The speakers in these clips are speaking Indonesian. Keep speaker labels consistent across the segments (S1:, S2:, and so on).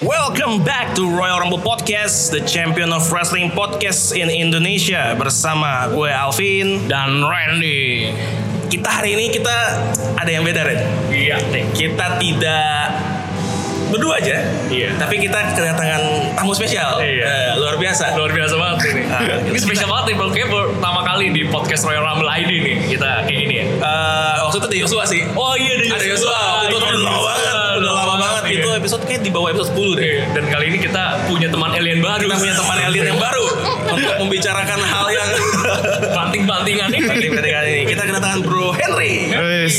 S1: Welcome back to Royal Rumble Podcast, the champion of wrestling podcast in Indonesia bersama gue Alvin dan Randy. Kita hari ini kita ada yang beda, Ren.
S2: Iya,
S1: Kita tidak berdua aja,
S2: Iya.
S1: tapi kita kedatangan tamu spesial.
S2: Iya.
S1: Eh, luar biasa.
S2: luar biasa banget ini.
S1: Ah,
S2: ini spesial banget nih, Bang. Kayaknya baru pertama kali di podcast Royal Rumble ID nih kita kayak gini ya.
S1: Eh, waktu itu ada Yosua sih.
S2: Oh iya, ada
S1: ada Yosua. Waktu itu udah lama banget, udah lama
S2: Iya.
S1: banget. gitu. Itu episode kayak di bawah episode 10 deh.
S2: Dan kali ini kita punya teman alien baru.
S1: Kita punya teman alien yang baru untuk membicarakan hal yang
S2: banting-bantingan nih.
S1: Nanti ketika ini kita kedatangan Bro Henry.
S3: Wes.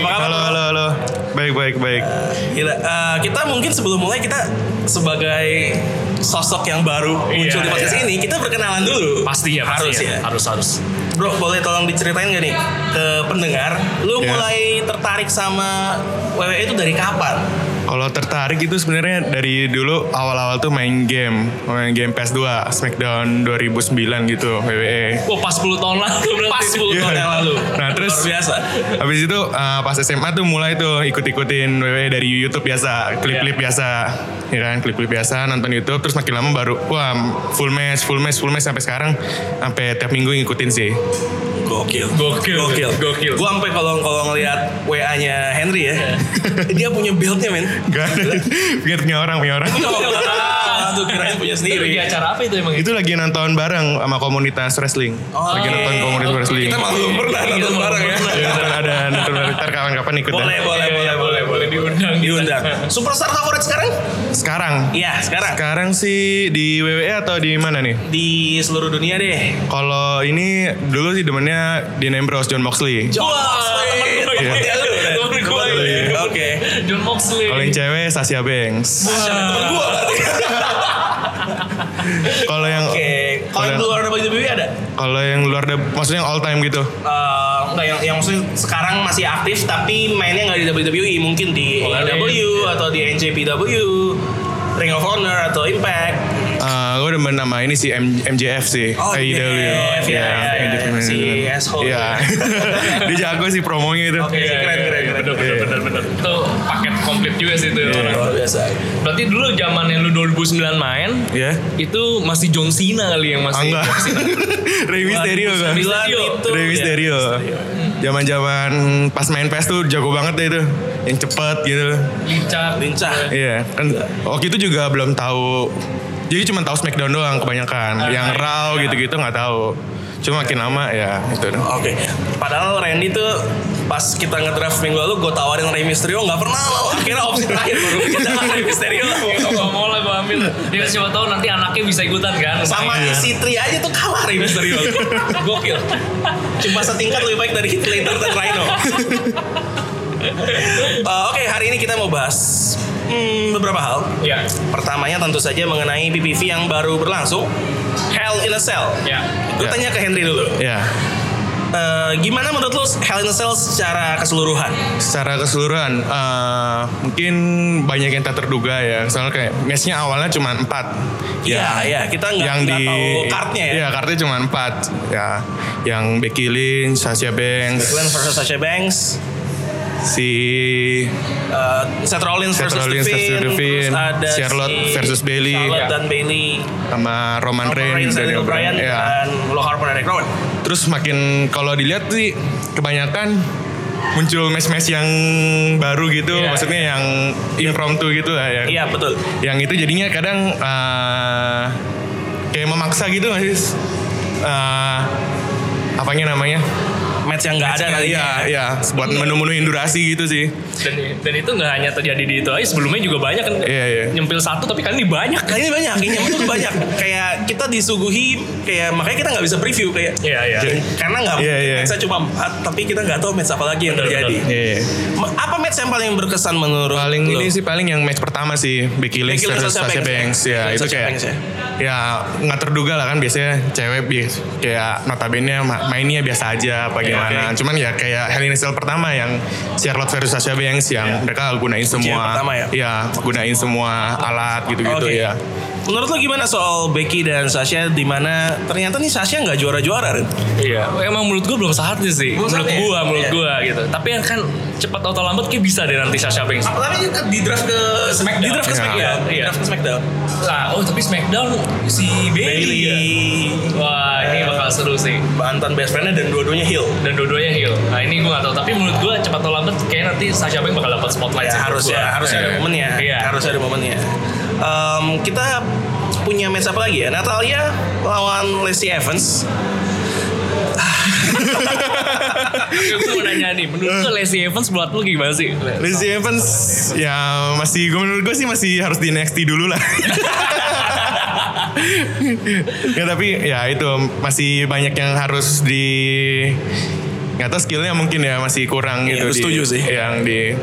S1: Apa kabar,
S3: Halo,
S1: Bang?
S3: halo, halo. Baik, baik, baik.
S1: Gila, eh, kita mungkin sebelum mulai kita sebagai sosok yang baru
S2: Iya,
S1: muncul di podcast
S2: iya.
S1: ini, kita berkenalan dulu.
S2: Pastinya,
S1: harus
S2: pastinya.
S1: ya.
S2: Harus, harus.
S1: Bro, boleh tolong diceritain gak nih ke pendengar, lu
S3: Iya.
S1: mulai tertarik sama WWE itu dari kapan?
S3: Kalau tertarik itu sebenarnya dari dulu awal-awal tuh main game, main game PS2, Smackdown 2009 gitu, WWE.
S2: Wah, pas 10 tahun lalu berarti.
S1: Pas 10 tahun
S3: Iya.
S1: yang lalu.
S3: Nah, terus-
S1: luar biasa.
S3: Habis itu uh, pas SMA tuh mulai tuh ikut-ikutin WWE dari YouTube biasa,
S1: Iya.
S3: klip-klip biasa. Ya kan, klip-klip biasa nonton YouTube terus makin lama baru wah full match, full match, full match sampai sekarang sampai tiap minggu ngikutin sih.
S1: Gokil.
S2: Gokil,
S1: Gokil.
S2: gokil.
S1: Gua sampai kalau kalau ngelihat WA-nya Henry ya. dia punya build-nya, men.
S3: Gak ada. Kan? Biar punya orang, punya orang.
S1: Ah, Tuh kirain punya
S2: Itu
S1: sendiri.
S2: lagi acara apa itu emang? ya?
S3: Itu lagi nonton bareng sama komunitas wrestling.
S1: Oh,
S3: lagi nonton
S1: oke.
S3: komunitas wrestling.
S1: Kita malah belum pernah
S2: Iya,
S1: nonton
S2: belum
S1: bareng ya.
S2: pernah. Iya,
S3: Iya, nonton ada nonton bareng. Ntar kapan-kapan ikut ya.
S1: Boleh, boleh, boleh, boleh, boleh.
S2: diundang.
S1: Diundang. Superstar favorit sekarang?
S3: Sekarang.
S1: Iya, sekarang.
S3: Sekarang sih di WWE atau di mana nih?
S1: Di seluruh dunia deh.
S3: Kalau ini dulu sih demennya Dean Ambrose, John Moxley.
S1: John
S2: Moxley.
S1: Temennya lu, Ren.
S2: Temen gua
S1: Iya.
S2: Iya.
S1: Temen lu,
S2: ini.
S1: ya? Oke.
S2: John Moxley.
S3: Kalau yang cewek Sasha Banks.
S1: Temen gua berarti.
S3: Kalau yang
S1: Oke. Iya. Kalau yang di luar
S2: E
S1: WWE ada?
S3: kalau yang luar da- maksudnya yang all time gitu.
S1: Eh, enggak yang yang maksudnya sekarang masih aktif tapi mainnya nggak di WWE mungkin di
S2: Oh,
S1: AEW atau di NJPW Ring of Honor atau Impact
S3: Eh gue demen nama ini sih M- MJF sih.
S1: Oh, MJF,
S3: Iya,
S1: ya, ya, ya,
S3: MJF.
S1: ya, si asshole.
S3: Iya. Dia jago sih promonya itu.
S1: Oke,
S2: Iya,
S1: keren,
S2: iya,
S1: keren,
S2: iya,
S1: keren.
S2: Bener, bener, bener, bener. Itu paket komplit juga sih itu.
S1: luar biasa
S2: Berarti dulu zamannya lu 2009 main,
S3: Iya.
S2: itu masih John Cena kali yang
S3: Ah,
S2: masih.
S3: enggak. Rey Mysterio kan.
S1: Milan itu
S3: Rey
S1: ya.
S3: Mysterio. Zaman-zaman pas main PES tuh jago banget deh itu. Yang cepet gitu.
S2: Lincah.
S1: lincah
S3: Iya, kan waktu itu juga belum tahu. Jadi cuma tahu SmackDown
S1: Ah,
S3: doang kebanyakan.
S1: iya.
S3: yang Raw gitu-gitu nggak tahu. Cuma makin lama ya itu. dong.
S1: Oke, padahal Randy tuh pas kita ngedraft minggu lalu gue tawarin Rey Mysterio nggak pernah loh. Akhirnya opsi terakhir baru kita Rey Mysterio.
S2: Gak mau lah gue ambil. Dia siapa tahu nanti anaknya bisa ikutan kan.
S1: Sama
S3: Iya.
S2: Lumayan.
S1: si Tri aja tuh kalah Rey Mysterio. Gokil. Cuma setingkat lebih baik dari Hitler dan Rhino. Eh, Oke, hari ini kita mau bahas hmm, beberapa hal.
S2: Ya.
S1: Pertamanya tentu saja mengenai PPV yang baru berlangsung. Hell in a Cell.
S2: Ya.
S1: Gue
S3: Ya.
S1: tanya ke Henry dulu.
S3: Ya,
S1: Eh, gimana menurut lu Hell in a Cell secara keseluruhan?
S3: secara keseluruhan eh, mungkin banyak yang tak terduga ya. Soalnya kayak matchnya awalnya cuma 4.
S1: Iya, iya, kita nggak-
S3: yang
S1: nggak
S3: di
S1: tahu kartnya ya.
S3: Iya, kartnya cuma 4. Ya, yang Becky Lynch, Sasha Banks,
S1: Glenn versus Sasha Banks,
S3: si
S1: uh, Seth Rollins
S3: Seth
S1: versus
S3: Rollins versus
S1: Devin, terus
S3: Devin,
S1: ada
S3: Charlotte
S1: si
S3: versus Bayley.
S1: Charlotte
S3: Ya.
S1: dan Bailey,
S3: sama Roman,
S1: Roman Reigns, Daniel Bryan,
S3: Iya.
S1: dan Lo Harper dan Eric Rowan.
S3: Terus makin kalau dilihat sih kebanyakan muncul match-match yang baru gitu,
S2: Iya.
S3: maksudnya yang impromptu gitu lah yang
S1: Iya betul.
S3: Yang itu jadinya kadang eh, kayak memaksa gitu nggak sih? Eh, apanya namanya?
S1: match yang nggak ada kali ya.
S3: Iya, iya. Buat menu-menuin durasi gitu sih.
S2: dan dan itu nggak hanya terjadi di itu aja sebelumnya juga banyak kan
S3: Iya, iya.
S2: nyempil satu tapi kali ini banyak
S1: Kali ini banyak, ini nyaman tuh banyak. Kayak kita disuguhi, kayak makanya kita nggak bisa preview kayak.
S2: Iya, iya.
S1: Karena nggak
S3: Iya, iya.
S1: matchnya cuma empat, tapi kita nggak tahu match apa lagi yang
S2: Bener,
S1: terjadi.
S3: Iya.
S1: Ma- Apa match yang paling berkesan menurut
S3: Paling
S1: lo?
S3: ini sih paling yang match pertama sih Becky Lynch
S1: Becky Lynch
S3: versus Sasha Banks, ya
S1: Becky
S3: itu
S1: Lynch
S3: kayak
S1: versus Sasha
S3: ya nggak terduga lah kan biasanya cewek bi- kayak notabene ma- mainnya biasa aja apa gimana cuman ya kayak Hell in a Cell pertama yang Charlotte versus Sasha Banks yang mereka gunain semua
S1: pertama ya?
S3: Iya, gunain semua alat gitu-gitu
S1: Oke.
S3: ya
S1: Menurut lo gimana soal Becky dan Sasha di mana ternyata nih Sasha nggak juara-juara Ren.
S2: Iya, emang menurut gua belum saatnya sih.
S1: Belum
S2: menurut
S1: saatnya ya?
S2: gua, menurut
S1: Iya.
S2: gua gitu. Tapi kan cepat atau lambat kayak bisa deh nanti Sasha Banks.
S1: Apalagi juga di draft ke
S2: Smackdown.
S1: Di draft ke
S2: Iya.
S1: Smackdown. Di
S2: Iya.
S1: draft ke Smackdown.
S2: Nah, oh tapi Smackdown si Bailey.
S3: iya.
S2: ya? Wah, ini bakal seru sih.
S1: mantan best friendnya dan dua-duanya heel.
S2: Dan dua-duanya heel. Nah ini gua gak tahu. Tapi menurut gua cepat atau lambat kayak nanti Sasha Banks bakal dapat spotlight.
S1: Ya,
S2: sih menurut
S1: harus
S2: gua.
S1: ya, harus ada
S2: Iya.
S1: momennya.
S2: Iya.
S1: Harus ada momennya. Em, kita punya match apa lagi ya? Natalia lawan Lacey Evans.
S2: Gue mau nanya nih, menurut lu Lacey Evans buat lu gimana sih?
S1: Nah,
S3: Lizzie Evans ya masih gue menurut gue sih masih harus di NXT dulu lah. ya tapi ya itu masih banyak yang harus di nggak tahu skillnya mungkin ya masih kurang
S1: Iya,
S3: gitu
S1: gue
S3: di-
S1: setuju sih.
S3: yang di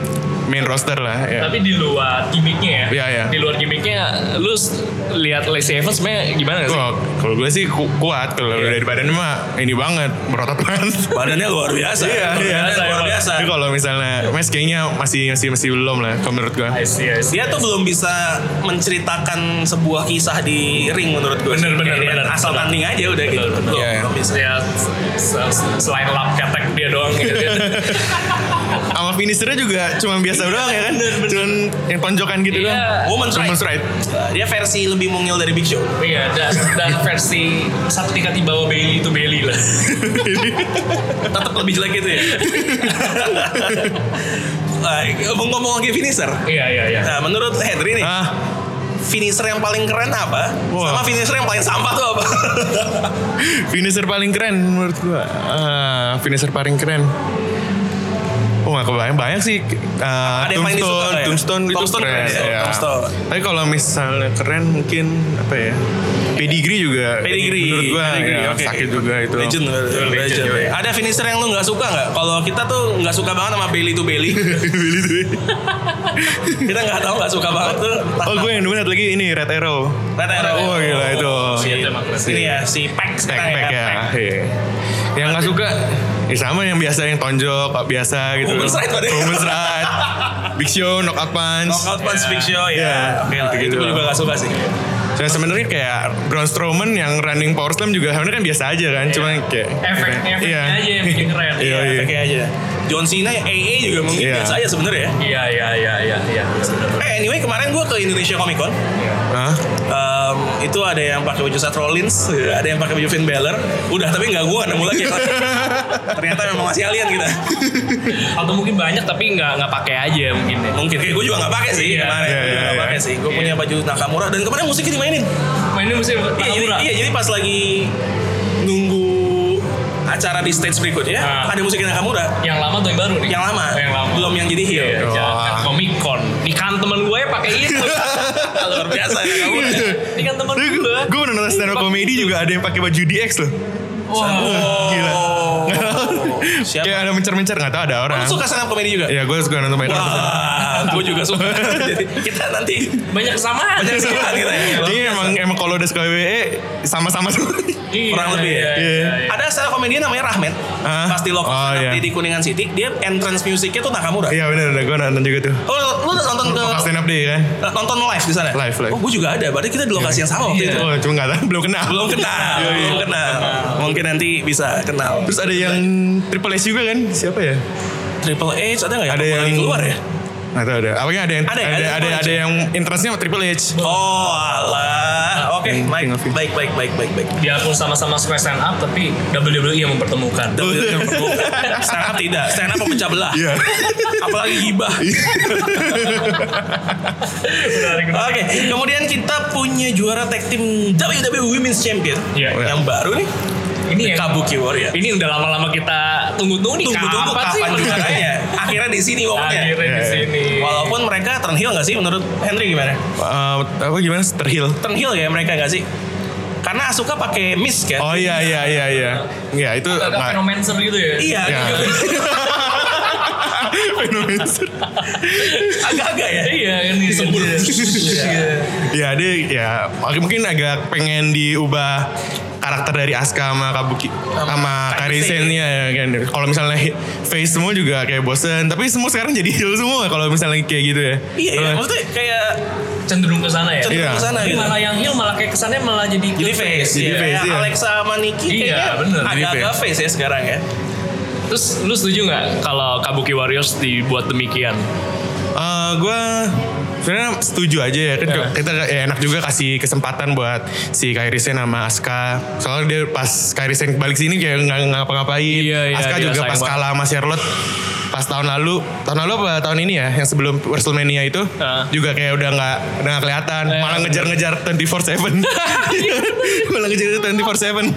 S3: main roster lah ya.
S2: Tapi di luar gimmicknya ya?
S3: Iya, iya.
S2: Di luar gimmicknya, lu s- lihat Lacey Evans sebenarnya gimana sih?
S3: Gua- kalau gue sih ku- kuat kalau
S2: Iya.
S3: dari badan mah ini banget merotot banget.
S1: Badannya luar biasa.
S3: Iya,
S1: Badannya
S3: iya.
S1: luar
S2: Iya.
S1: biasa.
S3: Tapi kalau misalnya Mas kayaknya masih masih masih belum lah kalau menurut gue.
S2: I see, I see.
S1: Dia tuh belum bisa menceritakan sebuah kisah di ring menurut gue.
S2: Bener, bener,
S1: Kayak dia
S2: bener.
S1: Asal
S2: Bener.
S1: tanding aja udah gitu.
S2: Bener, bener.
S1: Belum,
S3: Iya, iya.
S1: belum bisa.
S2: Ya, se- se- selain lap ketek dia doang gitu.
S3: Sama finishernya juga cuma biasa doang ya kan. Cuman yang tonjokan gitu
S2: Iya.
S3: doang.
S1: Woman's right.
S3: Woman's right.
S1: Dia versi lebih mungil dari Big Show.
S2: Iya, dan, dan versi satu tingkat di bawah Bailey itu Bailey lah.
S1: Tetap lebih jelek gitu ya. Nah, Ngomong-ngomong lagi finisher.
S2: Iya, iya, iya.
S1: Nah, menurut Henry nih,
S3: Ah,
S1: finisher yang paling keren apa?
S3: Wah.
S1: Sama finisher yang paling sampah tuh apa?
S3: finisher paling keren menurut gua. Ah, finisher paling keren. Oh nggak kebayang banyak sih. Ah,
S1: Ada yang paling
S3: tombstone,
S1: disuka ya?
S3: tombstone itu
S1: Tombstone
S3: keren.
S1: keren ya?
S3: ya.
S1: Tombstone.
S3: Tapi kalau misalnya keren mungkin apa ya? Pedigree juga.
S1: Pedigree.
S3: Menurut gua
S1: Pedigree,
S3: ya,
S1: oke.
S3: sakit juga itu.
S1: Legend, legend.
S2: legend, ya.
S1: Ada finisher yang lu nggak suka nggak? Kalau kita tuh nggak suka banget sama belly to belly.
S3: Beli tuh.
S1: kita nggak tahu nggak suka banget tuh.
S3: Oh gue yang dulu liat lagi ini Red Arrow.
S1: Red Arrow.
S3: Oh gila itu.
S2: Si-
S1: Ini ya si Pack
S3: Pack
S1: sekarang
S3: pack ya.
S1: Pack.
S3: Iya. Yang nggak suka Ya sama yang biasa yang tonjok, Pak, biasa gitu.
S1: Women's right, Pak.
S3: Women's right. Big Show, knockout punch.
S1: Knockout Punch Big Show
S3: Iya.
S1: ya. Oke lah, itu
S3: Gitu-gitu
S1: gue
S3: lah.
S1: juga nggak suka sih.
S3: Saya Nah, sebenarnya kayak Braun Strowman yang running power slam juga sebenarnya kan biasa aja kan, cuma
S1: Iya.
S3: kayak
S2: Efek- efeknya aja yang bikin keren.
S3: Iya, iya.
S1: Pakai aja. John Cena AA juga mungkin
S3: Iya.
S1: biasa aja sebenarnya. ya.
S2: Iya, iya, iya, iya, iya.
S1: Eh anyway kemarin gue ke Indonesia Comic Con.
S3: Hah?
S1: Em, itu ada yang pakai baju Seth Rollins, ada yang pakai baju Finn Balor. Udah, tapi nggak gua nemu lagi. Ternyata memang masih alien gitu. kita.
S2: Atau mungkin banyak tapi nggak nggak pakai aja mungkin ya.
S1: Mungkin kayak gua juga nggak pakai sih
S2: Iya.
S1: kemarin.
S3: Iya,
S1: Gua
S3: iya,
S1: nggak
S3: iya.
S1: pakai sih. Gua
S2: Iya.
S1: punya baju Nakamura dan kemarin musiknya dimainin.
S2: Mainnya mesti
S1: Iya, jadi,
S2: Nakamura.
S1: iya, jadi pas lagi nunggu acara di stage berikutnya
S2: Ah.
S1: ada musiknya Nakamura
S2: Yang lama atau yang baru nih?
S1: yang lama,
S2: Oh, yang lama.
S1: belum yang jadi heel.
S2: Iya,
S3: Wah.
S2: jangan Comic Con. Nikahan temen gue pakai itu.
S1: Luar biasa Nakamura.
S2: Nikahan temen gue.
S3: Gue pernah nonton stand up comedy juga ada yang pakai baju DX loh.
S2: Wah.
S3: Gila.
S1: Oh. Siapa?
S3: Kayak ada mencar-mencar nggak tahu ada orang.
S1: Lu suka stand up comedy juga?
S3: Ya gue suka nonton main
S1: Wah, gue juga suka. Jadi kita nanti
S2: Banyak kesamaan.
S1: Banyak kesamaan kita ya.
S3: Jadi emang emang kalau udah suka WWE sama-sama semua.
S2: Iya,
S1: Kurang lebih ya?
S2: iya,
S3: Iya.
S2: iya, iya.
S1: Ada stand up comedian namanya Rahmat.
S3: Hah?
S1: Pasti lo
S3: Oh, iya.
S1: di Kuningan City. Dia entrance musicnya tuh Nakamura.
S3: Iya benar, gue nonton juga tuh.
S1: Oh, lu udah nonton ke Eh,
S3: Pas stand up deh kan.
S1: nonton live di sana?
S3: Live, live.
S1: Oh, gue juga ada. Berarti kita di lokasi yang sama waktu itu.
S3: Oh, cuma nggak tahu, belum kenal.
S1: Iya. Belum kenal,
S3: Iya, iya.
S1: belum kenal. Mungkin nanti bisa kenal.
S3: Terus ada yang Triple S juga kan? Siapa ya?
S1: Triple H ada nggak ya?
S3: Ada
S1: Lagi
S3: yang-
S1: keluar ya?
S3: Nggak tahu ada. Apa yang ada yang
S1: Ada
S3: ada
S1: ya?
S3: ada
S1: Ada
S3: ada,
S1: yang-
S3: yang interestnya sama Triple H.
S1: Oh, alah. Oke,
S3: Yang-
S1: baik,
S3: yang nge-feed.
S1: baik, baik, baik, baik, baik.
S2: Biarpun sama-sama suka stand up tapi WWE yang mempertemukan.
S1: Stand up tidak, stand up pemecah belah.
S3: Iya.
S1: Apalagi gibah.
S2: Menarik, menarik.
S1: Oke, kemudian kita punya juara tag team WWE E Women's Champion
S2: Iya.
S1: yang baru nih.
S2: Ini ya? yang
S1: Kabuki Warrior.
S2: ini yang udah lama-lama kita tunggu-tunggu nih.
S1: Tunggu-tunggu
S2: sih
S1: kapan
S2: mendengarnya?
S1: juaranya? Akhirnya di sini
S2: Akhirnya
S1: pokoknya.
S2: di
S3: Ya, ya.
S2: sini.
S1: Walaupun mereka turnhill nggak sih menurut Henry gimana?
S3: Eh, apa gimana terhil
S1: Turnhill ya mereka nggak sih? Karena Asuka pakai miss kan?
S3: oh iya iya iya iya ya itu
S2: agak
S3: nah,
S2: fenomenser gitu ya.
S1: Iya.
S3: ya. Fenomenser.
S1: Agak-agak ya.
S2: Iya, ini sembur.
S1: Iya.
S3: ya dia ya mak- mungkin agak pengen diubah karakter dari Asuka sama Kabuki sama
S1: Kaisen.
S3: Kaisen-nya ya kan. Kalau misalnya hi- face semua juga kayak bosen, tapi semua sekarang jadi heel semua kalau misalnya kayak gitu ya.
S1: Iya, iya.
S3: Kalau-
S1: maksudnya kayak
S2: Cenderung ke sana ya.
S3: Cenderung
S1: cenderung
S3: Iya.
S1: ke sana
S2: Tapi
S1: gitu.
S2: malah yang heel malah kayak kesannya malah jadi
S1: Jadi
S2: heel
S1: face,
S3: Jadi
S1: ya.
S3: face, iya.
S1: Alexa sama Nikki
S2: Iya,
S1: kayaknya
S2: bener, jadi
S1: agak-agak face. ya sekarang ya.
S2: Terus lu setuju nggak kalau Kabuki Warriors dibuat demikian?
S3: Eh gue sebenarnya setuju aja ya kan
S2: Ya.
S3: kita ya, enak juga kasih kesempatan buat si Kairi Sen sama Aska soalnya dia pas Kairi Sen balik sini kayak nggak nggak ngapa-ngapain
S2: Iya, iya,
S3: Aska
S2: dia
S3: juga
S2: sayang
S3: pas
S2: banget.
S3: kalah sama Charlotte pas tahun lalu tahun lalu apa tahun ini ya yang sebelum Wrestlemania itu
S2: Ah.
S3: juga kayak udah nggak udah nggak kelihatan
S2: Eh,
S3: malah ngejar-ngejar 24/7 malah ngejar 24/7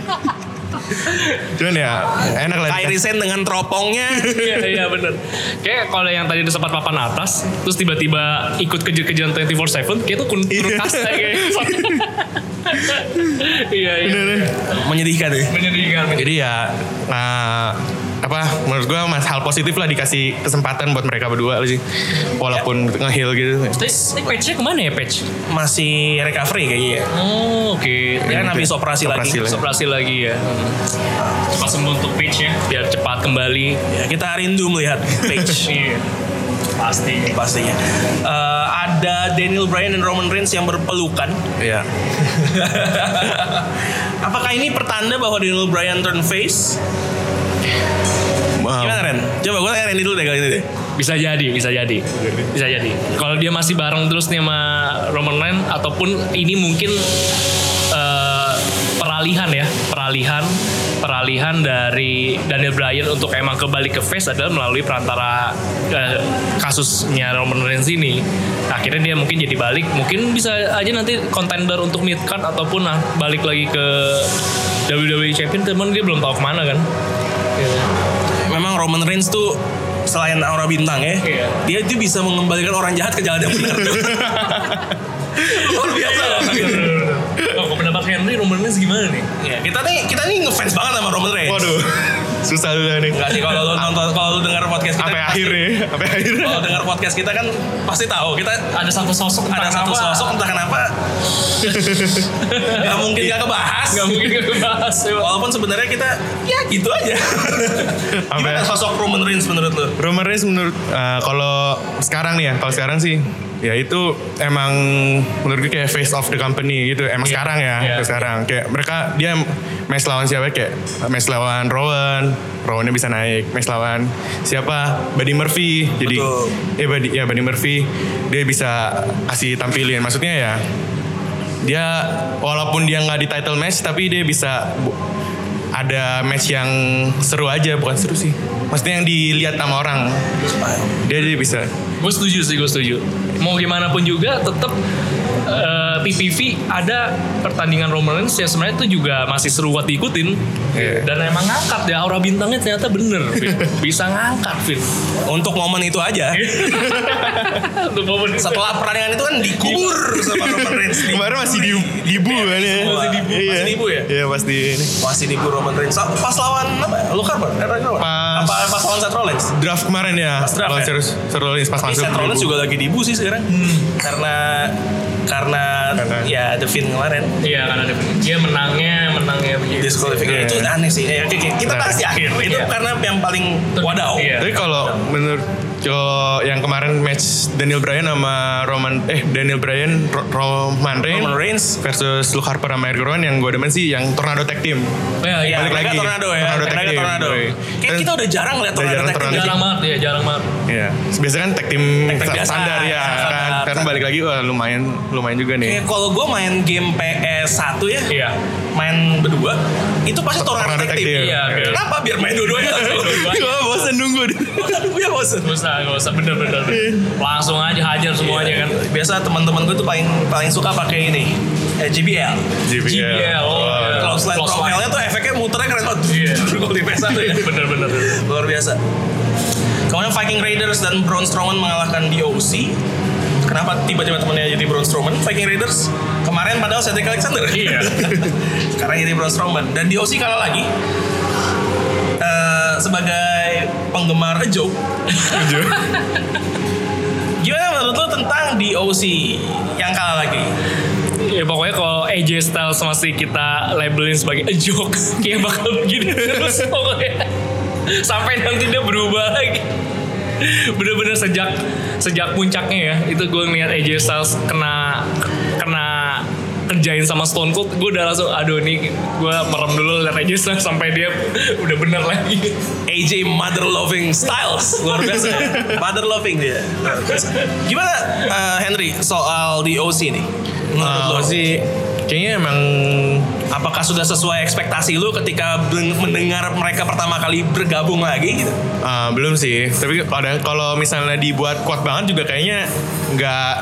S3: cuman ya enak lah
S1: Kairi Sen dengan teropongnya.
S2: Iya iya benar. Kayak kalau yang tadi udah sempat papan atas, terus tiba-tiba ikut kejar-kejaran 24/7, kayak itu kun turun
S3: Iya.
S2: kasta kayak. gitu. Iya iya. kan?
S3: Bener ya.
S1: Menyedihkan ya.
S2: Menyedihkan.
S3: Jadi ya nah, apa menurut gua mas hal positif lah dikasih kesempatan buat mereka berdua sih walaupun
S1: Ya.
S3: ngehil gitu.
S2: Terus ini patch-nya kemana ya patch?
S1: Masih recovery kayaknya ya.
S2: Oh oke.
S1: Dia kan
S3: Ini
S1: habis
S3: tuh,
S1: operasi,
S3: Iya, operasi
S1: lagi.
S3: lagi.
S2: Operasi lagi ya. Cepat sembuh untuk patch-nya biar cepat kembali.
S1: Ya, kita rindu melihat Page
S2: Iya. Pasti.
S1: pastinya. Eh, ada Daniel Bryan dan Roman Reigns yang berpelukan.
S3: Iya.
S1: Apakah ini pertanda bahwa Daniel Bryan turn face?
S3: Oh.
S1: Gimana Ren? Coba gue tanya Randy dulu deh kali ini deh.
S2: Bisa jadi, bisa jadi. Bisa jadi. Kalau dia masih bareng terus nih sama Roman Reigns ataupun ini mungkin eh, peralihan ya, peralihan peralihan dari Daniel Bryan untuk emang kembali ke face adalah melalui perantara eh, kasusnya Roman Reigns ini. Akhirnya dia mungkin jadi balik, mungkin bisa aja nanti contender untuk mid card ataupun nah, balik lagi ke WWE Champion, teman dia belum tahu kemana kan.
S1: Memang Roman Reigns tuh selain aura bintang ya,
S2: Iya.
S1: dia tuh bisa mengembalikan orang jahat ke jalan yang benar. Luar biasa.
S2: Oh, pendapat Henry Roman Reigns gimana nih?
S1: Ya, kita nih kita nih ngefans banget sama Roman Reigns.
S3: Waduh susah juga nih.
S1: Enggak sih kalau lu nonton kalau lu dengar podcast kita Oh,
S3: Sampai akhir ya. nih. Sampai akhir.
S1: kalau dengar podcast kita kan pasti tahu kita
S2: ada satu sosok
S1: ada satu sosok entah kenapa nggak mungkin nggak kebahas
S2: nggak mungkin kebahas ya Pak.
S1: walaupun sebenarnya kita ya gitu aja gimana
S3: Sampai-
S1: sosok Roman Reigns menurut lu
S3: Roman Reigns menurut eh, kalau sekarang nih ya kalau sekarang sih ya itu emang menurut gue kayak face of the company gitu emang sekarang ya
S2: Iya.
S3: sekarang kayak mereka dia match lawan siapa kayak match lawan Rowan Rowannya bisa naik match lawan siapa Buddy Murphy jadi
S1: Betul.
S3: eh Buddy ya Buddy Murphy dia bisa kasih tampilin maksudnya ya dia walaupun dia nggak di title match tapi dia bisa bu- ada match yang seru aja bukan seru sih maksudnya yang dilihat sama orang dia dia bisa
S2: gue setuju sih gue setuju mau gimana pun juga tetap eh, PPV ada pertandingan Roman Reigns yang sebenarnya itu juga masih seru buat diikutin
S3: Iya.
S2: dan emang ngangkat ya aura bintangnya ternyata bener Vin. bisa ngangkat Vin
S1: untuk momen itu aja
S2: Untuk momen itu.
S1: setelah pertandingan itu kan dikubur sama Roman Reigns nih.
S3: kemarin masih di dibu kan ya
S1: Masih dibu.
S3: Iya.
S1: Masih dibu ya?
S3: iya pasti ini
S1: masih dikubur Roman Reigns pas lawan apa lu Harper Eh, Randy Orton.
S3: Pas-
S1: apa pas lawan Seth Rollins
S3: draft kemarin ya
S1: Pas draft
S3: lawan
S1: ya?
S3: Sir- Sir Rollins pas
S1: Tapi
S3: masuk
S1: Seth Rollins
S3: dibu.
S1: juga lagi dibu sih sekarang karena karena
S3: Karena-
S1: ya The Fiend kemarin
S2: iya kan ada dia menangnya menangnya begitu
S1: disqualifikasi
S3: Iya.
S1: itu aneh sih. Ya, oke, oke. Kita
S3: Nah.
S1: bahas di akhir. Itu
S2: Iya.
S1: karena yang paling wadaw.
S2: Iya.
S3: tapi kalau menurut kalau yang kemarin match Daniel Bryan sama Roman eh Daniel Bryan Ro- Roman Reigns
S1: Roman Reigns.
S3: versus Luke Harper sama Eric Rowan yang gue demen sih yang Tornado Tag Team
S2: ya, iya.
S1: Ya,
S3: Balik
S1: mereka
S3: lagi.
S1: tornado ya.
S3: Tornado
S1: mereka
S3: tag team,
S1: tornado.
S3: boy.
S1: Kayak
S3: Dan-
S1: kita udah jarang lihat
S3: udah
S1: tornado
S3: jarang
S1: tag team.
S3: tornado.
S2: jarang banget ya jarang banget
S3: Iya. Biasanya kan tag team
S1: Tag team biasa,
S3: standar ya
S1: standar. Iya,
S3: kan. Karena balik lagi wah lumayan lumayan juga
S1: Kayak
S3: nih.
S1: kalau gue main game PS 1 ya,
S2: iya
S1: main berdua, itu pasti tornado tag team.
S2: Iya,
S3: Iya.
S2: biar-
S1: Kenapa? Biar main dua-duanya langsung.
S3: Gua bosen nunggu.
S1: Aduh, gue bosen.
S2: bosan nggak usah bener-bener. Langsung aja hajar semuanya kan.
S1: Biasa teman-teman gue tuh paling paling suka pakai ini. Eh, JBL.
S3: JBL.
S2: JBL, oh,
S3: Wah.
S2: iya.
S1: Kalau slide
S2: Close Iya,
S1: profile nya tuh efeknya muternya keren banget. Iya. Kalau di PS1 ya.
S2: Bener-bener.
S1: Luar biasa. Kemudian Viking Raiders dan Braun Strowman mengalahkan DOC. Kenapa tiba-tiba temennya jadi Braun Strowman? Viking Raiders kemarin padahal Cedric Alexander.
S2: Iya.
S1: Sekarang jadi Braun Strowman. Dan DOC kalah lagi. Eh, sebagai penggemar a joke. Gimana menurut lo tentang DOC yang kalah lagi?
S2: Ya pokoknya kalau AJ Styles masih kita labelin sebagai a joke, kayak bakal begini terus pokoknya. Sampai nanti dia berubah lagi. Bener-bener sejak sejak puncaknya ya, itu gue ngeliat AJ Styles kena kena kerjain sama Stone Cold, gue udah langsung aduh nih gue merem dulu liat AJ Styles sampai dia udah bener lagi.
S1: AJ Mother Loving Styles luar biasa ya. Mother Loving dia luar biasa. Gimana eh, Henry soal DOC nih? Menurut lo
S3: Kalau Uh, sih kayaknya emang
S1: apakah sudah sesuai ekspektasi lu ketika ben- mendengar mereka pertama kali bergabung lagi gitu?
S3: ah, belum sih. Tapi kadang kalau misalnya dibuat kuat banget juga kayaknya nggak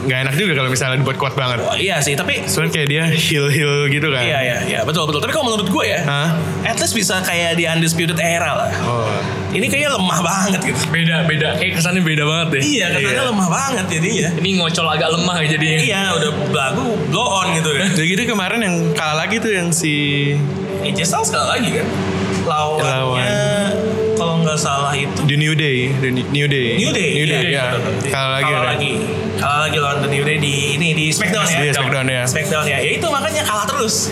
S3: nggak enak juga kalau misalnya dibuat kuat banget.
S1: Oh, iya sih, tapi
S3: Soalnya kayak dia heel heel gitu kan.
S1: iya iya iya betul betul. Tapi kalau menurut gue ya,
S3: Hah?
S1: at least bisa kayak di undisputed era lah.
S3: Oh.
S1: Ini kayaknya lemah banget gitu.
S2: Beda beda, kayak kesannya beda banget deh.
S1: Iya, katanya lemah banget jadinya.
S2: Ini ngocol agak lemah ya jadinya.
S1: Iya, udah lagu blow on gitu ya.
S3: Jadi gitu kemarin yang kalah lagi tuh yang si
S1: AJ Styles sekali lagi kan lawannya
S3: Lawan.
S1: kalau nggak salah itu
S3: The New Day, The New Day.
S1: New Day
S3: New Day,
S1: iya.
S3: ya. Kalah
S1: kalah
S3: lagi. kan?
S1: lagi kalah lagi lawan The New Day di ini di Smackdown ya
S3: Iya, Smackdown, ya.
S1: Smackdown ya ya itu makanya kalah terus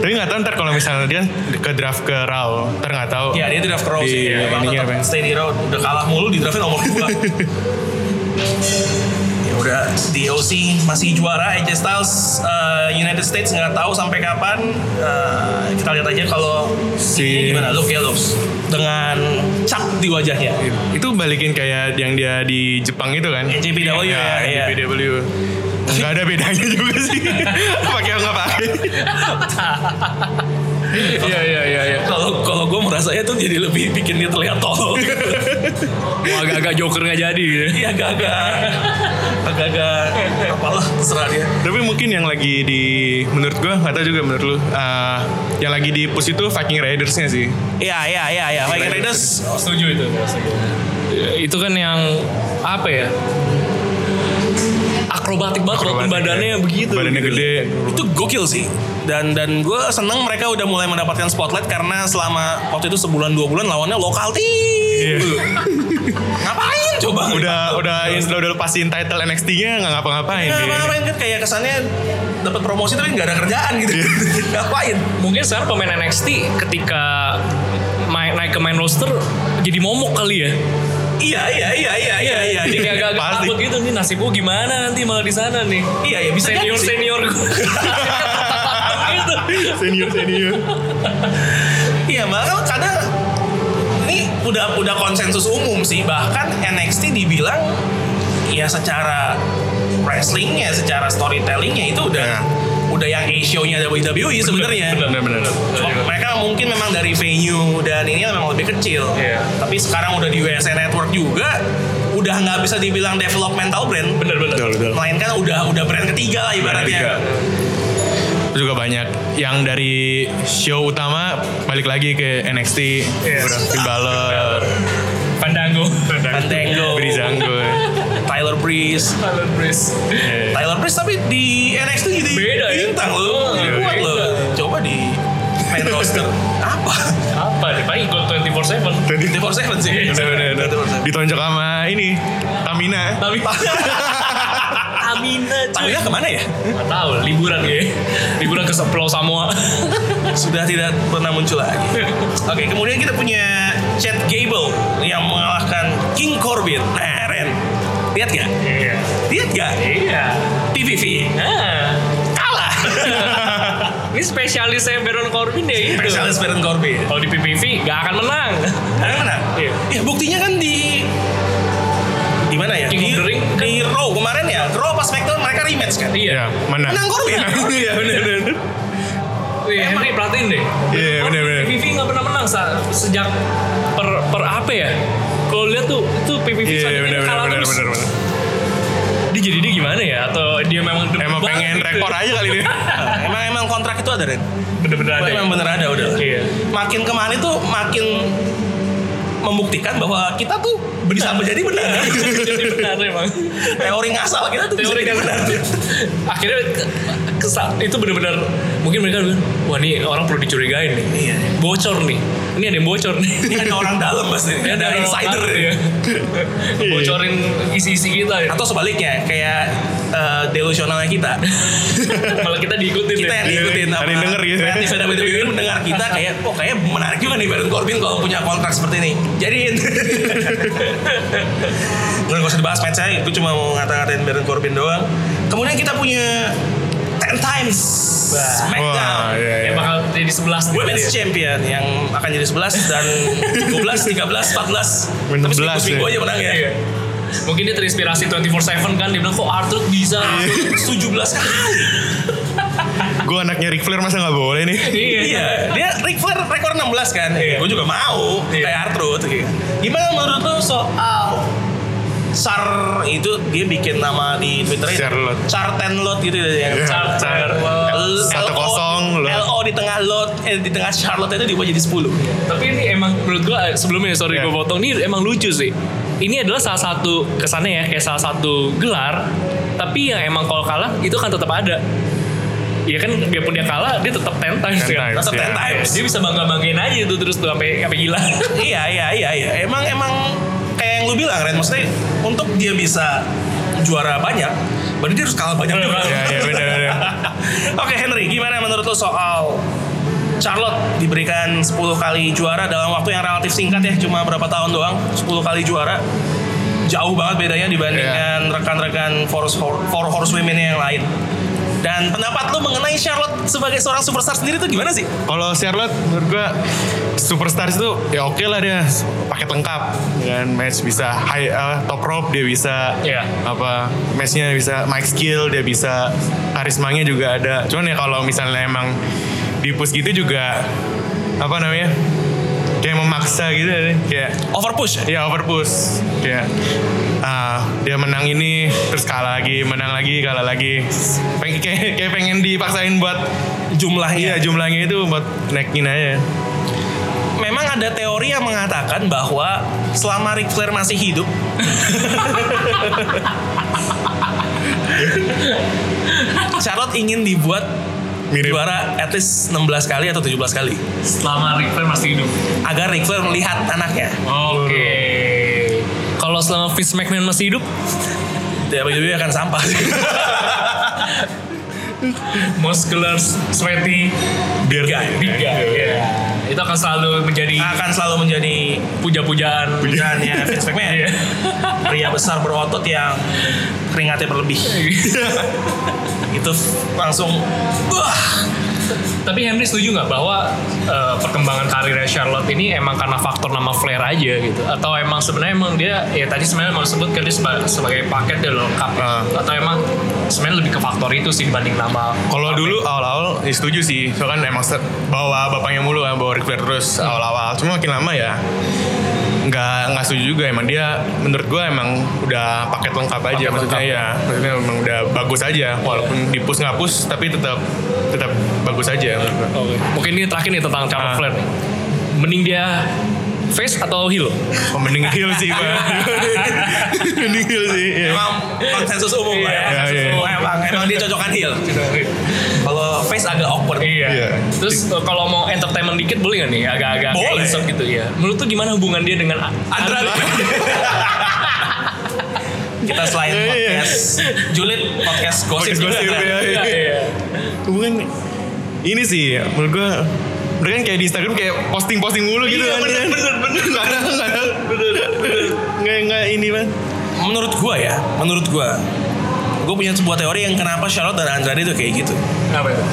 S3: Tapi nggak tahu ntar kalau misalnya dia ke draft ke Raw, ntar nggak tahu.
S1: ya dia di draft crow sih
S3: Iya,
S1: Emang
S3: ininya
S1: tetap
S3: apa ya?
S1: stay di road udah kalah mulu di draftnya nomor 2 ya udah DOC masih juara AJ Styles eh, United States nggak tahu sampai kapan Eh, kita lihat aja kalau
S3: Si-
S1: ini gimana look ya looks dengan cap di wajahnya
S3: Itu balikin kayak yang dia di Jepang itu kan?
S1: NJPW,
S3: Iya,
S1: ya, iya.
S3: NJPW. Nggak ada bedanya juga sih. pakai apa nggak pakai?
S2: Iya iya iya. iya.
S1: kalau kalau gue merasanya tuh jadi lebih bikin dia terlihat tolol
S2: Wah, agak-agak joker nggak jadi gitu.
S1: iya agak-agak agak-agak apalah terserah dia
S3: Tapi mungkin yang lagi di menurut gua nggak tahu juga menurut lu. eh, yang lagi di push itu Viking Raidersnya sih.
S1: iya iya iya iya Viking Raiders
S3: Oh,
S2: Setuju itu.
S3: ya,
S2: Itu kan yang apa ya? Akrobatik banget kalau Oh,
S3: Akrobatik,
S2: badannya
S3: ya.
S2: begitu.
S3: Badannya
S2: gitu.
S3: gede.
S1: itu gokil sih dan dan gue seneng mereka udah mulai mendapatkan spotlight karena selama waktu itu sebulan dua bulan lawannya lokal tim ngapain coba
S3: Iya. Udah udah udah, udah lepasin title NXT-nya nggak ngapa-ngapain.
S1: Nah,
S3: dia.
S1: ngapain kan kayak kesannya dapat promosi tapi nggak ada kerjaan gitu ngapain
S2: Mungkin sekarang pemain NXT ketika main, naik ke main roster jadi momok kali ya.
S1: iya iya iya iya iya iya
S2: Jadi kayak agak
S3: Pasti.
S2: takut gitu nih nasib gua gimana nanti malah di sana nih.
S1: iya iya bisa jadi
S2: Senior
S1: sih.
S2: senior Gitu. gue.
S3: Senior senior.
S1: Iya, malah kadang ini udah udah konsensus umum sih. Bahkan NXT dibilang ya secara wrestlingnya, secara storytellingnya itu udah
S3: Ya.
S1: udah yang A-show-nya WWE sebenarnya.
S3: Benar-benar.
S1: Cuma Mereka mungkin memang dari venue dan ini memang lebih kecil.
S2: Iya.
S1: Tapi sekarang udah di USA Network juga udah nggak bisa dibilang developmental brand.
S2: Bener-bener.
S3: Betul betul.
S1: Melainkan udah udah brand ketiga lah
S2: Iya.
S3: Tiga.
S1: ibaratnya.
S3: Terus juga banyak yang dari show utama balik lagi ke NXT
S2: Yes.
S3: Udah Finn Balor,
S2: Pandango.
S1: Fandango,
S3: Breezango.
S2: Iya.
S1: Tyler Breeze,
S2: Tyler Breeze.
S1: Tyler Breeze tapi di NXT jadi
S2: Beda ya?
S1: bintang loh,
S2: Iya,
S1: kuat
S2: beda.
S1: loh. Coba di main roster apa?
S2: Apa deh? Paling ikut 24/7.
S3: Tadi
S1: 24/7 sih.
S3: Iya, benar-benar
S1: 24/7.
S3: ditonjok sama ini Tamina.
S2: Tapi Amina cuy.
S1: Tamina kemana ya?
S2: Gak tahu, liburan ya. Liburan ke Pulau Samoa.
S1: Sudah tidak pernah muncul lagi. Oke, kemudian kita punya Chad Gable yang mengalahkan King Corbin. Nah, Ren, lihat gak?
S2: Iya.
S1: Lihat gak?
S2: Iya.
S1: PVV
S2: Nah,
S1: kalah.
S2: ini spesialisnya Baron Corbin ya itu.
S1: Spesialis Baron Corbin.
S2: Kalau di PPV gak akan menang.
S1: Nah, mana?
S2: Iya.
S1: Ya buktinya kan di di mana ya?
S2: King
S1: di,
S2: of the Ring.
S1: di Raw kemarin ya. Raw pas SmackDown mereka rematch kan?
S3: Ya,
S2: Iya.
S3: menang.
S1: Menang Corbin. Iya benar.
S2: Iya, Henry perhatiin deh.
S3: Iya, benar-benar.
S2: PPV gak pernah menang sa- sejak per per apa ya? Kalau lihat tuh tuh PPV
S3: Iya,
S2: Sonic
S3: iya,
S2: ini
S3: benar,
S2: kalah
S3: benar, benar,
S2: terus.
S3: benar, benar.
S2: Dia jadi dia gimana ya? Atau dia memang demen
S3: Emang
S2: banget
S3: pengen
S2: gitu ya?
S3: rekor aja kali ini.
S1: emang emang kontrak itu ada Ren?
S2: Bener-bener ada.
S1: Emang
S2: ya?
S1: bener ada udah.
S2: Iya.
S1: Makin kemana tuh makin membuktikan bahwa kita tuh bisa menjadi benar.
S2: Jadi benar emang.
S1: Teori ngasal kita tuh
S2: Teori
S1: bisa
S2: yang benar. Akhirnya ke- kesal itu benar-benar mungkin mereka bilang, wah nih orang perlu dicurigain nih.
S1: Iya.
S2: Bocor nih. Ini ada yang bocor nih.
S1: Ini ada orang dalam pasti.
S2: Ini
S1: ada
S2: orang-
S1: insider. ya.
S2: iya. Bocorin isi-isi kita ya.
S1: Atau sebaliknya kayak eh, delusionalnya kita.
S2: Malah kita diikutin
S1: kita
S2: ya.
S1: yang ya. diikutin
S3: Ada yang denger gitu.
S1: kreatif ada beda beda mendengar kita kayak oh kayak menarik juga nih Baron Corbin kalau punya kontrak seperti ini jadi nggak nggak usah dibahas match saya gue cuma mau ngata-ngatain Baron Corbin doang kemudian kita punya 10 times
S3: Wah,
S1: Smackdown
S3: iya,
S2: Ya
S3: iya.
S2: bakal jadi 11 nih
S1: Women's
S2: tadi ya.
S1: Champion yang akan jadi 11 dan 12, 13, 14 tapi
S3: 16
S1: seminggu-seminggu
S3: ya.
S1: aja menang ya
S2: Iya. Mungkin dia terinspirasi 24/7 kan dia bilang kok Arthur bisa
S1: Iya. 17 kali
S3: Gue anaknya Ric Flair masa nggak boleh nih?
S1: Iya, dia Ric Flair rekor 16 kan.
S2: Iya.
S1: Gue juga mau
S2: Iya.
S1: kayak Artrud. gitu. Gimana menurut lu soal Sar itu dia bikin nama di Twitter itu.
S3: Charlotte.
S1: Charten Lot gitu ya.
S3: Iya.
S2: Char- Char-
S1: L-
S3: Satu
S1: LO,
S3: kosong, Lot.
S1: LO di tengah Lot eh di tengah Charlotte itu dibuat jadi 10.
S2: Tapi ini emang menurut gua eh, sebelumnya sorry
S3: Iya.
S2: gua potong ini emang lucu sih. Ini adalah salah satu kesannya ya kayak salah satu gelar tapi yang emang kalau kalah itu kan tetap ada. Iya kan biarpun dia kalah dia tetap 10 times
S3: Ten
S2: kan.
S3: times,
S1: Tetap
S3: iya.
S1: 10 times.
S2: Dia bisa bangga-banggain aja itu terus tuh sampai sampai gila.
S1: iya iya iya iya emang emang kayak yang lu bilang Ren maksudnya untuk dia bisa juara banyak berarti dia harus kalah banyak juga
S3: Iya, iya, benar, benar.
S1: oke Henry gimana menurut lu soal Charlotte diberikan 10 kali juara dalam waktu yang relatif singkat ya cuma berapa tahun doang 10 kali juara jauh banget bedanya dibandingkan
S3: Iya.
S1: rekan-rekan four, Hor- four horsewomen yang lain dan pendapat lu mengenai Charlotte sebagai seorang superstar sendiri tuh gimana sih?
S3: Kalau Charlotte menurut gua superstars itu ya oke lah dia paket lengkap dengan match bisa high eh, top rope dia bisa
S2: Iya.
S3: apa matchnya bisa mic skill dia bisa karismanya juga ada cuman ya kalau misalnya emang di push gitu juga apa namanya kayak memaksa gitu deh. kayak
S1: Overpush?
S3: ya overpush kayak ah, dia menang ini terus kalah lagi menang lagi kalah lagi Peng- kayak, kayak pengen dipaksain buat
S1: Jumlahnya?
S3: Iya jumlahnya itu buat naikin aja.
S1: memang ada teori yang mengatakan bahwa selama Ric Flair masih hidup Charlotte ingin dibuat
S3: Mirip.
S1: juara at least 16 kali atau 17 kali
S2: Selama Ric Flair masih hidup.
S1: agar Ric Flair melihat anaknya
S2: Oke. Kalau selama Vince McMahon masih hidup,
S1: dia dia akan sampah
S2: muscular, sweaty,
S3: Biar
S1: Guy.
S2: big guy. Iya. Itu akan selalu menjadi
S1: akan selalu menjadi
S2: puja-pujaan.
S1: pujaannya Vince McMahon
S2: Iya.
S1: pria besar berotot yang keringatnya berlebih itu langsung wah
S2: Tapi Henry setuju nggak bahwa eh, perkembangan karirnya Charlotte ini emang karena faktor nama Flair aja gitu? Atau emang sebenarnya emang dia ya tadi sebenarnya mau sebut kan dia seba- sebagai paket dia lengkap. ya?
S3: Ah.
S2: Atau emang sebenarnya lebih ke faktor itu sih dibanding nama.
S3: Kalau dulu awal-awal ya setuju sih, soalnya kan emang ser- bawa bapaknya mulu kan, bawa Ric Flair terus awal-awal. Cuma makin lama ya nggak nggak setuju juga emang dia menurut gua emang udah paket lengkap aja
S2: Paket
S3: maksudnya
S2: lengkap.
S3: ya maksudnya emang udah bagus aja walaupun dipus nggak push tapi tetap tetap bagus aja menurut gua.
S2: Mungkin ini terakhir nih tentang Charlotte
S3: Ah.
S2: Flair nih. Mending dia face atau heel?
S3: Oh, mending heal sih gua mending heal sih iya.
S1: emang konsensus umum lah ya,
S3: Iya,
S1: Konsensus
S3: iya.
S1: umum. emang emang dia cocokan heel kalau face agak awkward
S2: Iya.
S3: Iya.
S2: Terus eh, kalau mau entertainment dikit boleh nggak nih? Agak-agak kayak
S1: Boleh.
S2: insert gitu ya. Menurut tuh gimana hubungan dia dengan A-
S1: Andrade. kita selain
S3: Iya, iya.
S1: podcast julid podcast gosip
S3: Podcast
S1: juga
S3: gosip,
S1: kan?
S3: iya, iya.
S2: Iya, iya.
S3: Bukan ini sih menurut gua mereka kan kayak di Instagram kayak posting-posting mulu gitu kan. Bener bener bener. Gak ada gak ada. Bener bener. Nggak nggak ini man.
S1: menurut gua ya menurut gua gua punya sebuah teori yang kenapa Charlotte dan Andrade itu kayak gitu
S2: Apa itu?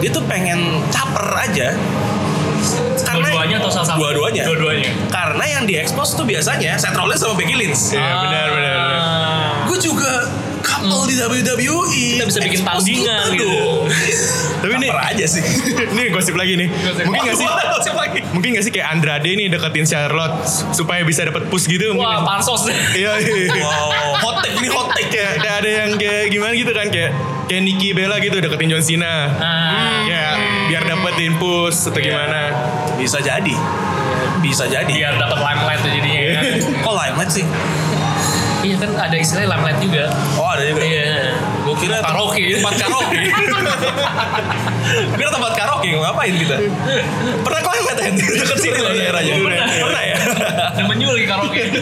S1: dia tuh pengen caper aja karena
S2: Dua-duanya atau salah satu?
S1: dua-duanya
S2: Dua-duanya.
S1: karena yang
S2: Ah.
S1: diekspos tuh biasanya Seth Rollins sama Becky Lynch
S3: Iya benar benar. benar.
S1: gue juga kapan
S4: Apple di WWE.
S1: E.
S2: Kita bisa
S1: Eh,
S2: bikin
S4: Expose
S2: tandingan
S4: kita
S2: gitu.
S4: dong.
S3: Tapi ini
S1: Apa aja sih.
S3: ini gosip lagi nih. Mungkin gak sih?
S1: Gosip lagi.
S3: Mungkin gak sih kayak Andrade nih deketin Charlotte supaya bisa dapat push gitu mungkin.
S2: Wah, pansos deh.
S3: Iya. iya.
S1: Wow, hot take ini hot take.
S3: kayak kayak ada yang kayak gimana gitu kan kayak kayak Nikki Bella gitu deketin John Cena.
S2: Ah.
S3: Ya, biar dapetin push atau gimana.
S1: Bisa jadi. Bisa jadi.
S2: Biar dapat limelight tuh jadinya ya kan.
S1: Kok limelight sih?
S2: Iya kan ada istilah limelight juga.
S1: Oh ada juga.
S2: Iya.
S1: Gue kira
S2: Karaoke.
S1: tempat karaoke. kira tempat karaoke ngapain kita? Pernah kau lihat ya? Dekat sini loh daerahnya.
S2: Pernah.
S1: Pernah ya?
S2: Dan menyuli karaoke.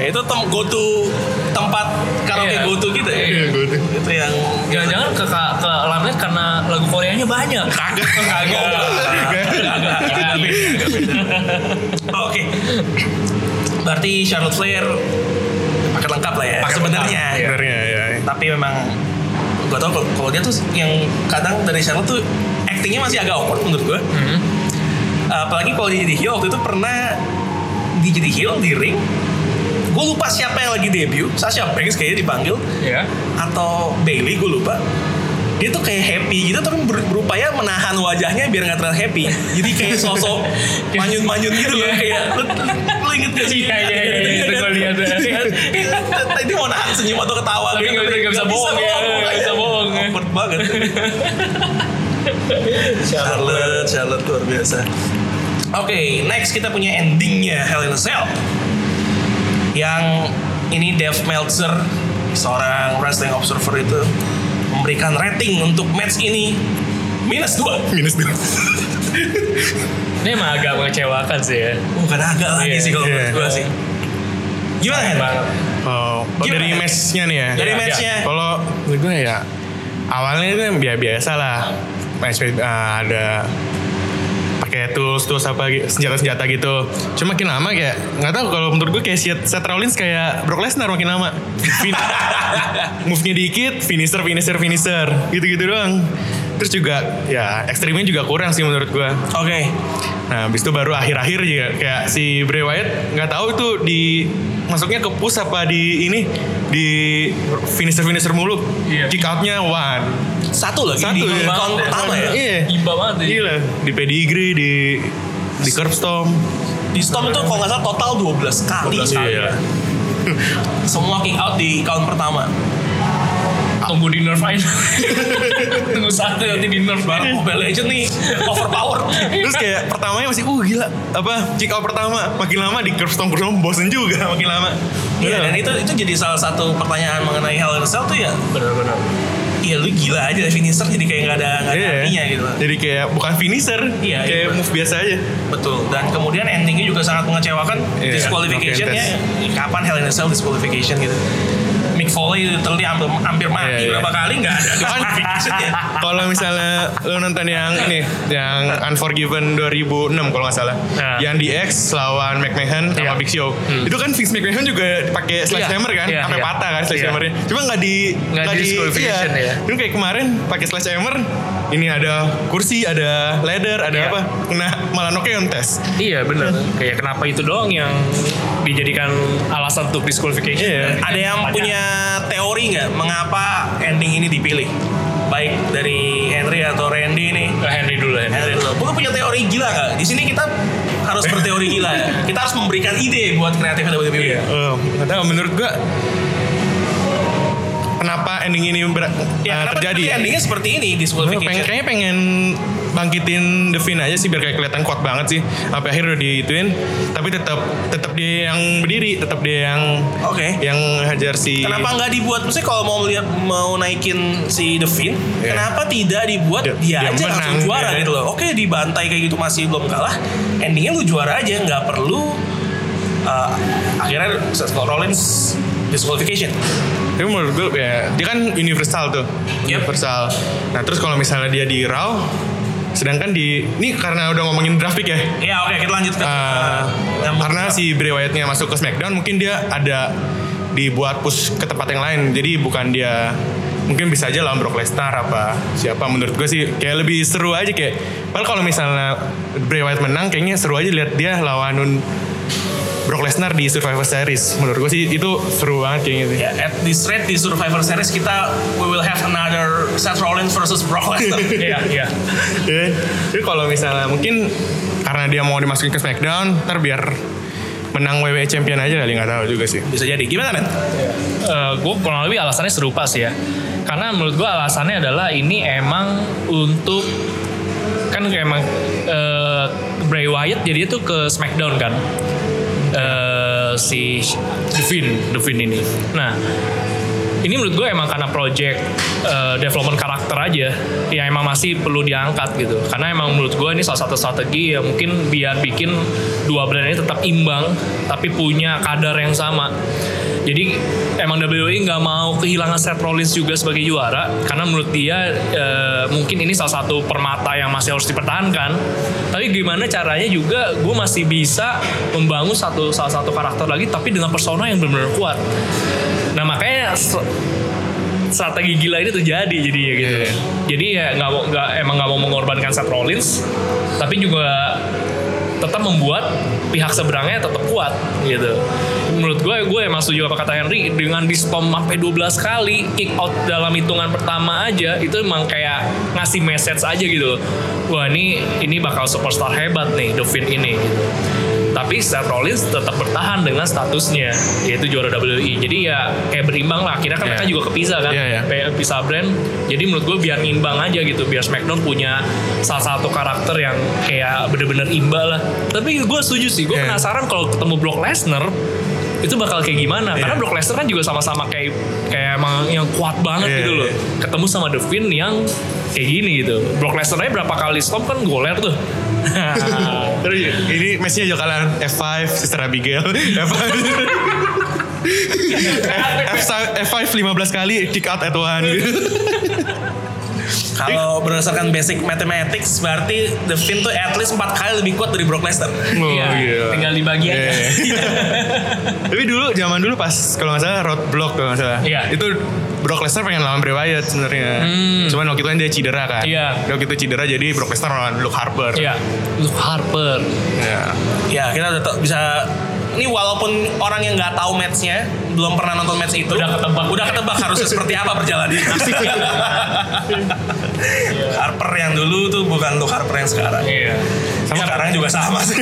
S1: ya itu tem go to tempat karaoke
S2: Iya.
S1: go to kita ya.
S2: Iya,
S3: go to.
S1: Itu yang
S2: Jangan-jangan ke, ke, ke limelight karena lagu Koreanya banyak. Oh,
S1: kagak kagak. Kagak. Oke. Berarti Charlotte Flair paket lengkap lah ya. Sebenarnya.
S3: Sebenarnya ya.
S1: tapi memang gue tau kalau- kalau dia tuh yang kadang dari Charlotte tuh actingnya masih agak awkward menurut gue apalagi kalau dia jadi heel waktu itu pernah dia jadi heel di ring gue lupa siapa yang lagi debut Sasha Banks kayaknya dipanggil
S2: Iya.
S1: atau Bailey gue lupa dia tuh kayak happy gitu tapi ber- berupaya menahan wajahnya biar nggak terlihat happy jadi kayak sosok manyun-manyun gitu loh kayak lu, lu- lu inget gak sih
S2: Iya, iya, iya, iya, itu gua lihat.
S1: tadi mau nahan senyum atau ketawa
S2: Tapi nggak- nggak bisa bohong ya, nggak bisa bohong ya.
S1: awkward banget Charlotte Charlotte luar biasa Oke, next kita punya endingnya Hell in a Cell. Yang ini Dave Meltzer, seorang wrestling observer itu memberikan rating untuk match ini minus Oh, 2.
S3: Minus dulu.
S2: Ini emang agak mengecewakan sih ya.
S1: Bukan agak lagi
S2: Iya,
S1: sih kalau
S3: iya.
S1: menurut gua sih. Gimana Hen?
S2: Banget.
S3: Oh, oh,
S1: Gimana?
S3: dari match-nya nih ya.
S1: Dari
S2: Iya,
S1: matchnya.
S3: Kalau menurut gue ya awalnya itu yang bi- biasa lah. Match eh, ada pakai tools tools apa gitu, senjata-senjata gitu. Cuma makin lama kayak nggak tahu kalau menurut gue kayak Seth Seth Rollins kayak Brock Lesnar makin lama. Fin- Move-nya dikit, finisher finisher finisher gitu-gitu doang. Terus juga ya ekstrimnya juga kurang sih menurut gue.
S1: Oke.
S3: Nah, habis itu baru akhir-akhir juga kayak si Bray Wyatt nggak tahu itu di masuknya ke push apa di ini di finisher finisher mulu.
S2: Iya.
S3: Kick outnya one.
S1: Satu lagi
S3: Satu
S1: di count
S3: ya.
S2: Banget ya.
S1: pertama ya.
S3: Iya.
S2: Gimba banget sih.
S3: Gila di pedigree di di curb storm.
S1: Di Storm itu kalau nggak salah total 12 kali.
S3: 12 kali, iya.
S1: Semua kick out di count pertama.
S2: Tunggu di nerf aja. Tunggu satu nanti di nerf
S3: Eh.
S1: Barang
S2: banget.
S1: Mobile Legends Oh, nih overpower.
S3: Terus kayak pertamanya masih uh gila apa kick out pertama makin lama di curb storm curb storm bosen juga makin lama.
S1: Iya dan itu itu jadi salah satu pertanyaan mengenai Hell in a Cell tuh ya
S2: Benar-benar.
S1: Iya lu gila aja finisher jadi kayak nggak ada nggak ada
S3: Iya.
S1: artinya gitu.
S3: Jadi kayak bukan finisher,
S1: Iya,
S3: kayak
S1: iya.
S3: move biasa aja.
S1: Betul. Dan kemudian endingnya juga sangat mengecewakan.
S3: Iya,
S1: Disqualificationnya kapan Hell in a Cell disqualification gitu. Mick Foley literally hampir, hampir mati
S3: Iya, iya.
S1: berapa kali nggak ada
S3: Kan,
S1: disqualification ya.
S3: kalau misalnya lo nonton yang ini yang Unforgiven 2006 kalau nggak salah
S2: Nah.
S3: yang di X lawan McMahon sama
S2: Iya.
S3: Big Show itu kan Vince McMahon juga pakai sledgehammer kan
S2: Iya,
S3: sampai
S2: iya.
S3: patah kan sledgehammernya cuma nggak di
S2: Nggak di disqualification,
S3: iya.
S2: ya.
S3: Itu kayak kemarin pakai sledgehammer ini ada kursi ada ladder ada
S2: Iya.
S3: apa kena malah knockout test
S2: Iya benar. Kayak kenapa itu doang yang dijadikan alasan untuk disqualification?
S3: Iya.
S1: Ada yang
S2: Banyak.
S1: punya teori nggak mengapa ending ini dipilih? Baik dari Henry atau Randy nih.
S2: Eh, Henry dulu Henry.
S1: Henry dulu. Bukan punya teori gila nggak? Di sini kita harus berteori gila. ya. Kita harus memberikan ide buat kreatif WWE.
S2: Oh,
S3: Eh, nggak tahu menurut gua kenapa ending ini ber- eh,
S1: Ya, kenapa
S3: terjadi
S1: tapi endingnya seperti ini
S3: Gua pengen,
S1: disqualification.
S3: kayaknya pengen bangkitin The Fin aja sih biar kayak kelihatan kuat banget sih. Sampai akhir udah diituin, tapi tetap tetap dia yang berdiri, tetap dia yang
S1: Oke.
S3: yang hajar si
S1: Kenapa nggak dibuat? Maksudnya kalau mau melihat mau naikin si The Fiend,
S3: Iya.
S1: kenapa tidak dibuat
S3: Dia-
S1: dia,
S3: dia
S1: aja
S3: menang,
S1: langsung juara
S3: iya.
S1: gitu loh? Oke, dibantai kayak gitu masih belum kalah. Endingnya lu juara aja, nggak perlu uh, akhirnya Seth Rollins disqualification.
S3: Tapi menurut gue ya dia kan universal tuh,
S1: Yep.
S3: universal. Nah terus kalau misalnya dia di Raw, sedangkan di ini karena udah ngomongin draft pick ya.
S1: Ya oke, kita lanjut ke
S3: eh,
S1: yang-
S3: karena si Bray Wyatt-nya masuk ke SmackDown mungkin dia ada dibuat push ke tempat yang lain jadi bukan dia mungkin bisa aja lawan Brock Lesnar apa siapa menurut gue sih kayak lebih seru aja kayak padahal kalau misalnya Bray Wyatt menang kayaknya seru aja lihat dia lawan nun- Brock Lesnar di Survivor Series. Menurut gue sih itu seru banget kayaknya sih.
S1: Ya, at this rate di Survivor Series kita we will have another Seth Rollins versus Brock Lesnar.
S2: Iya, iya.
S3: Iya. Jadi kalau misalnya mungkin karena dia mau dimasukin ke SmackDown, ntar biar menang WWE Champion aja kali nggak tahu juga sih.
S1: Bisa jadi. Gimana, Net?
S2: gue Eh, kurang lebih alasannya serupa sih ya. Karena menurut gue alasannya adalah ini emang untuk kan emang eh, Bray Wyatt jadi itu ke SmackDown kan. Eh, si Devin, Devin ini. Nah, ini menurut gue emang karena project eh, development karakter aja yang emang masih perlu diangkat gitu karena emang menurut gue ini salah satu strategi yang mungkin biar bikin dua brand ini tetap imbang tapi punya kadar yang sama jadi emang WWE nggak mau kehilangan Seth Rollins juga sebagai juara karena menurut dia eh, mungkin ini salah satu permata yang masih harus dipertahankan tapi gimana caranya juga gue masih bisa membangun satu salah satu karakter lagi tapi dengan persona yang benar-benar kuat Nah makanya s- strategi gila ini terjadi jadi ya gitu.
S3: Iya.
S2: Jadi ya nggak mau- nggak emang nggak mau mengorbankan Seth Rollins, tapi juga tetap membuat pihak seberangnya tetap kuat gitu. Menurut gue, gue emang setuju apa kata Henry dengan di stomp sampai 12 kali kick out dalam hitungan pertama aja itu emang kayak ngasih message aja gitu. Wah ini ini bakal superstar hebat nih Devin ini gitu. Tapi Seth Rollins tetap bertahan dengan statusnya yaitu juara WWE. Jadi ya kayak berimbang lah. Akhirnya kan
S3: Iya.
S2: mereka juga kepisah kan,
S3: Iya, iya.
S2: Kayak pisah brand. Jadi menurut gue biar imbang aja gitu, biar SmackDown punya salah satu karakter yang kayak bener-bener imba lah. Tapi gue setuju sih, gue
S3: Iya.
S2: penasaran kalau ketemu Brock Lesnar itu bakal kayak gimana? Karena
S3: Iya.
S2: Brock Lesnar kan juga sama-sama kayak kayak emang yang kuat banget
S3: Iya,
S2: gitu loh.
S3: iya.
S2: Ketemu sama Devin yang kayak gini gitu. Brock Lesnar aja berapa kali stop kan goler tuh.
S3: Terus ini matchnya juga kalian F5 Sister Abigail F5 F, F5 15 kali kick out at one
S2: Iya,
S3: gitu.
S1: Kalau berdasarkan basic mathematics berarti Devin tuh at least 4 kali lebih kuat dari Brock Lesnar.
S3: Oh,
S2: Iya,
S3: gila.
S2: tinggal dibagi aja.
S3: Iya, iya. Tapi dulu zaman dulu pas kalau nggak salah roadblock kalau nggak salah.
S2: Iya.
S3: Itu Brock Lesnar pengen lawan Bray Wyatt sebenarnya. Cuman waktu itu kan dia cedera kan.
S2: Hmm. Iya.
S3: Waktu itu cedera jadi Brock Lesnar lawan Luke Harper.
S2: Iya, Luke Harper.
S3: Iya.
S1: Ya, kita udah tau- bisa ini walaupun orang yang nggak tahu matchnya belum pernah nonton match itu
S2: Udah ketebak.
S1: udah ketebak harusnya seperti apa perjalanannya Harper yang dulu tuh bukan Luke Harper yang sekarang
S2: Iya.
S1: sama sekarang juga sama sih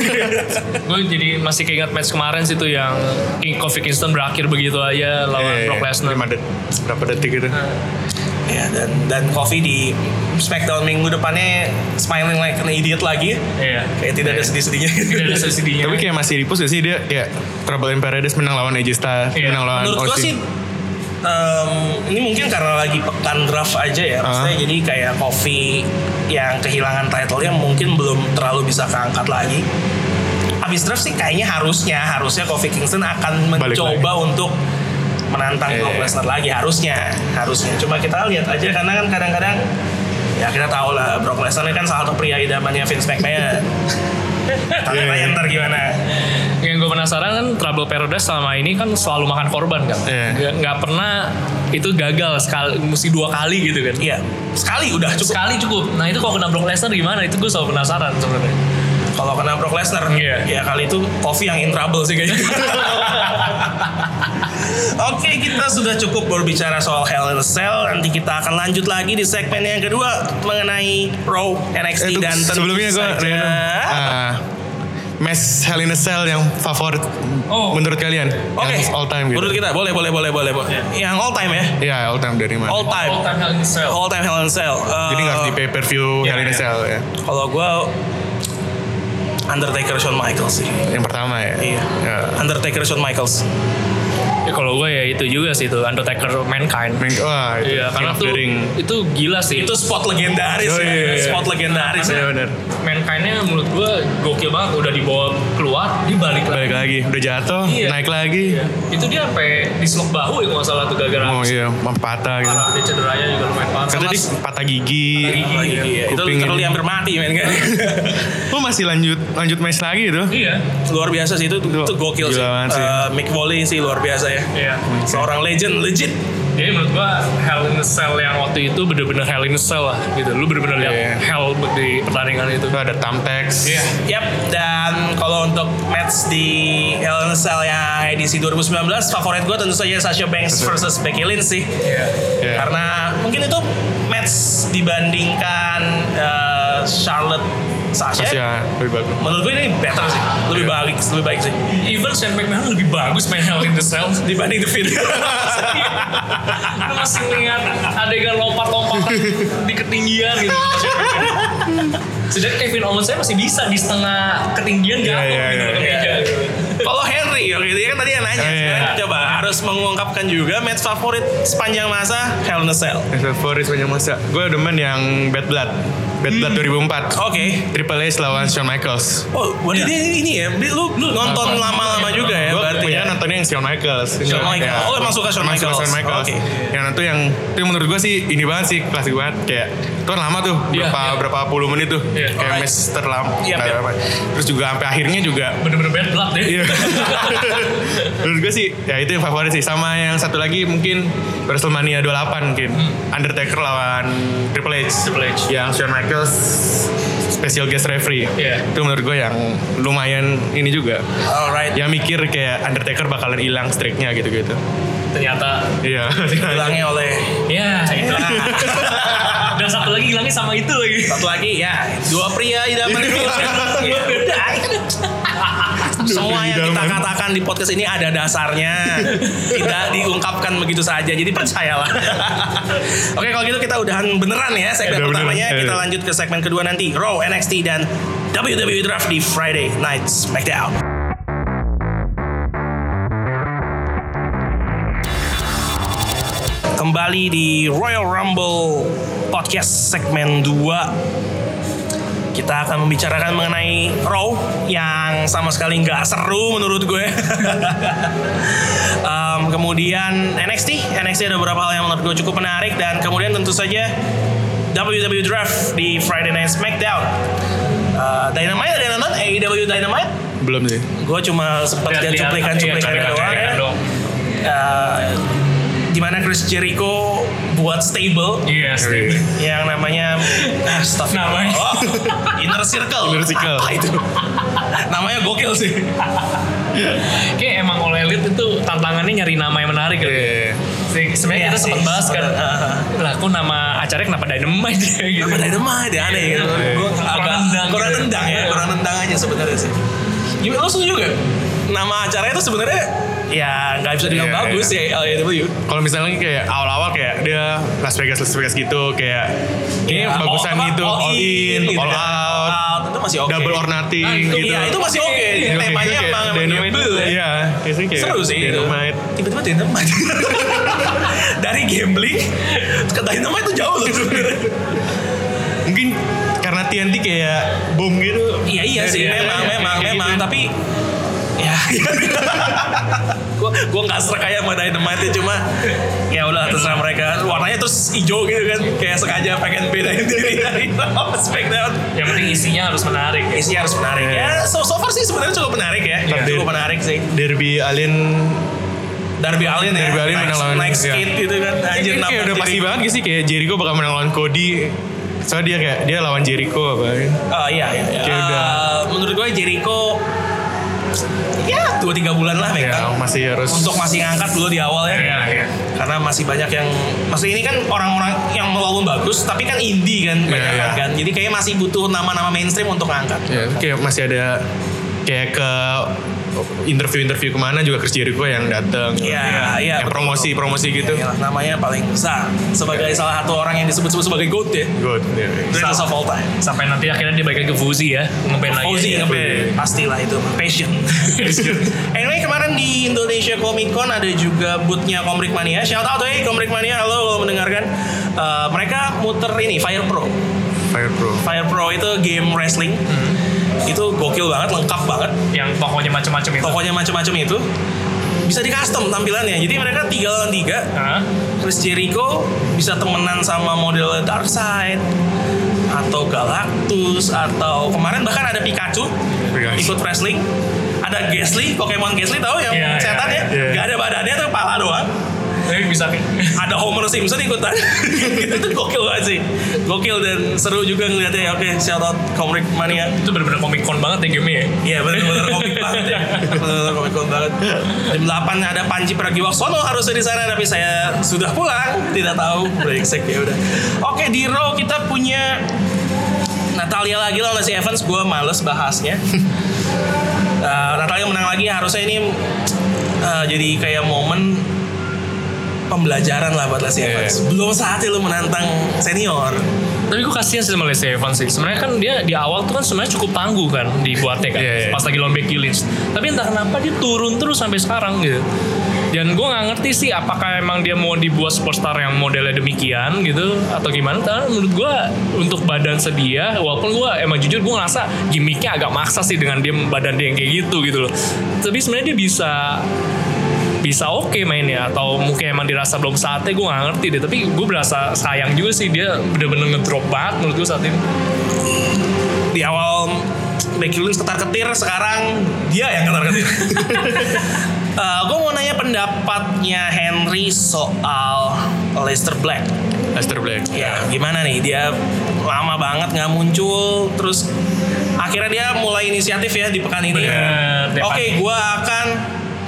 S2: gue jadi masih keinget match kemarin sih tuh yang King Kofi Kingston berakhir begitu aja lawan
S3: Iya,
S2: Brock
S3: iya.
S2: Lesnar.
S3: Lima det- berapa detik gitu.
S1: ya dan dan Kofi di Smackdown minggu depannya smiling like an idiot lagi
S2: Iya.
S1: kayak tidak ada sedih-sedihnya
S2: Tidak ada subsidinya.
S3: Tapi kayak masih di push gak sih dia kayak Trouble in Paradise menang lawan AJ Styles,
S2: Iya.
S3: menang lawan
S1: menurut gue
S3: Austin.
S1: sih em, ini mungkin karena lagi pekan draft aja
S3: Ah.
S1: ya maksudnya jadi kayak Kofi yang kehilangan title-nya mungkin belum terlalu bisa keangkat lagi habis draft sih kayaknya harusnya harusnya Kofi Kingston akan
S3: Balik
S1: mencoba untuk menantang
S3: Iya,
S1: Brock
S3: iya.
S1: Lesnar lagi harusnya harusnya cuma kita lihat aja karena kan kadang-kadang ya kita tahu lah Brock Lesnar ini kan salah satu pria idamannya Vince McMahon tapi
S3: Iya, iya.
S1: ntar gimana
S2: yang gue penasaran kan Trouble Paradise selama ini kan selalu makan korban kan.
S3: Iya.
S2: Nggak- Nggak pernah itu gagal sekali, mesti dua kali gitu kan.
S1: iya sekali udah cukup
S2: Sekali cukup. Nah itu kalau kena Brock Lesnar gimana? Itu gue selalu penasaran sebenarnya.
S1: Kalau kena Brock Lesnar,
S2: Iya.
S1: ya kali itu Kofi yang in trouble sih kayaknya. Oke, kita sudah cukup berbicara soal Hell in a Cell. Nanti kita akan lanjut lagi di segmen yang kedua mengenai Raw,
S3: Eh,
S1: NXT
S3: tuh,
S1: dan tentu
S3: sebelumnya Ah, gue
S1: saja-
S3: Match Hell in a Cell yang favorit
S2: Oh.
S3: menurut kalian
S1: Oke,
S3: yang all time gitu
S1: Menurut kita boleh, boleh, boleh, boleh, boleh. Yang all time ya,
S3: Iya all time dari mana
S1: all time,
S2: All time hell in a cell.
S1: all time Hell in a Cell. Eh,
S3: Jadi nggak harus di pay per view
S2: Iya,
S3: Hell in a
S2: iya.
S3: Cell ya.
S1: Kalau gue Undertaker Shawn Michaels sih.
S3: Yang pertama ya.
S1: Iya.
S3: Ya.
S1: Undertaker Shawn Michaels.
S2: Ya, kalau gue ya itu juga sih itu Undertaker Mankind.
S3: Main- Wah, itu
S2: Iya,
S3: King
S2: karena
S3: of the
S2: tuh
S3: Ring.
S2: itu gila sih.
S1: Itu spot legendaris
S3: Oh,
S1: ya,
S3: iya, iya.
S1: spot legendaris ya.
S3: Bener-bener.
S2: Mankindnya menurut gue gokil banget udah dibawa keluar dia balik lagi
S3: Balik lagi, udah jatuh,
S2: Iya.
S3: naik lagi.
S2: Iya. itu dia sampai dislok bahu ya kalau nggak salah tuh gara-gara
S3: Oh iya, patah gitu.
S2: parah. dia cederanya juga lumayan parah
S3: Kata
S2: Sama
S3: dia patah gigi.
S2: Patah
S1: Lagi,
S2: Iya.
S1: iya. Itu
S3: Kuping
S1: literally
S3: ini.
S1: hampir mati men kan.
S3: Lu masih lanjut lanjut match lagi gitu? itu?
S2: iya
S1: luar biasa sih itu, itu
S3: Itu
S1: gokil
S3: gila
S1: sih.
S3: banget sih.
S1: Eh, Mick Foley sih luar biasa ya. ya.
S2: Iya.
S3: Hmm.
S1: Seorang legend, legit.
S2: Jadi menurut gua Hell in a Cell yang waktu itu bener-bener Hell in a Cell lah gitu. Lu bener-bener lihat
S3: Iya.
S2: Hell di pertandingan itu.
S3: Itu ada Tamtex.
S2: Iya.
S1: Yap, dan kalau untuk match di LNSL yang edisi 2019, favorit gue tentu saja Sasha Banks versus Becky Lynch sih.
S3: Iya.
S1: Karena mungkin itu match dibandingkan eh, Charlotte Sasha.
S3: Masih ya, lebih bagus.
S1: Menurut gue ini better sih, lebih baik, lebih baik sih
S2: Even Shane McMahon lebih bagus main Hell in the Cell
S1: dibanding The Fiend.
S2: Lu masih ngeliat adegan lompat-lompatan di ketinggian gitu. Sedangkan Kevin Owens saya masih bisa di setengah ketinggian
S3: Iya,
S2: jatuh
S3: iya,
S2: gitu
S3: iya,
S2: ke meja.
S1: iya. Kalau Henry, oke, dia kan tadi yang nanya.
S3: Oh, iya.
S1: Sekarang Coba harus mengungkapkan juga match favorit sepanjang masa Hell in a Cell.
S3: Yang favorit sepanjang masa. Gue demen yang Bad Blood. Bad Blood
S1: Hmm.
S3: 2004.
S1: Oke.
S3: Triple H lawan Shawn Michaels.
S1: Oh, berarti dia ini, ini ya, Bi- lu, lu nonton
S2: Nonton.
S1: lama-lama juga ya
S3: Gue
S1: berarti
S3: punya
S1: ya?
S3: nontonnya yang Shawn Michaels.
S1: Shawn Michaels.
S3: Ya.
S1: Oh, emang suka Shawn
S3: Emang
S1: Michaels.
S3: Shawn Michaels.
S1: Oke.
S3: Yang itu yang itu yang menurut gue sih ini banget sih klasik banget kayak itu kan lama tuh
S2: Iya,
S3: berapa
S2: iya.
S3: berapa puluh menit tuh
S2: Iya.
S3: kayak
S1: Alright.
S3: match terlama.
S1: Iya,
S3: nggak
S1: iya.
S3: apa-apa. Terus juga sampai akhirnya juga
S2: Bener-bener bad blood deh.
S3: Iya. Menurut gue sih ya itu yang favorit sih sama yang satu lagi mungkin WrestleMania 28 mungkin
S1: Hmm.
S3: Undertaker lawan Triple H.
S2: Triple H.
S3: Yang Shawn Michaels special guest referee.
S2: Iya.
S3: Itu menurut gue yang lumayan ini juga.
S1: Alright.
S3: Yang mikir kayak Undertaker bakalan hilang streaknya gitu-gitu.
S2: Ternyata
S3: Iya.
S1: Dibilangnya oleh
S2: Ya, itu. Dan satu lagi hilangnya sama itu lagi.
S1: Nah, satu lagi ya dua pria di dalam ya, udah. Semua
S3: pria di
S1: yang kita
S3: dalam.
S1: katakan di podcast ini ada dasarnya, tidak diungkapkan begitu saja. Jadi percayalah. Oke kalau gitu kita udahan beneran ya segmen
S3: Udah beneran.
S1: pertamanya. Kita
S3: Iya.
S1: lanjut ke segmen kedua nanti. Raw, NXT dan WWE Draft di Friday Night Smackdown. Kembali di Royal Rumble Podcast segmen 2 kita akan membicarakan mengenai Raw yang sama sekali nggak seru menurut gue. Em, kemudian NXT, NXT ada beberapa hal yang menurut gue cukup menarik dan kemudian tentu saja WWE Draft di Friday Night SmackDown. Eh, Dynamite ada yang nonton AEW Dynamite?
S3: Belum sih.
S1: Gue cuma sempat lihat
S2: Lihat-lihat,
S1: cuplikan-cuplikan
S2: iya,
S1: doang.
S2: cuplikan
S1: ya.
S2: doang.
S1: Eh, di mana Chris Jericho buat stable
S2: Iya, Steve.
S1: yang namanya nah staff
S2: Namanya.
S1: oh, inner circle
S3: Inner Circle.
S1: apa itu namanya gokil sih
S2: Kayak emang oleh elit itu tantangannya nyari nama yang menarik gitu.
S3: Iya.
S2: Se-
S1: Iya
S2: Sebenarnya kita sempat
S1: sih,
S2: bahas kan,
S1: sebenarnya, ah,
S2: lah kok nama acaranya kenapa Dynamite ya gitu.
S3: Iya.
S1: nama dynamite ya aneh gitu
S2: Iya.
S1: Gua
S2: Kurang
S1: agak
S2: nendang
S1: kurang
S2: gitu.
S1: nendang ya
S2: Iya.
S1: kurang nendang aja sebenarnya sih gimana lo setuju gak nama acaranya itu sebenarnya ya nggak bisa dibilang
S3: Iya,
S1: bagus ya LAW
S3: Kalau misalnya kayak awal-awal kayak dia Las Vegas Las Vegas gitu kayak ini
S1: Ya,
S3: bagusan
S1: all-
S3: gitu
S1: all
S3: all in,
S1: gitu
S3: all
S1: kan.
S3: out,
S1: All out, itu masih oke
S3: double or nothing
S2: Ah, itu-
S3: gitu.
S1: Iya itu masih oke
S3: Oke,
S1: temanya
S3: itu kayak
S1: emang emang
S3: Dynamite
S1: nyebel ya.
S3: Iya, biasanya kayak
S1: seru sih gitu. itu.
S3: Dynamite.
S1: tiba-tiba dynamite dari gambling ke dynamite itu jauh loh sebenarnya
S3: Mungkin karena TNT kayak boom gitu.
S1: iya iya sih
S3: Iya,
S1: memang
S3: iya,
S1: memang
S3: kayak
S1: memang
S3: gitu.
S1: tapi ya gue gue nggak serak kayak sama dynamite cuma ya udah terserah mereka warnanya terus hijau gitu kan kayak sengaja pengen bedain diri dari SmackDown
S2: Yang penting isinya harus menarik.
S1: Isi harus menarik ya. So, so far sih sebenarnya cukup menarik ya.
S3: Iya.
S1: Cukup menarik sih.
S3: Derby Alien
S1: Darby Allin ya.
S3: Darby Allin
S1: naik-
S3: menang lawan-
S1: naik
S3: iya.
S1: skate gitu kan. Anjir
S3: Ini kayak
S1: nabrak
S3: udah
S1: diri.
S3: pasti banget gak sih kayak Jericho bakal menang lawan Cody. Soalnya dia kayak dia lawan Jericho apa ya.
S1: Oh iya, iya.
S3: Kayak
S1: Eh,
S3: udah.
S1: menurut gue Jericho ya dua tiga bulan lah
S3: Ya,
S1: megang.
S3: masih harus
S1: Untuk masih ngangkat dulu di awal ya.
S2: Iya, iya.
S1: Karena masih banyak yang masih ini kan orang-orang yang walaupun bagus tapi kan indie kan
S3: Iya,
S1: banyak
S3: iya.
S1: kan. Jadi kayaknya masih butuh nama-nama mainstream untuk ngangkat.
S3: Ya, kayak masih ada kayak ke interview-interview kemana juga Chris Jericho yang datang.
S1: Iya, iya,
S3: Yang
S1: betul, Iya, betul.
S3: promosi-promosi gitu.
S1: Iyalah, namanya paling besar sebagai salah satu orang yang disebut-sebut sebagai GOAT ya.
S3: Good. iya.
S1: Greatest of all time.
S2: Sampai nanti akhirnya dia balik lagi ke Fuzi ya, ngeband lagi.
S3: Iya,
S1: Fauzi ngeband pastilah itu passion. anyway kemarin di Indonesia Comic Con ada juga bootnya Komrik Mania. Shout out hey Komrik Mania, halo kalau mendengarkan. Eh, mereka muter ini Fire Pro.
S3: Fire Pro.
S1: Fire Pro itu game wrestling.
S3: Hmm.
S1: Itu gokil banget, lengkap banget.
S2: Yang tokonya macam-macam itu.
S1: Pokoknya macam-macam itu bisa di custom tampilannya. Jadi mereka tiga lawan tiga.
S2: Hah?
S1: Chris Jericho bisa temenan sama model Darkseid atau Galactus atau kemarin bahkan ada Pikachu
S3: Pikachu.
S1: ikut wrestling ada Gasly, Pokemon Gasly tahu yang
S2: Iya, iya,
S1: setan ya?
S3: iya.
S1: Gak ada badannya tuh kepala doang.
S2: Tapi bisa
S1: Ada Homer Simpson ikutan. itu tuh gokil banget sih. Gokil dan seru juga ngeliatnya. ya. Oke, shout out Komrik Mania.
S2: itu benar-benar komik con banget ya game ya.
S1: Iya benar-benar komik banget ya. Benar-benar komik banget. Jam 8 ada Panji Pragiwaksono harusnya di sana tapi saya sudah pulang, tidak tahu. Brengsek ya udah. Oke, di row kita punya Natalia lagi lah oleh si Evans, gue males bahasnya. Eh, Natalia menang lagi, harusnya ini eh, jadi kayak momen pembelajaran lah buat Leslie
S3: Iya.
S1: Evans. Belum saatnya lu menantang senior.
S2: Tapi gue kasihan sih sama Leslie Evans sih. Sebenarnya kan dia di awal tuh kan sebenarnya cukup tangguh kan dibuatnya kan.
S3: Iya, iya.
S2: Pas lagi lawan Becky Lynch. Tapi entah kenapa dia turun terus sampai sekarang gitu. Dan gue nggak ngerti sih apakah emang dia mau dibuat superstar yang modelnya demikian gitu atau gimana? Tapi menurut gue untuk badan sedia, walaupun gue emang jujur gue ngerasa gimmicknya agak maksa sih dengan dia badan dia yang kayak gitu gitu loh. Tapi sebenarnya dia bisa bisa oke mainnya atau mungkin emang dirasa belum saatnya gue gak ngerti deh tapi gue berasa sayang juga sih dia bener-bener ngedrop banget menurut gue saat ini
S1: di awal Becky Lynch ketar-ketir sekarang dia yang ketar-ketir. gue mau nanya pendapatnya Henry soal Leicester Black.
S3: Lester Black.
S1: Ya gimana nih dia lama banget nggak muncul terus akhirnya dia mulai inisiatif ya di pekan ini.
S2: Bener,
S1: Oke
S2: Depan.
S1: gue akan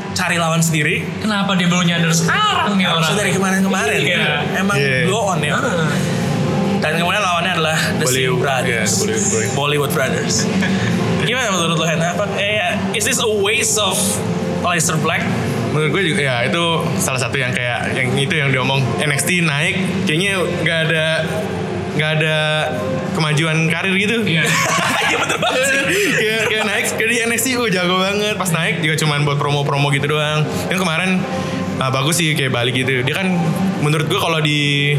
S1: cari lawan sendiri.
S2: kenapa dia baru nyadar sekarang nih orang
S1: Harusnya dari kemarin-kemarin
S2: Iya.
S1: emang
S3: Iya.
S1: go on ya. Dan kemudian lawannya adalah The Singh
S3: Bollywood,
S1: Brothers.
S3: yes, Bollywood Brothers.
S1: Bollywood Brothers. Gimana menurut lo Hen? Apa, eh, is this a waste of Leicester Black?
S3: Menurut gue juga ya itu salah satu yang kayak yang itu yang diomong NXT naik kayaknya nggak ada nggak ada kemajuan karir gitu.
S2: Iya.
S1: Iya bener banget sih.
S3: kayak, Iya,
S1: Iya.
S3: kayak naik kayak di NXT gue jago banget pas naik juga cuman buat promo-promo gitu doang yang kemarin ah, bagus sih kayak balik gitu dia kan menurut gue kalau di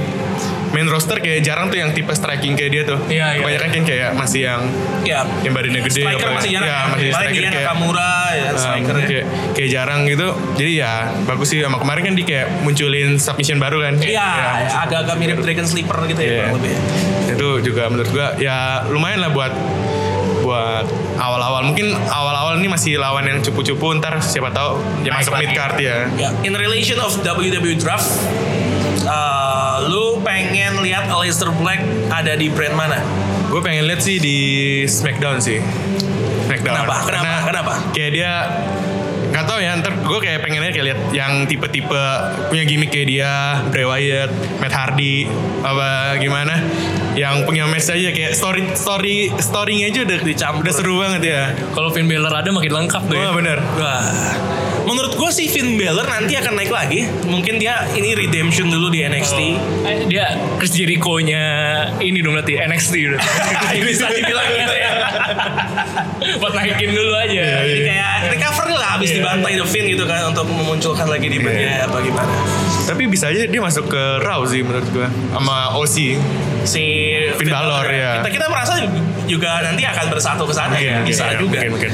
S3: main roster kayak jarang tuh yang tipe striking kayak dia tuh
S2: Iya, iya.
S3: kebanyakan kan kayak masih yang
S1: Ya.
S3: yang badannya gede
S1: Striker
S3: apa-
S1: masih jarang.
S3: ya,
S1: Ya,
S3: masih
S1: Paling
S3: striker
S1: dia
S3: kayak
S1: Nakamura ya,
S3: um,
S1: striker ya.
S3: kayak, kayak jarang gitu jadi ya bagus sih sama kemarin kan dia kayak munculin submission baru kan
S1: Iya,
S3: Ya,
S1: agak-agak mirip Dragon Sleeper gitu ya
S3: Iya.
S1: kurang lebih.
S3: itu juga menurut gua ya lumayan lah buat buat awal-awal mungkin awal-awal ini masih lawan yang cupu-cupu ntar siapa tahu ya
S2: Naik
S3: masuk
S2: lagi.
S3: mid card ya
S1: Ya, in relation of WWE draft, eh, lu pengen lihat Leicester Black ada di brand mana?
S3: gue pengen lihat sih di Smackdown sih Smackdown
S1: Kenapa? Kenapa?
S3: Karena
S1: Kenapa?
S3: kayak dia nggak tahu ya ntar gue kayak pengennya kayak lihat yang tipe-tipe punya gimmick kayak dia Bray Wyatt, Matt Hardy apa gimana yang punya match aja kayak story story storynya aja udah
S1: Dicampur.
S3: udah seru banget ya
S2: kalau Finn Balor ada makin lengkap tuh ya
S3: wah bener
S1: Wah, menurut gue sih Finn Balor nanti akan naik lagi. Mungkin dia ini redemption dulu di
S3: Oh,
S1: NXT.
S2: Eh, dia Chris Jericho-nya ini dong berarti NXT gitu.
S1: Bisa dibilang gitu ya.
S2: buat naikin dulu aja
S3: iya,
S1: Jadi kayak recovery lah habis dibantai The Finn gitu kan untuk memunculkan lagi
S3: Iya.
S1: di brandnya apa gimana.
S3: Tapi bisa aja dia masuk ke Raw sih menurut gua sama OC.
S1: Si
S3: Finn Balor, ya.
S1: Kita kita merasa juga nanti akan bersatu ke sana ya. Bisa
S3: Iya,
S1: juga.
S3: Mungkin, mungkin.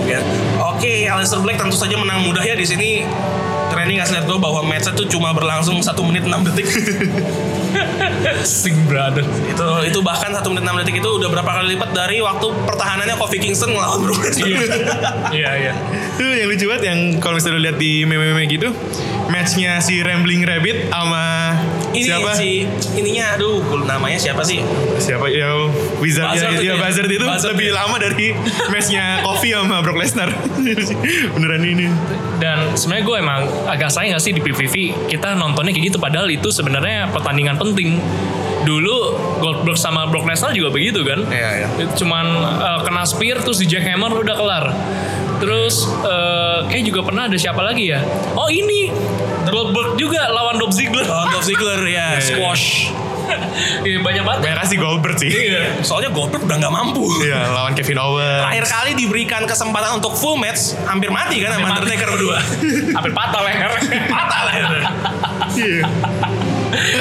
S1: Oke, oke, Aleister Black tentu saja menang mudah ya di sini. Trendy ngasih lihat gue bahwa match itu cuma berlangsung 1 menit 6 detik.
S2: iya. Sing brother
S1: itu itu bahkan 1 menit 6 detik itu udah berapa kali lipat dari waktu pertahanannya Kofi Kingston ngelawan Brock Lesnar.
S2: iya iya
S3: Itu yang lucu banget yang kalau misalnya lu lihat di meme-meme gitu, matchnya si Rambling Rabbit sama
S1: Ini
S3: siapa?
S1: si ininya aduh gua- namanya siapa sih?
S3: Siapa ya Wizard
S1: Buzzard
S3: ya,
S1: itu
S3: ya,
S1: ya.
S3: Buzzard itu
S1: Buzzard
S3: lebih
S1: ya.
S3: lama dari matchnya Kofi sama Brock Lesnar. Beneran ini.
S2: dan sebenarnya gue emang agak sayang gak sih di PVV kita nontonnya kayak gitu padahal itu sebenarnya pertandingan penting dulu Goldberg sama Brock Lesnar juga begitu kan
S3: Iya, iya.
S2: cuman eh, kena spear terus di jackhammer udah kelar terus eh, kayak juga pernah ada siapa lagi ya oh ini Goldberg juga lawan Dolph Ziggler
S1: Lawan Dolph Ziggler ya, squash.
S2: Iya, banyak banget Iya.
S3: Banyak kasih Goldberg sih.
S1: Iya. Soalnya Goldberg udah nggak mampu.
S3: Iya, lawan Kevin Owens.
S1: Terakhir kali diberikan kesempatan untuk full match, hampir mati kan sama
S2: Hampir mati.
S1: Undertaker berdua.
S2: hampir patah leher
S1: Patah lah itu.
S3: Iya.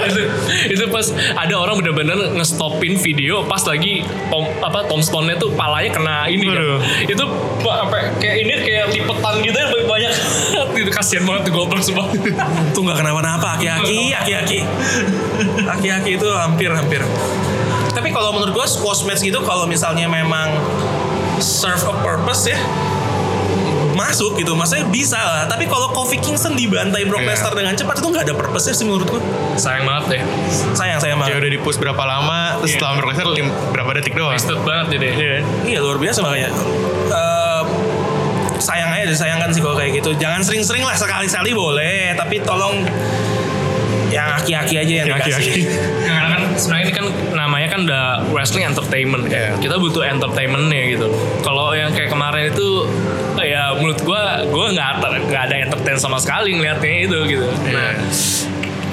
S2: itu, itu pas ada orang bener-bener ngestopin video pas lagi tom, apa tombstone-nya tuh palanya kena ini kan.
S3: Waduh.
S2: Itu pa- sampai kayak ini kayak lipetan gitu ya banyak. itu kasihan banget tuh goblok semua.
S1: Tuh nggak kenapa-napa, aki-aki, aki-aki. Aki-aki itu hampir-hampir. Tapi kalau menurut gue squash match gitu kalau misalnya memang serve a purpose ya masuk gitu maksudnya bisa lah tapi kalau Kofi Kingston dibantai Brock
S3: Iya.
S1: Lesnar dengan cepat itu nggak ada purpose ya sih menurut gue
S2: sayang banget deh
S1: sayang sayang banget
S3: Kayak Iya, udah di push berapa lama, terus setelah Brock Lesnar lim- berapa detik doang.
S2: wasted banget deh deh
S3: Iya.
S1: iya luar biasa makanya Eh, sayang aja disayangkan sih kalau kayak gitu jangan sering-sering lah sekali-sekali boleh tapi tolong yang aki-aki aja yang
S3: Yang aki-aki.
S1: dikasih
S2: karena kan sebenarnya ini kan namanya kan udah wrestling entertainment kan.
S3: Iya.
S2: Kita butuh entertainmentnya gitu. Kalau yang kayak kemarin itu ya menurut gua gua nggak ter- nggak ada entertain sama sekali ngelihatnya itu gitu.
S3: Iya,
S2: Nah,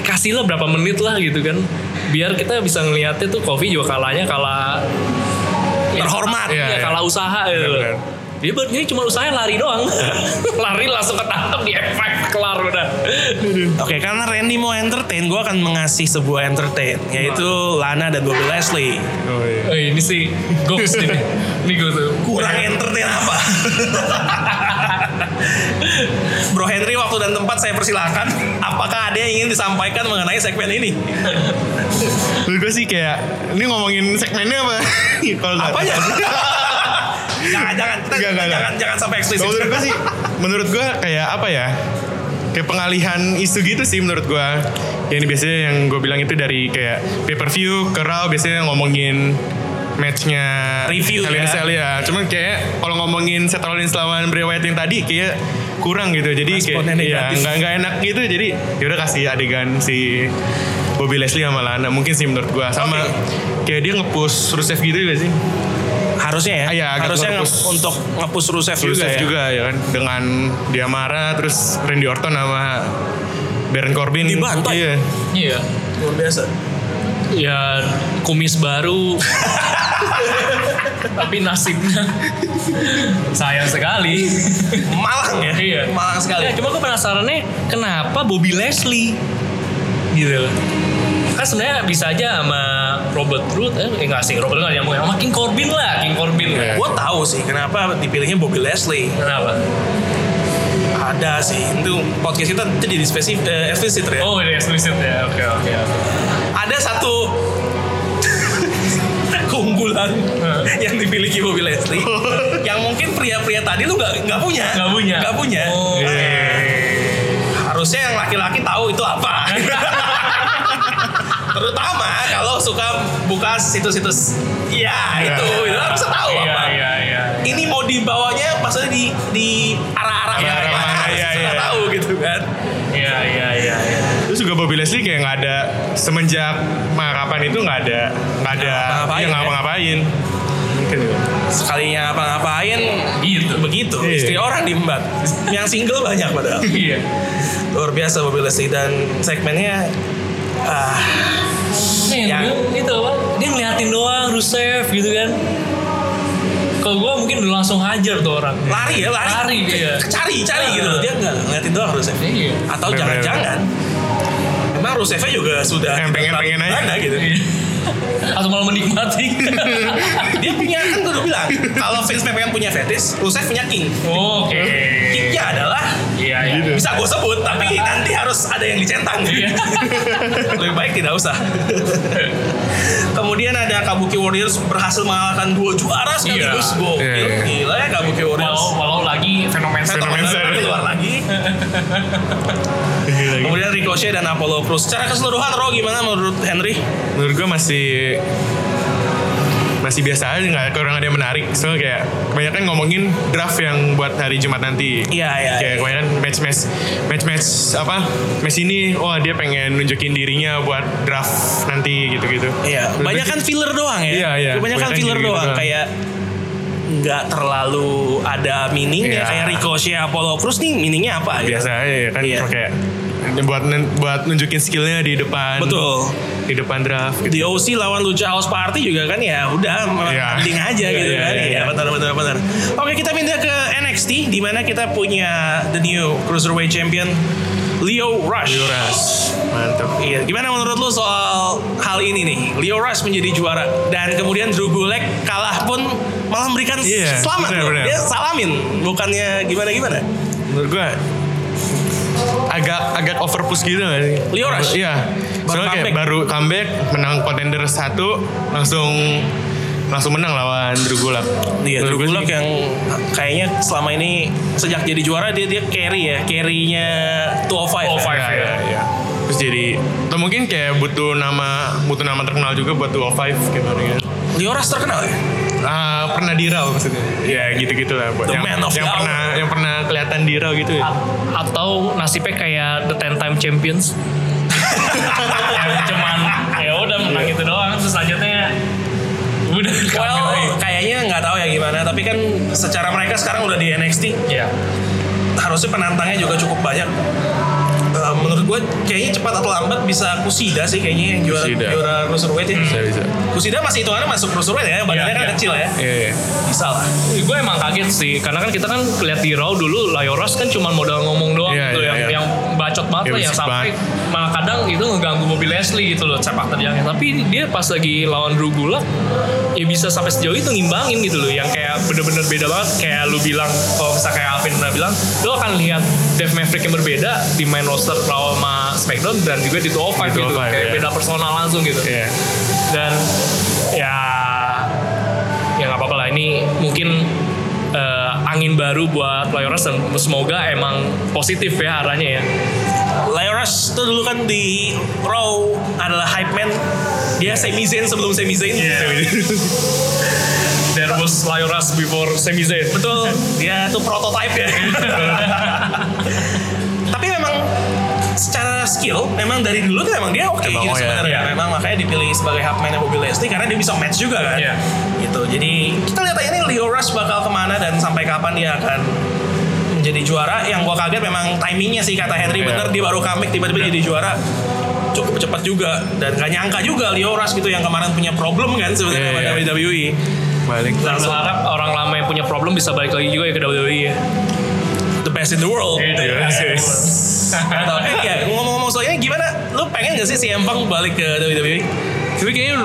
S2: kasihlah berapa menit lah gitu kan. Biar kita bisa ngelihatnya tuh Kofi juga kalahnya kalah ya,
S1: Terhormat.
S2: ya,
S3: Iya, iya.
S2: kalah usaha gitu.
S3: Benar, benar.
S2: Dia buat ini cuma usahanya lari doang. lari langsung ketangkep di efek kelar udah.
S1: Oke, karena Randy mau entertain, gue akan mengasih sebuah entertain, yaitu Lana dan Bobby Leslie.
S3: Oh, iya.
S2: Oh, ini sih goks ini. Ini gue tuh.
S1: Kurang entertain apa? Bro Henry, waktu dan tempat saya persilakan. Apakah ada yang ingin disampaikan mengenai segmen ini?
S3: Menurut gue sih kayak ini ngomongin segmennya apa? Kalau nggak-
S1: Apanya? jangan, jangan, kita,
S3: Enggak, enggak,
S1: jangan,
S3: enggak.
S1: jangan sampai eksplisit.
S3: Kalau menurut gue sih, menurut gue kayak apa ya? Kayak pengalihan isu gitu sih menurut gue. Ya ini biasanya yang gue bilang itu dari kayak pay per view ke Raw biasanya ngomongin matchnya
S1: Review
S3: Hell in a
S1: ya.
S3: Cell ya. Cuman kayak kalau ngomongin Seth Rollins lawan Bray Wyatt yang tadi kayak kurang gitu. Jadi
S1: Responnya
S3: kayak ya,
S1: negatif.
S3: nggak nggak enak gitu. Jadi yaudah kasih adegan si Bobby Leslie sama Lana mungkin sih menurut gue sama kayak dia nge-push Rusev gitu juga sih.
S1: Harusnya ya,
S3: Ah, iya, agak
S1: harusnya nge
S3: nge-push.
S1: untuk nge-push Rusev, juga
S3: Rusev
S1: ya.
S3: juga ya kan dengan dia marah terus Randy Orton sama Baron Corbin
S1: Dibantai.
S3: iya
S2: Iya.
S1: Luar biasa.
S2: ya kumis baru tapi nasibnya sayang sekali
S1: Malang ya?
S2: Iya.
S1: Malang sekali.
S2: ya, cuma gue penasarannya kenapa Bobby Leslie gitu loh kan sebenarnya bisa aja sama Robert Root eh enggak sih Robert Root yang sama King Corbin lah King Corbin
S3: Iya.
S1: Gue tahu sih kenapa dipilihnya Bobby Leslie.
S2: kenapa
S1: Ada sih, itu podcast kita jadi spesifik, eh, eksplisit ya.
S2: oh ini eksplisit ya oke oke oke.
S1: Ada satu keunggulan
S2: Hah.
S1: yang dimiliki Bobby Leslie, yang mungkin pria-pria tadi lu nggak nggak punya,
S2: Nggak punya.
S1: nggak punya.
S2: Oh.
S1: Nah,
S3: Iya.
S1: Harusnya yang laki-laki tahu itu apa. Terutama kalau suka buka situs-situs, ya itu, itu harus tahu
S2: iya
S1: apa.
S2: iya iya
S1: ini mau dibawanya maksudnya di di arah-arah
S3: Arah-arah mana, iya,
S1: Sudah
S3: iya.
S1: tahu gitu kan
S2: iya iya iya iya.
S3: terus juga Bobby Leslie kayak nggak ada semenjak marapan itu nggak ada nggak ada
S1: Nggak ngapa-ngapain
S3: yang
S1: ya.
S3: ngapa-ngapain mungkin
S1: sekalinya apa-ngapain
S2: gitu
S1: begitu
S3: Iya.
S1: istri orang diembat yang single banyak padahal
S2: iya
S1: luar biasa Bobby Leslie dan segmennya ah,
S2: Nih,
S1: Yang-
S2: dia- itu apa? Dia ngeliatin doang Rusev gitu kan. Kalau gue mungkin udah langsung hajar tuh orang.
S1: lari ya lari,
S2: Lari dia. Ah.
S1: cari cari gitu loh dia nggak ngeliatin doang Rusev
S2: Iya.
S1: atau
S3: Bener,
S1: jangan-jangan emang Rusevnya juga sudah
S3: Yang pengen-pengen aja.
S1: Mana gitu
S2: Iya. Atau malah menikmati.
S1: dia punya kan gue udah bilang kalau Vince McMahon punya fetish Rusev punya king
S2: Oh, Oke.
S1: kingnya adalah
S2: Iya, iya.
S3: Gitu.
S1: bisa gue sebut tapi nanti harus ada yang dicentang
S2: Iya.
S1: lebih baik tidak usah kemudian ada Kabuki Warriors berhasil mengalahkan dua juara sekaligus
S2: Iya.
S1: gokil
S3: Iya, iya.
S1: gila ya Kabuki Warriors
S2: Walau, walau lagi fenomena
S1: Saya
S3: Fenomenal.
S1: tahu, tapi keluar lagi
S3: Iya. Gila, gila.
S1: kemudian Ricochet dan Apollo Crews secara keseluruhan Raw gimana menurut Henry
S3: menurut gue masih masih biasa aja nggak kurang ada yang menarik soalnya kayak kebanyakan ngomongin draft yang buat hari Jumat nanti
S1: Iya, iya,
S3: kayak
S1: iya.
S3: kebanyakan match match match match apa match ini wah dia pengen nunjukin dirinya buat draft nanti gitu gitu
S1: Iya, banyak kan filler doang ya.
S3: Iya, iya.
S1: Banyak kan
S3: Kebanyakan
S1: filler
S3: gitu-gitu
S1: doang
S3: doang.
S1: kayak nggak terlalu ada meaningnya
S3: Iya.
S1: kayak Ricochet Apollo Crews nih meaningnya apa? gitu.
S3: biasa aja ya kan
S1: Iya.
S3: kayak buat nun- buat nunjukin skillnya di depan
S1: Betul.
S3: di depan draft
S1: di
S3: gitu.
S1: OC lawan Lucha House Party juga kan ya udah
S3: Iya.
S1: mending aja
S3: Iya,
S1: gitu
S3: iya,
S1: kan
S3: iya,
S1: ya
S3: iya.
S1: benar benar benar oke kita pindah ke NXT di mana kita punya the new cruiserweight champion Leo Rush
S3: Juras mantap
S1: Iya, gimana menurut lu soal hal ini nih? Leo Rush menjadi juara dan kemudian Drew Gulak kalah pun malah memberikan s-
S3: Iya,
S1: selamat
S3: benar,
S1: loh.
S3: benar.
S1: Dia salamin, bukannya gimana gimana.
S3: menurut gua agak agak overpush gitu gak sih?
S1: Leo Rush?
S3: Iya.
S1: Baru
S3: Soalnya kayak
S1: comeback.
S3: baru comeback menang contender satu langsung langsung menang lawan Drew Gulak.
S1: Iya, Drew Gulak
S3: Gulak sih-
S1: yang kayaknya selama ini sejak jadi juara dia dia carry ya, carry-nya 205.
S2: 205,
S3: Iya, iya, iya. Terus jadi atau mungkin kayak butuh nama butuh nama terkenal juga buat 205 gitu kan.
S1: Lioras terkenal ya?
S3: Ah, pernah di Raw maksudnya. Ya gitu-gitu lah buat
S1: The
S3: yang,
S1: man of the
S3: yang
S1: hour.
S3: pernah yang pernah kelihatan di Raw gitu ya.
S2: atau nasibnya kayak the ten time champions Yang cuman ya udah menang itu doang terus selanjutnya udah
S1: Well, kayaknya nggak tahu ya gimana, tapi kan secara mereka sekarang udah di NXT,
S2: ya
S1: harusnya penantangnya juga cukup banyak. Eh, menurut gue kayaknya cepat atau lambat bisa Kusida sih kayaknya yang juara
S3: Kushida.
S1: juara cruiserweight ya.
S3: Bisa bisa.
S1: Kusida masih hitungannya masuk cruiserweight ya, badannya
S2: Iya,
S1: kan
S2: iya.
S1: kecil ya.
S3: Iya.
S1: Bisa lah.
S2: gue emang kaget sih karena kan kita kan lihat di Raw dulu Layoras kan cuman modal ngomong doang
S3: Iya,
S2: gitu
S3: iya,
S2: yang
S3: iya.
S2: yang bacot banget
S3: Iya,
S2: lah yang
S3: berisik
S2: sampai malah kadang itu ngeganggu mobil Leslie gitu loh sepak terjangnya tapi dia pas lagi lawan Drew Gulak ya bisa sampai sejauh itu ngimbangin gitu loh yang kayak bener-bener beda banget kayak lu bilang kalau misalnya kayak Alvin udah bilang lu akan lihat Dave Maverick yang berbeda di main roster Raw sama SmackDown dan juga di 205 gitu kayak
S3: 205, iya.
S2: beda personal langsung gitu
S3: Iya.
S2: dan ya ya nggak apa-apa lah ini mungkin eh, angin baru buat Warriors dan semoga emang positif ya arahnya ya
S1: Lioras tuh dulu kan di Raw adalah hype man. Dia Sami Zayn sebelum Sami Zayn.
S2: Iya. there was Warriors before Sami Zayn
S1: Betul, dia tuh prototype ya. Tapi memang secara skill memang dari dulu tuh emang dia oke
S3: Emang
S1: gitu
S3: oh ya.
S1: sebenarnya.
S2: Iya.
S1: Memang makanya dipilih sebagai hubman Bobby Leslie karena dia bisa match juga kan.
S2: Iya.
S1: Gitu. Jadi kita lihat aja nih Leo Rush bakal kemana dan sampai kapan dia akan menjadi juara. Yang gua kaget memang timingnya sih kata Henry
S3: Iya.
S1: bener dia baru comeback tiba-tiba jadi juara cukup cepat juga dan gak nyangka juga Leo Rush gitu yang kemarin punya problem kan sebenarnya
S3: Iya,
S1: sama E.
S3: iya.
S1: WWE.
S3: Balik.
S2: dan
S1: Langsung
S2: berharap orang lama yang punya problem bisa balik lagi juga ya ke WWE ya
S1: the best in the world.
S3: Iya,
S1: Nggak tahu. Eh, ya, ngomong-ngomong soal ini gimana? Lu pengen gak sih si Empang balik ke E? WWE?
S3: Tapi kayaknya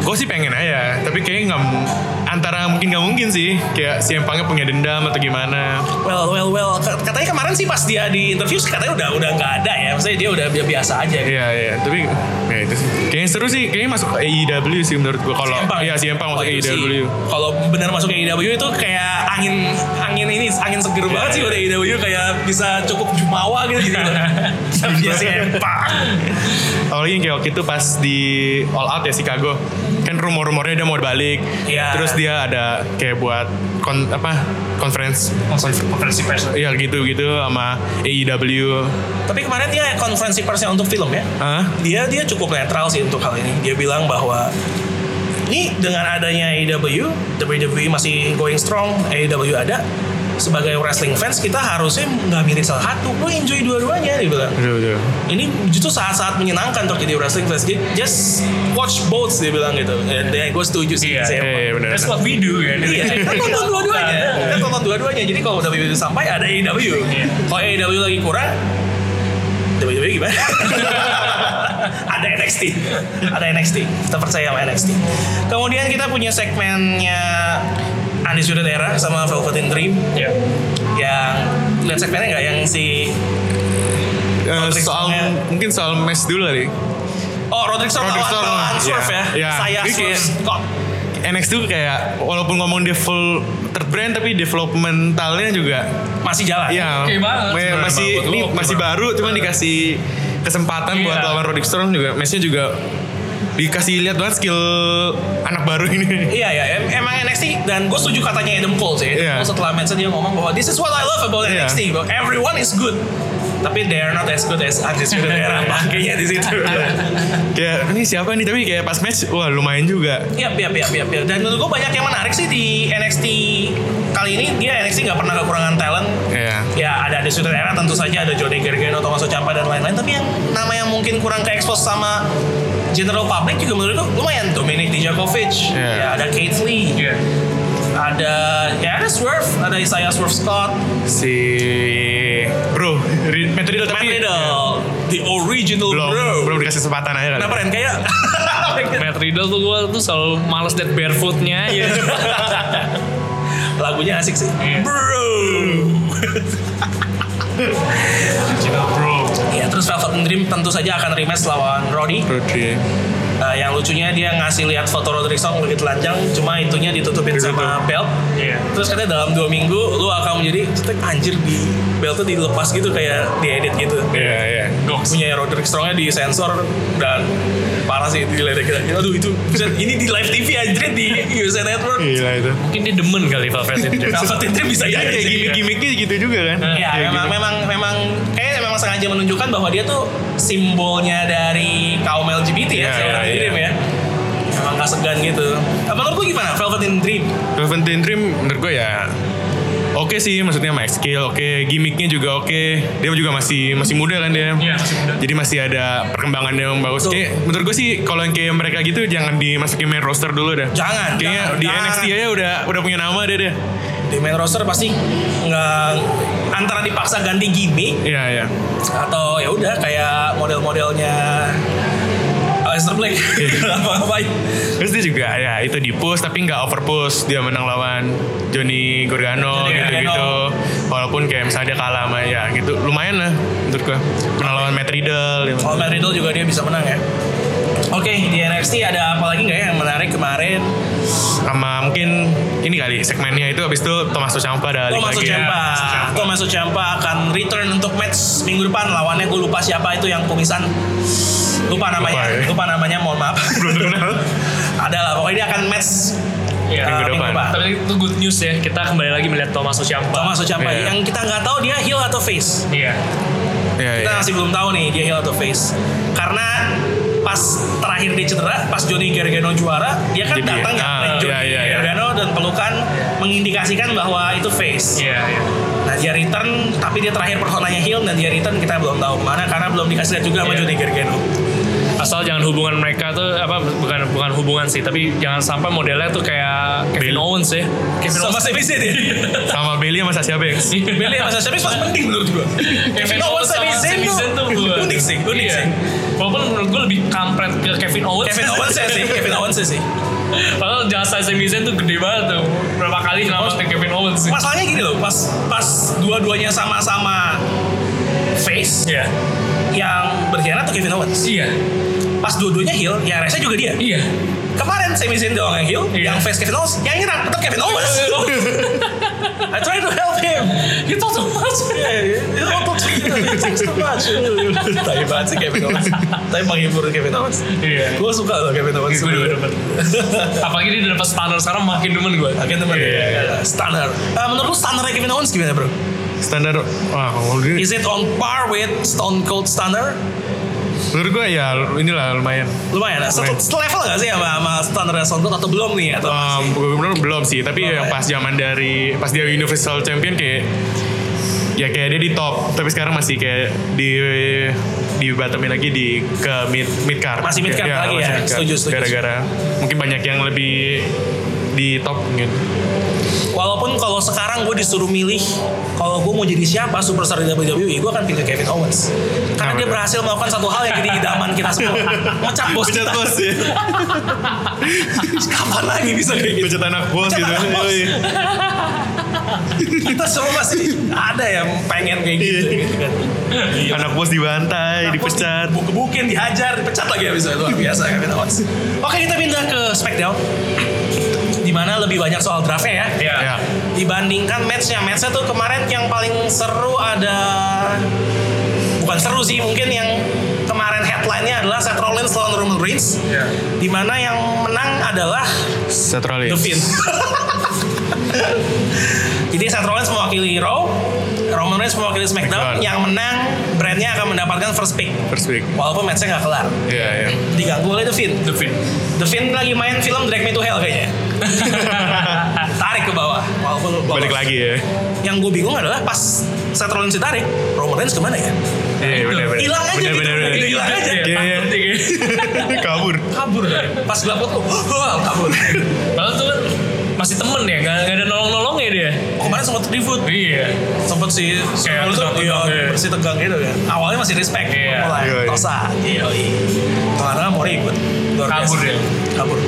S3: gue sih pengen aja, tapi kayaknya nggak m- antara mungkin nggak mungkin sih. Kayak si Empangnya punya dendam atau gimana?
S1: Well, well, well. K- Katanya kemarin sih pas dia di interview sih katanya udah udah nggak ada ya. Maksudnya dia udah bi- biasa aja. gitu.
S3: Iya iya, tapi ya itu sih. Kayaknya seru sih, kayaknya masuk AEW sih menurut gue. Kalau iya si Empang masuk
S1: Wah, Oh, itu sih.
S3: AEW.
S1: Kalau benar masuk ke AEW itu kayak angin angin ini angin seger banget sih
S3: iya.
S1: udah AEW kayak bisa cukup jumawa gitu gitu. Tapi dia si Empang.
S3: Apalagi yang kayak waktu itu pas di All Out ya Chicago. Kan rumor-rumornya dia mau balik.
S1: Iya.
S3: Terus dia ada kayak buat kon, apa? Conference.
S2: konferensi pers
S3: Iya gitu-gitu sama E AEW.
S1: Tapi kemarin dia konferensi persnya untuk film ya.
S3: Hah?
S1: dia dia cukup netral sih untuk hal ini. Dia bilang bahwa ini dengan adanya E AEW, WWE E masih going strong, AEW ada. Sebagai wrestling fans kita harusnya nggak milih salah satu, gue enjoy dua-duanya dia bilang.
S3: Betul-betul.
S1: Ini justru saat-saat menyenangkan untuk jadi wrestling fans. Jadi, Just watch both dia bilang gitu. Dan gue setuju sih.
S2: Iya,
S1: saya
S3: Iya iya, benar.
S2: that's what we do ya
S1: Iya, kita tonton dua-duanya. Kita tonton dua-duanya. Jadi kalau WWE itu E sampai ada AEW. Kalau AEW lagi kurang, WWE gimana? ada NXT. Ada NXT. Kita percaya sama NXT. Kemudian kita punya segmennya Undisputed Era sama Velveteen Dream
S2: Iya.
S1: yang lihat segmennya nggak yang si
S3: Eh, soal mungkin soal match dulu kali.
S1: Oh Roderick Strong lawan
S3: Roderick Strong.
S1: lawan Swerve
S3: Iya,
S1: ya,
S3: iya.
S1: saya
S3: Ini
S1: Swerve
S3: kayak-
S1: Scott
S3: NXT tuh kayak walaupun ngomong devel third brand tapi developmentalnya juga
S1: masih jalan.
S3: ya
S2: Oke banget
S3: me-
S2: sebenarnya,
S3: masih
S2: Bang. Buat lu
S3: ini
S2: oke
S3: masih
S2: banget.
S3: baru cuman dikasih kesempatan buat
S2: Iya.
S3: lawan Roderick Strong juga matchnya juga dikasih lihat banget skill anak baru ini
S1: Iya ya, em- emang NXT dan gue setuju katanya Adam Cole sih. Adam
S3: Iya.
S1: Cole setelah match dia ngomong bahwa this is what I love about
S3: Iya.
S1: NXT, bahwa everyone is good. Tapi they are not as good as Undisputed Era makanya di situ. Iya,
S3: kayak ini siapa nih tapi kayak pas match wah lumayan juga
S1: Iya, iya, iya, iya, iya. Dan menurut gue banyak yang menarik sih di NXT kali ini dia NXT nggak pernah kekurangan talent.
S3: Iya.
S1: Ya ada Undisputed Era tentu saja ada Johnny Gargano, Tommaso Ciampa dan lain-lain. Tapi yang nama yang mungkin kurang ke expose sama general public juga menurut gue lumayan Dominic Dijakovic,
S3: Iya.
S1: ya ada Kate Lee,
S2: Iya.
S1: ada ya ada Swerve, ada Isaiah Swerve Scott,
S3: si bro Ri- Matt Riddle
S1: Matt
S3: tapi
S1: Riddle, the original
S3: Iya. belum
S1: bro.
S3: belum dikasih kesempatan aja kan. kali
S1: Kenapa Ren kayak
S2: Matt Riddle tuh gue tuh selalu males liat barefootnya ya
S1: lagunya asik sih,
S3: Iya.
S1: bro.
S2: bro
S1: Iya, Ya terus Velvet Dream tentu saja akan rematch lawan Roddy.
S3: Rodri
S1: Eh, yang lucunya dia ngasih lihat foto Roderick Strong begitu telanjang, cuma itunya ditutupin
S3: Ditutup.
S1: sama belt.
S2: Iya.
S1: Terus katanya dalam dua minggu lu akan menjadi cetek anjir di beltnya dilepas gitu kayak diedit gitu.
S3: Iya, iya.
S1: Punya Roderick Strongnya di sensor dan parah sih diledekin. Aduh itu buset, ini di live TV anjir di USA Network.
S3: Gila Iya, itu.
S2: Mungkin dia demen kali Velvet Underground.
S1: Velvet Underground bisa jadi
S3: Iya, kayak
S1: sih.
S3: gimmick-gimmicknya gitu juga kan.
S1: Iya,
S3: Kayak
S1: memang,
S3: gitu.
S1: memang, memang, kayak memang sengaja menunjukkan bahwa dia tuh simbolnya dari kaum LGBT ya,
S3: Iya,
S1: seorang
S3: iya,
S1: Dream ya. Memang gak segan gitu. Apa menurut lu gimana? Velvet in Dream?
S3: Velveteen Dream menurut gue ya oke sih maksudnya max skill oke gimmicknya juga oke dia juga masih masih muda kan dia
S2: Iya, masih muda.
S3: jadi masih ada perkembangan yang bagus
S1: Betul.
S3: kayak, menurut gue sih kalau yang kayak mereka gitu jangan dimasukin main roster dulu dah
S1: Jangan,
S3: kayaknya
S1: jangan,
S3: di
S1: jangan.
S3: NXT aja udah udah punya nama dia deh
S1: Di main roster pasti nggak antara dipaksa ganti gimmick
S3: iya iya
S1: atau ya udah kayak model-modelnya Aleister Black
S3: Iya.
S1: apa-apain.
S3: terus dia juga ya itu di push tapi nggak over push dia menang lawan Johnny Gargano
S1: Johnny
S3: gitu gitu
S1: Gargano.
S3: walaupun kayak misalnya dia kalah sama ya gitu lumayan lah menurut gue pernah lawan Matt Riddle ya. dia-
S1: Kalau Matt Riddle juga dia bisa menang ya. Oke, di NXT ada apa lagi nggak ya yang menarik kemarin?
S3: sama mungkin ini kali segmennya itu abis itu Tomaso Ciampa ada link
S1: Tommaso
S3: lagi ya.
S1: Ciampa.
S3: Tommaso Ciampa.
S1: Tommaso Ciampa akan return untuk match minggu depan lawannya gue lupa siapa itu yang kumisan lupa namanya
S3: Lupa
S1: lupa,
S3: ya.
S1: namanya mohon maaf
S3: Belum terkenal.
S1: ada lah pokoknya dia akan match
S2: Iya.
S1: uh,
S3: Minggu
S1: minggu
S3: depan.
S1: depan
S2: Tapi itu good news ya. Kita kembali lagi melihat Thomas Ciampa.
S1: Tommaso Ciampa
S3: Iya.
S1: yang kita nggak tahu dia heel atau face
S2: Iya.
S3: Iya,
S1: kita
S3: iya.
S1: masih belum tahu nih dia heel atau face karena pas terakhir dia cedera pas Johnny Gargano juara dia kan
S3: Jadi,
S1: datang ya
S3: ah,
S1: peluk Johnny
S3: iya, iya, iya.
S1: Gargano dan pelukan mengindikasikan bahwa itu face
S2: Iya, iya.
S1: Nah dia return tapi dia terakhir personanya heal dan dia return kita belum tahu mana karena belum dikasih lihat juga sama
S2: Iya.
S1: Johnny Gargano.
S2: Asal jangan hubungan mereka tuh apa bukan bukan hubungan sih, tapi jangan sampai modelnya tuh kayak Kevin
S3: Bill.
S2: Owens ya. Kevin
S1: Sama
S2: Owens.
S1: Sami Zayn ya.
S3: sama Bailey sama Sasha Banks
S1: Bailey sama Sami pas penting menurut gua. Kevin Owens Sami Zayn tuh
S2: gua-
S1: unik sih, unik
S2: Iya.
S1: sih.
S2: Walaupun menurut gue lebih kampret ke Kevin Owens.
S1: Kevin Owens ya sih, Kevin Owens ya sih.
S2: Padahal jasa Sami Zayn tuh gede banget tuh. Berapa kali nyelamatin Kevin Owens sih.
S1: Masalahnya gini loh, pas pas dua-duanya sama-sama face
S2: Iya.
S1: yang berkhianat tuh Kevin Owens.
S2: Iya.
S1: Pas dua-duanya heal, yang rese juga dia.
S2: Iya.
S1: Kemarin Sami Zayn doang yang heal, yang
S2: Iya.
S1: face Kevin Owens, yang nyerang tetap Kevin Owens. I try to help him.
S2: Itu tuh mas.
S1: Tapi banget sih Kevin Owens Tapi menghibur Kevin Owens
S2: Iya.
S1: Gue suka loh Kevin Owens
S2: Gue juga demen. Apalagi dia udah dapat standar sekarang makin demen gue.
S1: Akhirnya temen
S3: Iya, iya,
S1: Stunner Ah, Menurut lu stunner Kevin Owens gimana bro?
S3: standar wah kalau dia-
S1: Is it on par with Stone Cold Stunner?
S3: menurut gue ya inilah lumayan
S1: Lumayan lah Satu
S3: Lumayan.
S1: selevel gak sih sama, sama stunner Stone Cold atau belum nih? Atau
S3: um, gue bener belum sih tapi
S1: Belum,
S3: ya
S1: ya.
S3: pas zaman dari pas dia Universal Champion kayak ya kayak dia di top tapi sekarang masih kayak di di bottomin lagi di ke mid mid card Iya,
S1: Masih mid card lagi
S3: masih
S1: ya.
S3: mid card.
S1: Setuju, setuju.
S3: gara-gara mungkin banyak yang lebih di top gitu. mungkin
S1: Walaupun kalau sekarang gue disuruh milih kalau gue mau jadi siapa superstar di WWE, gue akan pilih Kevin Owens. Karena
S3: Kenapa
S1: dia
S3: tuh?
S1: berhasil melakukan satu hal yang jadi idaman kita semua. Mecat bos
S3: Pecat
S1: kita.
S3: bos ya.
S1: Kapan lagi bisa kayak gitu?
S3: Pecat anak bos
S1: Pecat
S3: gitu.
S1: anak bos.
S3: Yoi.
S1: Kita semua masih ada yang pengen kayak gitu.
S3: Iya.
S1: gitu kan.
S3: Anak bos dibantai,
S1: Anak bos
S3: dipecat.
S1: Dibukebukin, dihajar, dipecat lagi abis itu. Luar biasa Kevin Owens. Oke kita pindah ke SmackDown. Dimana lebih banyak soal draftnya ya.
S2: Iya.
S3: Ya.
S1: dibandingkan matchnya matchnya tuh kemarin yang paling seru ada bukan seru sih mungkin yang kemarin headline-nya adalah Seth Rollins lawan Roman Reigns
S2: Iya.
S1: di mana yang menang adalah
S3: Seth Rollins.
S1: The Fiend jadi Seth Rollins mewakili Raw Roman Reigns mewakili SmackDown
S3: SmackDown.
S1: yang menang brandnya akan mendapatkan first pick
S3: First pick.
S1: walaupun matchnya nggak kelar
S3: Iya, iya.
S1: diganggu oleh The Fiend
S2: The Fiend.
S1: The Fiend lagi main film Drag Me to Hell kayaknya tarik ke bawah walaupun lolos.
S3: Balik lagi ya.
S1: Yang gue bingung adalah pas Seth Rollins ditarik, Roman Reigns kemana ya?
S3: Iya, benar-benar.
S1: Hilang aja gitu, gitu, hilang aja.
S3: Iya, iya.
S2: Takut dia.
S3: Kabur.
S1: Kabur. Pas oh, gelap waktu, wah kabur.
S2: Padahal tuh kan masih temen ya, gak, gak ada nolong-nolong ya dia.
S1: Kemarin sempat ribut,
S2: Iya.
S1: sempat si
S2: Kayak
S1: Rollins tuh,
S2: tegang-tegang,
S1: iya,
S2: iya.
S1: masih tegang gitu kan. Awalnya masih respect,
S2: Iya.
S1: mulai
S3: Iya, iya.
S1: tosa, iya, iya. Tengah-tengah mau ribut, Luar
S2: Kabur
S1: biasa.
S2: ya.
S1: Kabur.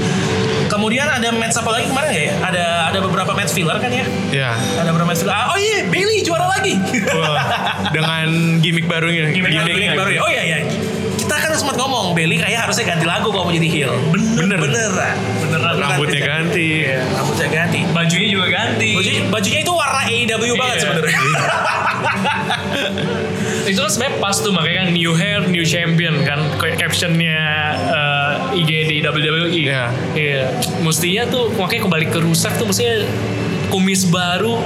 S1: Kemudian ada match apa lagi kemarin nggak ya? Ada ada beberapa match filler kan ya?
S3: Iya.
S1: Ada beberapa match filler. Ah, oh iya, Bailey juara lagi.
S3: Wah, dengan gimmick
S2: iya.
S3: barunya.
S1: Gimmick baru ya. Oh iya iya. Kita kan kita sempat ngomong Belly kayak harusnya ganti lagu kalau mau jadi heel.
S2: Bener. kan?
S1: Beneran.
S2: Beneran.
S1: Iya.
S3: Rambutnya ganti.
S1: Rambutnya ganti.
S2: Bajunya juga ganti.
S1: Bajunya, bajunya itu warna AEW banget
S2: Iya.
S1: sebenarnya.
S2: itu kan sebenarnya pas tuh makanya kan new hair new champion kan kayak captionnya eh, IG di WWE
S3: Iya.
S2: Iya. mestinya tuh makanya kembali ke rusak tuh mestinya kumis baru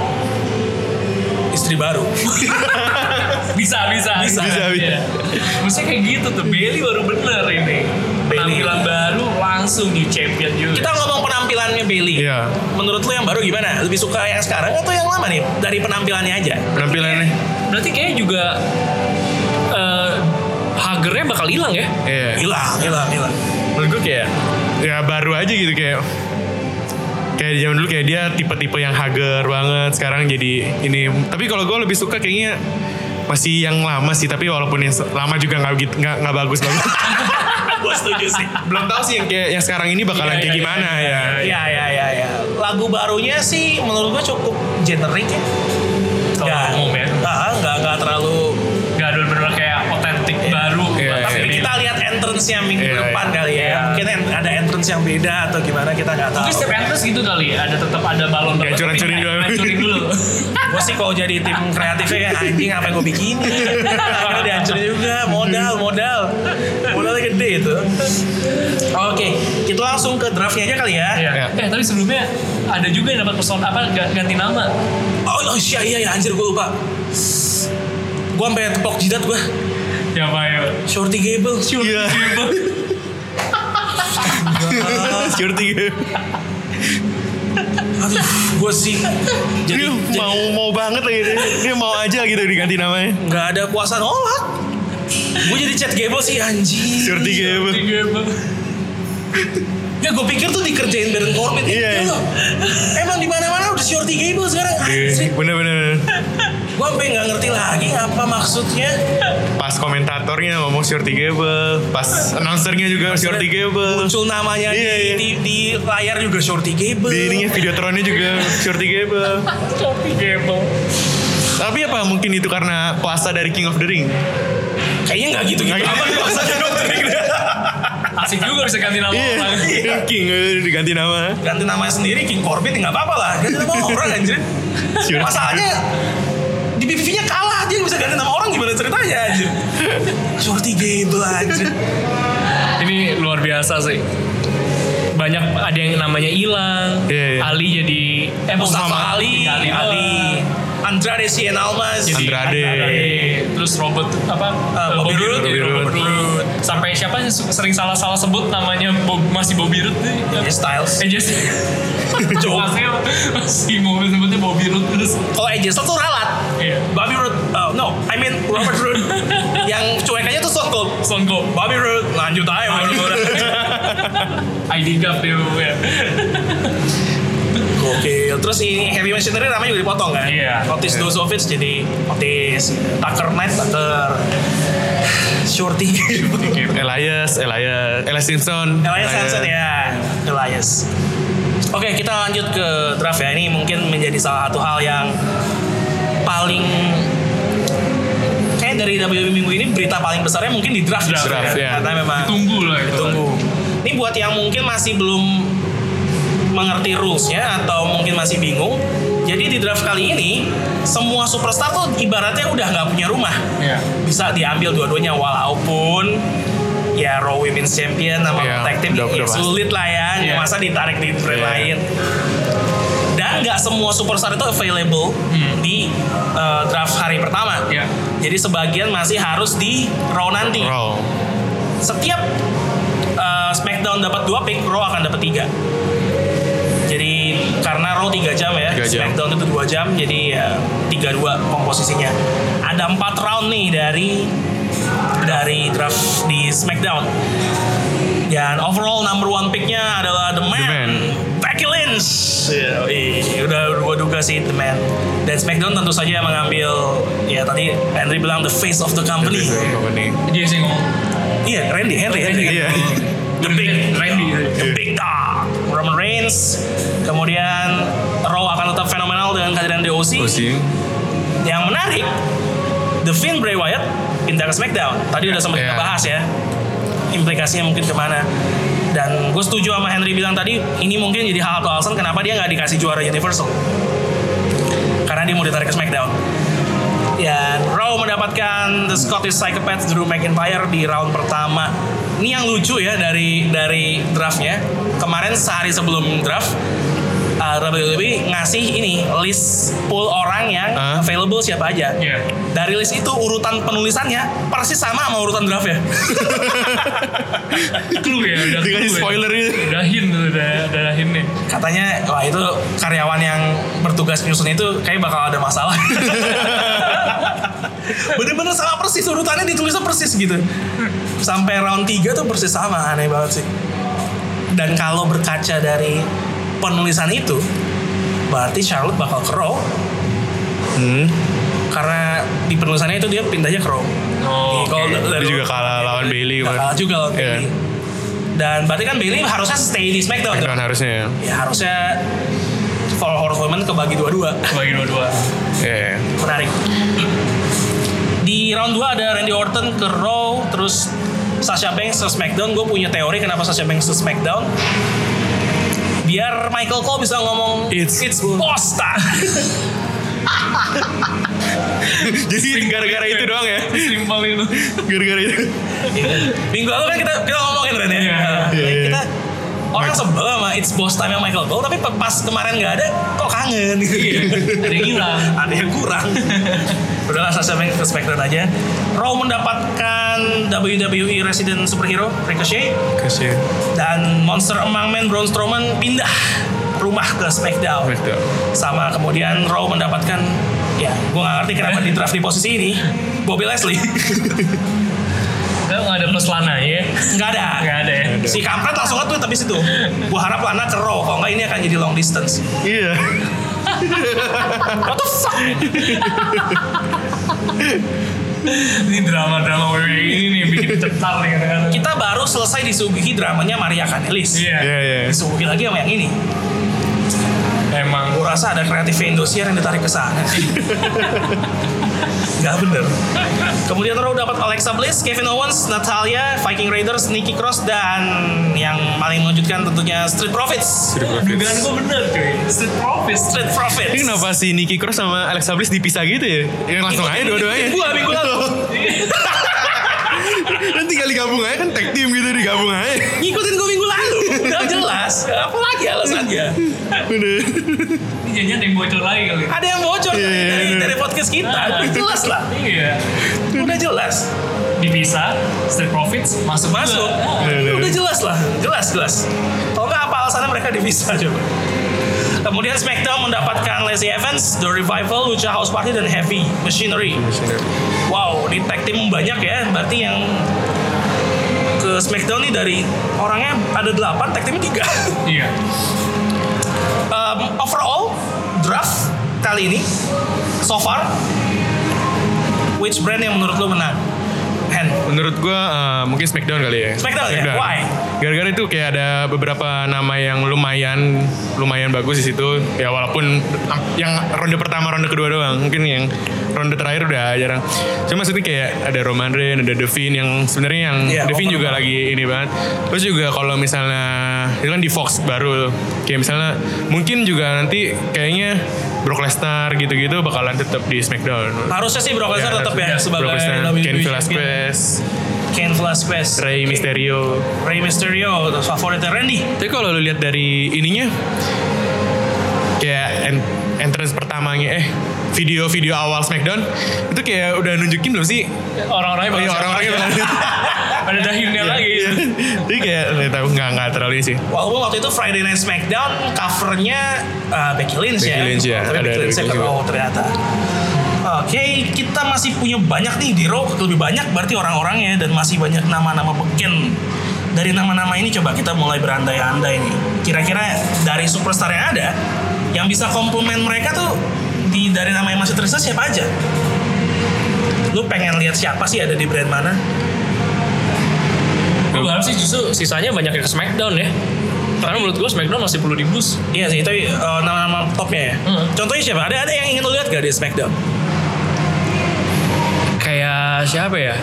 S1: Istri baru.
S2: bisa bisa bisa,
S3: Bisa, bisa.
S2: Iya. mestinya kayak gitu tuh Bailey baru bener ini
S1: Bailey.
S2: penampilan baru langsung new champion juga
S1: Kita ngomong penampilannya Bailey.
S3: Iya.
S1: Menurut lu yang baru gimana? Lebih suka yang sekarang atau yang lama nih? Dari penampilannya aja.
S3: Penampilannya. Iya.
S2: berarti kayaknya juga eh hagernya bakal hilang ya
S3: Iya.
S1: Hilang, hilang, hilang.
S2: menurut gue kayak
S3: Ya baru aja gitu kayak kayak di zaman dulu kayak dia tipe-tipe yang hager banget sekarang jadi ini tapi kalau gue lebih suka kayaknya masih yang lama sih tapi walaupun yang se- lama juga nggak gitu nggak nggak bagus banget
S1: Gue setuju sih.
S3: belum tahu sih yang kayak yang sekarang ini
S2: Iya,
S3: bakalan kayak
S2: iya,
S3: gimana ya
S1: Iya, iya, iya, iya. Lagu barunya sih menurut gue cukup generik ya.
S2: Kalau
S1: Nggak-
S2: umum ya.
S1: Ah, nggak, nggak terlalu
S2: gak ada bener-bener kayak otentik baru
S3: Iya,
S2: Tapi
S3: iya.
S1: Tapi kita lihat entrance-nya minggu
S3: Iya,
S1: depan kali ya.
S2: Iya.
S1: Mungkin en- ada entrance yang beda atau gimana kita nggak tahu.
S2: Mungkin setiap entrance gitu kali ada tetap ada balon
S3: Ya, curan-curin dulu.
S2: curin dulu.
S1: Gue sih kalau jadi tim kreatifnya ya anjing apa yang gue bikin. Akhirnya dihancurin juga modal modal modalnya gede itu. Oke, kita langsung ke draftnya aja kali ya.
S2: Iya.
S3: Iya.
S2: Eh tapi sebelumnya ada juga yang dapat pesona apa ga- ganti nama.
S1: Oh, oh iya iya iya, anjir gue lupa. Gue sampai tepok jidat gue.
S2: Ya Pak ya.
S1: Shorty Gable.
S3: iya security game.
S1: Gue sih jadi,
S3: dia
S1: jadi
S3: mau mau banget lagi dia, dia mau aja gitu diganti namanya
S1: nggak ada kuasa nolak. Gue jadi chat Gable sih anjing.
S3: security game
S1: Ya gue pikir tuh dikerjain Baron Corbin
S3: Iya.
S1: Iya Emang di mana mana udah Shorty Gable sekarang
S3: Iya,
S1: Anjir
S3: bener-bener
S1: Gue sampe gak ngerti lagi apa maksudnya
S3: pas komentatornya ngomong Shorty Gable, pas announcernya juga Shorty Gable,
S1: Muncul namanya di-
S3: Iya, iya.
S1: di, di, layar juga Shorty Gable
S3: di ininya videotronnya juga Shorty Gable.
S2: Tapi gebel.
S3: Tapi apa mungkin itu karena puasa dari King of the Ring?
S1: Kayaknya gak gitu-gitu
S3: Nggak gitu.
S1: amat maksudnya dokter
S2: Asik juga bisa ganti nama
S3: Iya,
S2: orang.
S3: King eh, diganti nama.
S1: Ganti namanya sendiri King Corbin ya gak apa-apa lah Ganti nama orang anjir
S3: Shorty
S1: Masalahnya di PPV-nya kalah dia bisa ganti nama orang gimana ceritanya anjir Shorty Gable anjir
S2: Ini luar biasa sih. Banyak ada yang namanya hilang.
S3: Iya, iya.
S2: Ali jadi eh
S1: Mustafa Ali
S2: Ali. Iya.
S1: Ali Andrade Cien Almas
S2: Jadi
S3: Andrade.
S2: terus Robert apa eh,
S1: Bobby Roode.
S2: jadi
S3: Bobby
S2: Robert
S3: Roode.
S2: Roode. sampai siapa yang su- sering salah-salah sebut namanya Bob- masih Bobby Roode nih
S1: AJ Styles
S2: Eh just Jelasnya si mobil sebutnya Bobby Roode terus
S1: Kalau AJ Styles tuh ralat.
S2: Iya.
S1: Bobby Roode, uh, no, I mean Robert Roode. yang cuek aja tuh Stone Cold.
S2: Stone Cold
S1: Bobby Roode, lanjut aja. Bobby Roode.
S2: ID Gap dia ya.
S1: Gokil. Terus ini Heavy Machinery namanya juga dipotong kan?
S2: Iya.
S1: Otis Dozovic jadi Otis. Tucker Knight, Tucker. Shorty.
S3: Elias, Elias, Elias Simpson.
S1: Elias Hansen ya. Elias. Oke, kita lanjut ke draft ya. Ini mungkin menjadi salah satu hal yang paling kayak dari WWE minggu ini berita paling besarnya mungkin di draft,
S2: Draft,
S1: justru
S3: ya.
S1: Karena memang
S2: Tunggu lah itu
S1: tunggu. Ini buat yang mungkin masih belum mengerti rules-nya atau mungkin masih bingung. Jadi di draft kali ini semua superstar tuh ibaratnya udah nggak punya rumah.
S2: Iya.
S1: Bisa diambil dua-duanya walaupun ya Raw Women's Champion sama
S3: Iya,
S1: Tag Team
S3: udah-
S1: ya
S3: udah pasti.
S1: sulit lah ya.
S2: Iya.
S1: Masa ditarik di brand
S3: Iya.
S1: lain. Dan nggak semua superstar itu available
S3: Hmm.
S1: di eh, draft hari pertama.
S2: Iya.
S1: Jadi sebagian masih harus di Raw nanti
S3: Raw.
S1: setiap uh, Smackdown dapat dua pick, Raw akan dapat tiga. Jadi karena Raw 3 jam ya,
S3: Tiga jam.
S1: Smackdown itu 2 jam, jadi ya 3-2 komposisinya. Ada 4 round nih dari dari draft di Smackdown. Dan overall number one picknya adalah The Man,
S3: The Man.
S1: Becky Lynch. Ya, ih, udah dua duga sih The Man. Dan Smackdown tentu saja mengambil ya tadi Henry bilang the face of the company.
S2: Dia sih ngomong kan?
S1: Iya, Randy, Henry, Henry.
S3: Iya.
S1: The Big
S2: Randy.
S1: The Big Dog Ah, Roman Reigns kemudian Raw akan tetap fenomenal dengan kehadiran DOC
S3: Oh sih.
S1: yang menarik The Finn Bray Wyatt pindah ke SmackDown tadi udah sempat
S3: Iya.
S1: kita bahas ya implikasinya mungkin kemana dan gue setuju sama Henry bilang tadi ini mungkin jadi hal atau alasan kenapa dia nggak dikasih juara Universal karena dia mau ditarik ke SmackDown ya Raw mendapatkan The Scottish Psychopath Drew McIntyre di round pertama ini yang lucu ya dari dari draftnya kemarin sehari sebelum draft uh, WWE ngasih ini list pool orang yang
S3: Hah?
S1: available siapa aja
S2: Iya.
S1: dari list itu urutan penulisannya persis sama sama urutan draft ya
S2: Clue ya, udah
S3: Dikasih
S2: clue ya.
S3: spoiler gitu.
S2: Udah hint, tuh, udah, udah hint nih.
S1: katanya wah itu karyawan yang bertugas nyusun itu kayak bakal ada masalah bener-bener sama persis urutannya ditulisnya persis gitu sampai round 3 tuh persis sama aneh banget sih dan kalau berkaca dari penulisan itu berarti Charlotte bakal ke Raw
S3: Hmm.
S1: karena di penulisannya itu dia pindahnya ke Raw
S2: Oh,
S1: Di- kalau
S2: oke.
S1: dari-
S3: Dia juga kalah lawan Bailey
S1: Nggak
S3: kemarin.
S1: kalah juga lawan
S3: Iya.
S1: Bailey dan berarti kan Bailey harusnya stay di SmackDown, tuh.
S3: Down harusnya ya.
S1: ya harusnya Fall Horsewoman kebagi dua-dua
S2: Bagi dua-dua.
S3: Iya. iya.
S1: menarik di round 2 ada Randy Orton ke Raw terus Sasha Banks ke SmackDown gue punya teori kenapa Sasha Banks ke SmackDown biar Michael Cole bisa ngomong
S3: It's-
S1: boss time."
S3: Jadi gara-gara itu doang ya.
S2: Simpel itu.
S3: Gara-gara itu.
S1: minggu lalu kan kita kita ngomongin Ren ya
S2: Iya,
S3: iya, iya.
S1: kita orang sebel sama it's boss time yang Michael Cole tapi pe- pas kemarin nggak ada kok kangen gitu
S2: Iya. Ada yang hilang.
S1: ada yang kurang udahlah Sasha Banks ke SmackDown aja Raw mendapatkan WWE Resident Superhero Ricochet
S3: Kasih.
S1: dan Monster Among Men Braun Strowman pindah rumah ke SmackDown
S3: Betul.
S1: sama kemudian Raw mendapatkan ya gue gak ngerti kenapa di draft di posisi ini Bobby Leslie
S2: Kita nggak ada plus lana ya.
S1: nggak ada
S2: Nggak ada ya.
S3: Iya.
S1: si kampret langsung nge-tweet habis itu gue harap Lana ke Raw kalau nggak ini akan jadi long distance
S3: Iya.
S1: what the fuck
S2: Ini drama-drama WWE ini nih bikin cetar nih kadang-kadang.
S1: kita baru selesai disuguhi dramanya Maria Kanellis
S2: Iya.
S3: Iya iya.
S1: disuguhi lagi sama yang ini
S2: Emang.
S1: gue rasa ada kreatif Indosiar yang ditarik ke sana nggak bener kemudian Raw dapat Alexa Bliss Kevin Owens Natalia Viking Raiders Nikki Cross dan yang paling mengejutkan tentunya Street Profits
S2: Dugaan gue bener cuy. Street Profits.
S1: Street Profits
S3: Ini kenapa si Nicky Cross sama Alexa Bliss dipisah gitu ya? Ya langsung aja dua-duanya.
S1: Gua minggu lalu.
S3: Nanti tinggal digabung aja kan tag team gitu digabung aja.
S1: ngikutin gue minggu lalu udah jelas apa lagi alasannya
S3: Udah.
S2: Ini janjian ada yang bocor lagi kali.
S1: ada yang bocor
S3: Iya, iya,
S1: dari,
S3: iya.
S1: dari podcast kita udah jelas lah
S2: Iya.
S1: udah jelas
S2: Dipisah. Street Profits masuk
S1: masuk
S2: juga.
S3: Iya,
S1: udah
S3: iya.
S1: jelas lah jelas jelas kalau nggak apa alasannya mereka dipisah coba kemudian SmackDown mendapatkan Lacey Evans The Revival Lucha House Party dan Heavy Machinery wow di tag team banyak ya berarti yang ke SmackDown nih dari orangnya ada 8 tag teamnya 3
S2: Iya.
S1: um, overall draft kali ini so far which brand yang menurut lo menang Hen
S3: Menurut gua eh, mungkin Smackdown kali ya.
S1: Smackdown ya? Why?
S3: Gara-gara itu kayak ada beberapa nama yang lumayan lumayan bagus di situ. Ya walaupun am- yang ronde pertama, ronde kedua doang. Mungkin yang ronde terakhir udah jarang. Cuma maksudnya kayak ada Roman Reigns, ada Devin yang sebenarnya yang
S1: Iya,
S3: Devin
S1: open
S3: juga
S1: banget.
S3: lagi ini banget. Terus juga kalau misalnya itu kan di Fox baru kayak misalnya mungkin juga nanti kayaknya Brock Lesnar gitu-gitu bakalan tetap di SmackDown.
S1: harusnya sih Brock Lesnar tetap ya sebagai
S3: Brock Lesnar,
S1: WWE
S3: Ken
S1: champion.
S3: Velasquez,
S1: Ken Velasquez
S3: Rey Mysterio.
S1: Rey Mysterio favoritnya Randy
S3: Tapi kalau lu lihat dari ininya, kayak en- entrance pertamanya, eh video-video awal Smackdown itu kayak udah nunjukin belum sih?
S2: Orang-orangnya
S3: Oh iya
S2: bakal-
S3: orang-orangnya bakal lihat.
S2: Ada
S1: Iya.
S2: dahinnya lagi.
S3: Iya. Jadi kayak nggak tahu nggak nggak terlalu ini sih.
S1: walaupun waktu itu Friday Night Smackdown covernya uh, Becky Lynch
S3: Becky
S1: ya
S3: Lynch, ya.
S1: tapi
S3: Ada-
S1: Becky
S3: ada
S1: Lynch
S3: Becky
S1: yang
S3: juga.
S1: oh ternyata Oke, kita masih punya banyak nih di Raw lebih banyak berarti orang-orangnya dan masih banyak nama-nama beken. Dari nama-nama ini coba kita mulai berandai-andai nih. Kira-kira dari superstar yang ada yang bisa komplement mereka tuh di dari nama yang masih tersisa siapa aja? Lu pengen lihat siapa sih ada di brand mana?
S2: Gue berharap sih justru sisanya banyak yang ke Smackdown ya. Karena menurut gue Smackdown masih perlu di boost.
S1: Iya sih, tapi eh, nama-nama topnya ya.
S2: Hmm.
S1: Contohnya siapa? Ada ada yang ingin lo lihat gak di Smackdown?
S2: Kayak siapa ya?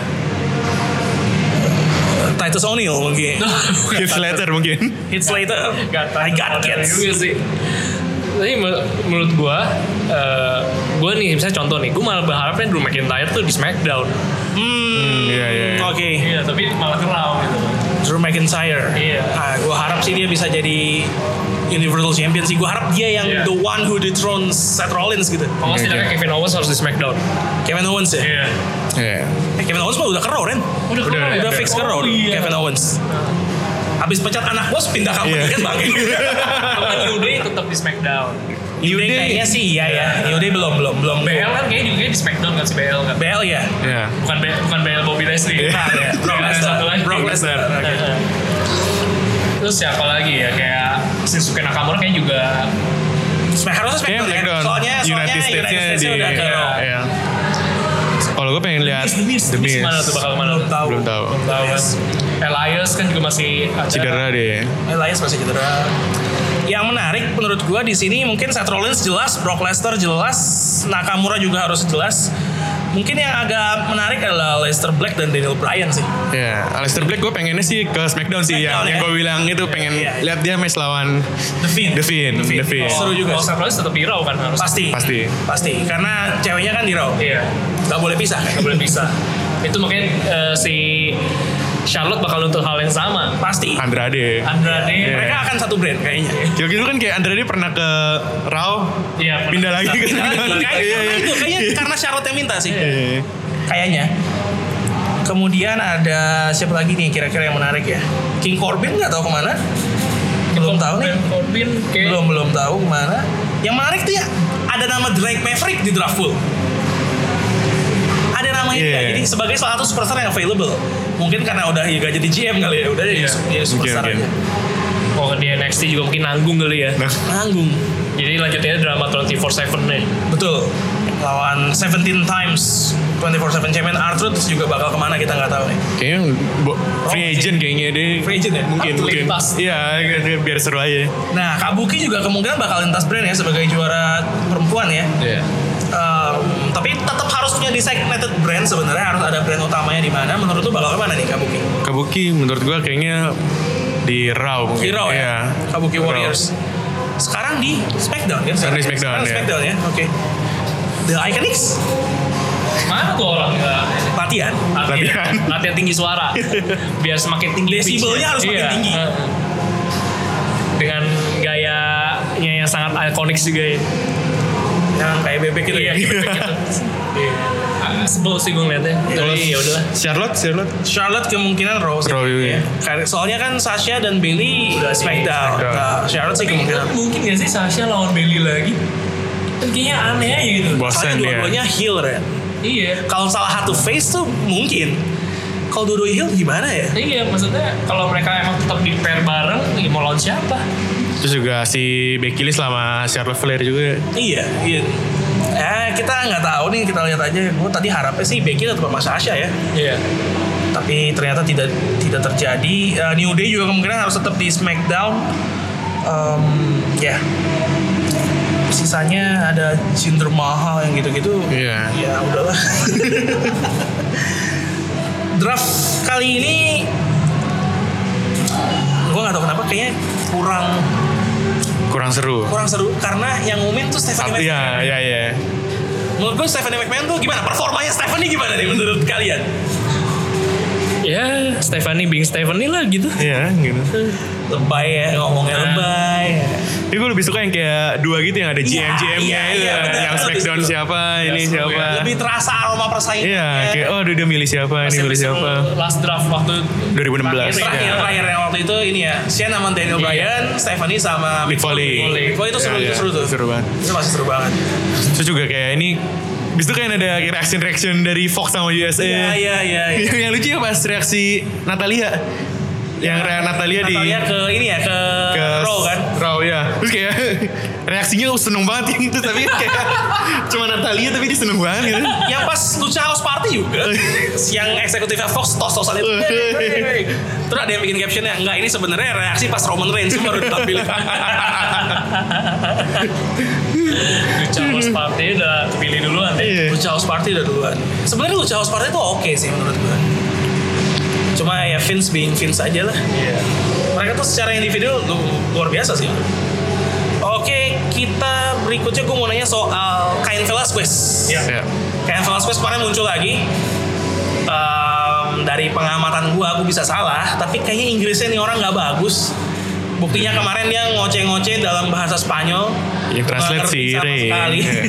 S1: Titus O'Neil mungkin.
S2: Nah,
S3: Hits later mungkin.
S1: Hits later, I got kids.
S2: Iya sih. Tapi menur- menurut gua, eh, gua nih misalnya contoh nih, gua malah berharapnya Drew McIntyre tuh di SmackDown.
S1: Hmm,
S3: Iya, iya. iya.
S1: Oke,
S2: Iya, tapi malah kerau gitu.
S1: Drew McIntyre.
S2: Iya.
S1: Nah, gue harap sih dia bisa jadi Universal Champion sih. Gue harap dia yang
S2: Iya.
S1: the one who dethrones Seth Rollins gitu.
S2: Kalau nggak setidaknya Kevin Owens harus di SmackDown.
S1: Kevin Owens ya.
S2: Iya.
S3: Iya.
S1: Eh, Kevin Owens mah udah ke Raw, Ren.
S2: Udah, udah,
S1: Udah,
S2: udah Oh,
S1: fix ke Raw,
S2: iya.
S1: Kevin Owens.
S2: Nah.
S1: Habis pecat anak bos pindah company
S3: Iya.
S1: kan bang.
S2: Kalau New Day tetap di SmackDown.
S1: New Day kayaknya sih iya ya. New Day belum belum belum.
S2: BL kan kayaknya juga di SmackDown kan si BL kan.
S1: BL ya.
S3: Iya.
S2: Bukan BL, bukan BL Bobby Leslie.
S1: Bukan, ya. Brock
S2: Yang
S1: Lesnar.
S2: satu lagi. Nah,
S1: Brock Lesnar. Oke.
S2: Terus siapa lagi ya kayak Shinsuke Nakamura kayaknya juga
S1: Smack- Harusnya
S3: Kayaknya
S1: Smackdown ya.
S3: Blackdown.
S1: Soalnya soalnya
S3: Iya, United States-nya di...
S1: udah ke Raw.
S3: Iya. Kalau gue pengen lihat
S2: The Miz, The Miz mana tuh bakal kemana?
S1: Belum tahu.
S3: Belum tahu.
S2: Belum tahu kan. Elias kan juga masih ada.
S3: Cedera deh.
S1: Elias masih cedera. Yang menarik menurut gua di sini mungkin Seth Rollins jelas, Brock Lesnar jelas, Nakamura juga harus jelas. Mungkin yang agak menarik adalah Lester Black dan Daniel Bryan sih.
S3: Ya, Aleister Black gue pengennya sih ke Smackdown sih yang,
S1: Smackdown,
S3: yang
S1: ya?
S3: gue bilang itu pengen
S1: iya, iya.
S3: lihat dia match lawan
S1: The Fiend.
S3: The Fiend, The Fiend.
S1: Seru juga.
S2: Kalau Seth Rollins tetap hero kan harus.
S1: Pasti.
S3: Pasti.
S1: Pasti. Karena ceweknya kan di Raw.
S2: Iya.
S1: Gak boleh pisah.
S2: Gak boleh bisa. Itu makanya eh, si Charlotte bakal untuk hal yang sama.
S1: Pasti.
S3: Andrade.
S2: Andrade.
S3: Iya.
S1: Mereka akan satu brand kayaknya.
S3: Kira-kira kan kayak Andrade pernah ke Raw,
S2: Iya, pernah.
S3: pindah lagi ke
S1: Nah,
S3: Smackdown.
S1: kayak-
S3: Iya,
S1: karena
S3: iya.
S1: itu kayaknya karena syarat yang minta sih.
S3: Iya, iya.
S1: Kayaknya. Kemudian ada siapa lagi nih kira-kira yang menarik ya? King Corbin nggak tahu kemana? Belum tahu nih.
S2: Dan Corbin kayak
S1: Belum belum tahu kemana. Yang menarik tuh ya ada nama Drake Maverick di draft pool. Ada nama itu ya.
S3: Iya.
S1: Jadi sebagai salah satu superstar yang available. Mungkin karena udah ya, jadi GM kali ya. Udah jadi
S2: Iya.
S1: jadi superstar
S3: Mungkin,
S1: aja.
S2: kalau di NXT Oh, juga mungkin nanggung kali ya.
S3: Nah,
S1: Nanggung.
S2: Jadi lanjutnya drama 24/7 nih.
S1: Betul. Lawan 17 times 24/7 champion Arthur terus juga bakal kemana kita nggak tahu nih.
S3: kayaknya bo- free agent kayaknya deh.
S1: Free agent ya?
S3: Mungkin,
S2: Atlet
S3: mungkin.
S2: pas.
S3: Iya, biar- biar seru aja.
S1: Nah, Kabuki juga kemungkinan bakal lintas brand ya sebagai juara perempuan ya.
S3: Iya.
S1: Ehm, tapi tetap harus punya designated brand sebenarnya harus ada brand utamanya di mana. Menurut lu bakal kemana nih Kabuki?
S3: Kabuki menurut gue kayaknya di Raw mungkin.
S1: Hero
S3: Iya.
S1: ya. Kabuki
S3: Raw.
S1: Warriors. Sekarang di SmackDown kan?
S3: Sekarang di
S1: Sekarang
S3: SmackDown, ya.
S1: SmackDown ya. Oke. The Iconics
S2: Mana tuh orang nggak
S1: latihan.
S3: Latihan.
S2: latihan tinggi suara biar semakin tinggi
S1: Desibelnya
S2: pitch-nya. Iya.
S1: harus makin tinggi.
S2: dengan gayanya yang sangat ikonik juga ya
S1: Yang kayak bebek gitu
S2: iya
S1: ya.
S2: gitu Iya. Ah, sebel sih gue ngeliatnya tapi ya udahlah
S3: Charlotte, Charlotte.
S1: Charlotte kemungkinan Raw sih.
S3: Raw, iya.
S1: Karena- Soalnya kan Sasha dan Bailey udah
S2: Udah di
S1: SmackDown.
S3: SmackDown.
S1: Nah, Charlotte sih kemungkinan.
S2: mungkin gak sih Sasha lawan Bailey lagi Kan kayaknya aneh aja gitu
S3: Bosan
S1: Soalnya
S3: dia.
S1: dua-duanya heel Ren.
S2: iya
S1: Kalau salah satu face tuh mungkin. Kalau dua-duanya heel gimana ya?
S2: Iya maksudnya kalau mereka emang tetap di pair bareng ya mau lawan siapa?
S3: Terus juga si Becky Lee sama Charlotte Flair juga.
S1: Iya, iya. Eh kita nggak tahu nih kita lihat aja. Gue tadi harapnya sih Becky tetap sama Sasha ya,
S2: Iya.
S1: tapi ternyata tidak tidak terjadi. Eh, New Day juga kemungkinan harus tetap di SmackDown. Em, ya. Sisanya ada Jinder Mahal yang gitu-gitu.
S3: Iya.
S1: Ya udahlah. Draft kali ini gue gak tau kenapa kayaknya kurang
S3: Kurang seru.
S1: kurang seru karena yang ngumumin tuh Stephanie McMahon.
S3: Iya, iya, iya.
S1: Menurut gue Stephanie McMahon tuh gimana? Performanya Stephanie gimana nih menurut kalian?
S2: Ya Stephanie being Stephanie lah gitu.
S3: Iya, gitu.
S1: Lebay ya, ngomongnya
S3: Nah.
S1: lebay.
S3: Tapi gue lebih suka yang kayak dua gitu yang ada GM GM nya
S1: iya, iya, bener.
S3: yang Smackdown
S1: Betul. Iya, ya.
S3: siapa, ini
S2: seru
S3: siapa.
S1: Lebih terasa aroma persaingan.
S3: Iya, kayak oh dia milih siapa, ini
S2: Masih
S3: milih
S2: seru
S3: siapa.
S2: Last draft waktu
S3: 2016.
S1: Terakhir,
S3: Iya.
S1: terakhir yang waktu itu ini ya. Shane sama Daniel
S2: Iya.
S1: Bryan, Stephanie sama
S3: Mick Foley.
S1: Foley. Wah, itu seru,
S3: Iya,
S1: itu
S3: iya,
S1: seru tuh.
S3: Seru banget.
S1: Itu masih seru banget.
S3: Terus juga kayak ini Abis itu kan ada reaction reaction dari Fox sama USA.
S1: Iya, iya, iya. iya.
S3: yang lucu ya pas reaksi Natalia. Yang rea Natalia, di
S1: Natalia ke ini ya, ke,
S3: ke
S1: Raw kan.
S3: Raw ya. Terus kayak reaksinya oh, seneng banget yang itu tapi kayak cuma Natalia tapi dia seneng banget gitu.
S1: Yang pas Lucha House Party juga. yang eksekutifnya Fox tos-tosan itu. Hey, hey, hey. Terus ada yang bikin captionnya, enggak ini sebenarnya reaksi pas Roman Reigns itu baru ditampilin.
S2: Charles Party udah pilih duluan deh.
S3: Iya.
S1: Lucha House Party udah duluan. Sebenarnya Lucha House Party tuh oke sih menurut gue. Cuma ya Vince being Vince aja lah.
S2: Iya.
S1: Mereka tuh secara individu lu- luar biasa sih. Oke, kita berikutnya gue mau nanya soal Cain Velasquez.
S2: Iya.
S3: Ya.
S1: Kayak Velasquez kemarin muncul lagi. Ehm, dari pengamatan gua, aku bisa salah. Tapi kayaknya Inggrisnya nih orang nggak bagus. Buktinya kemarin dia ngoceh-ngoceh dalam bahasa Spanyol.
S3: Yang
S1: Nggak
S3: Ya, translate
S1: ngerti
S3: si
S1: sama
S3: Ray.
S1: sekali.
S3: Iya.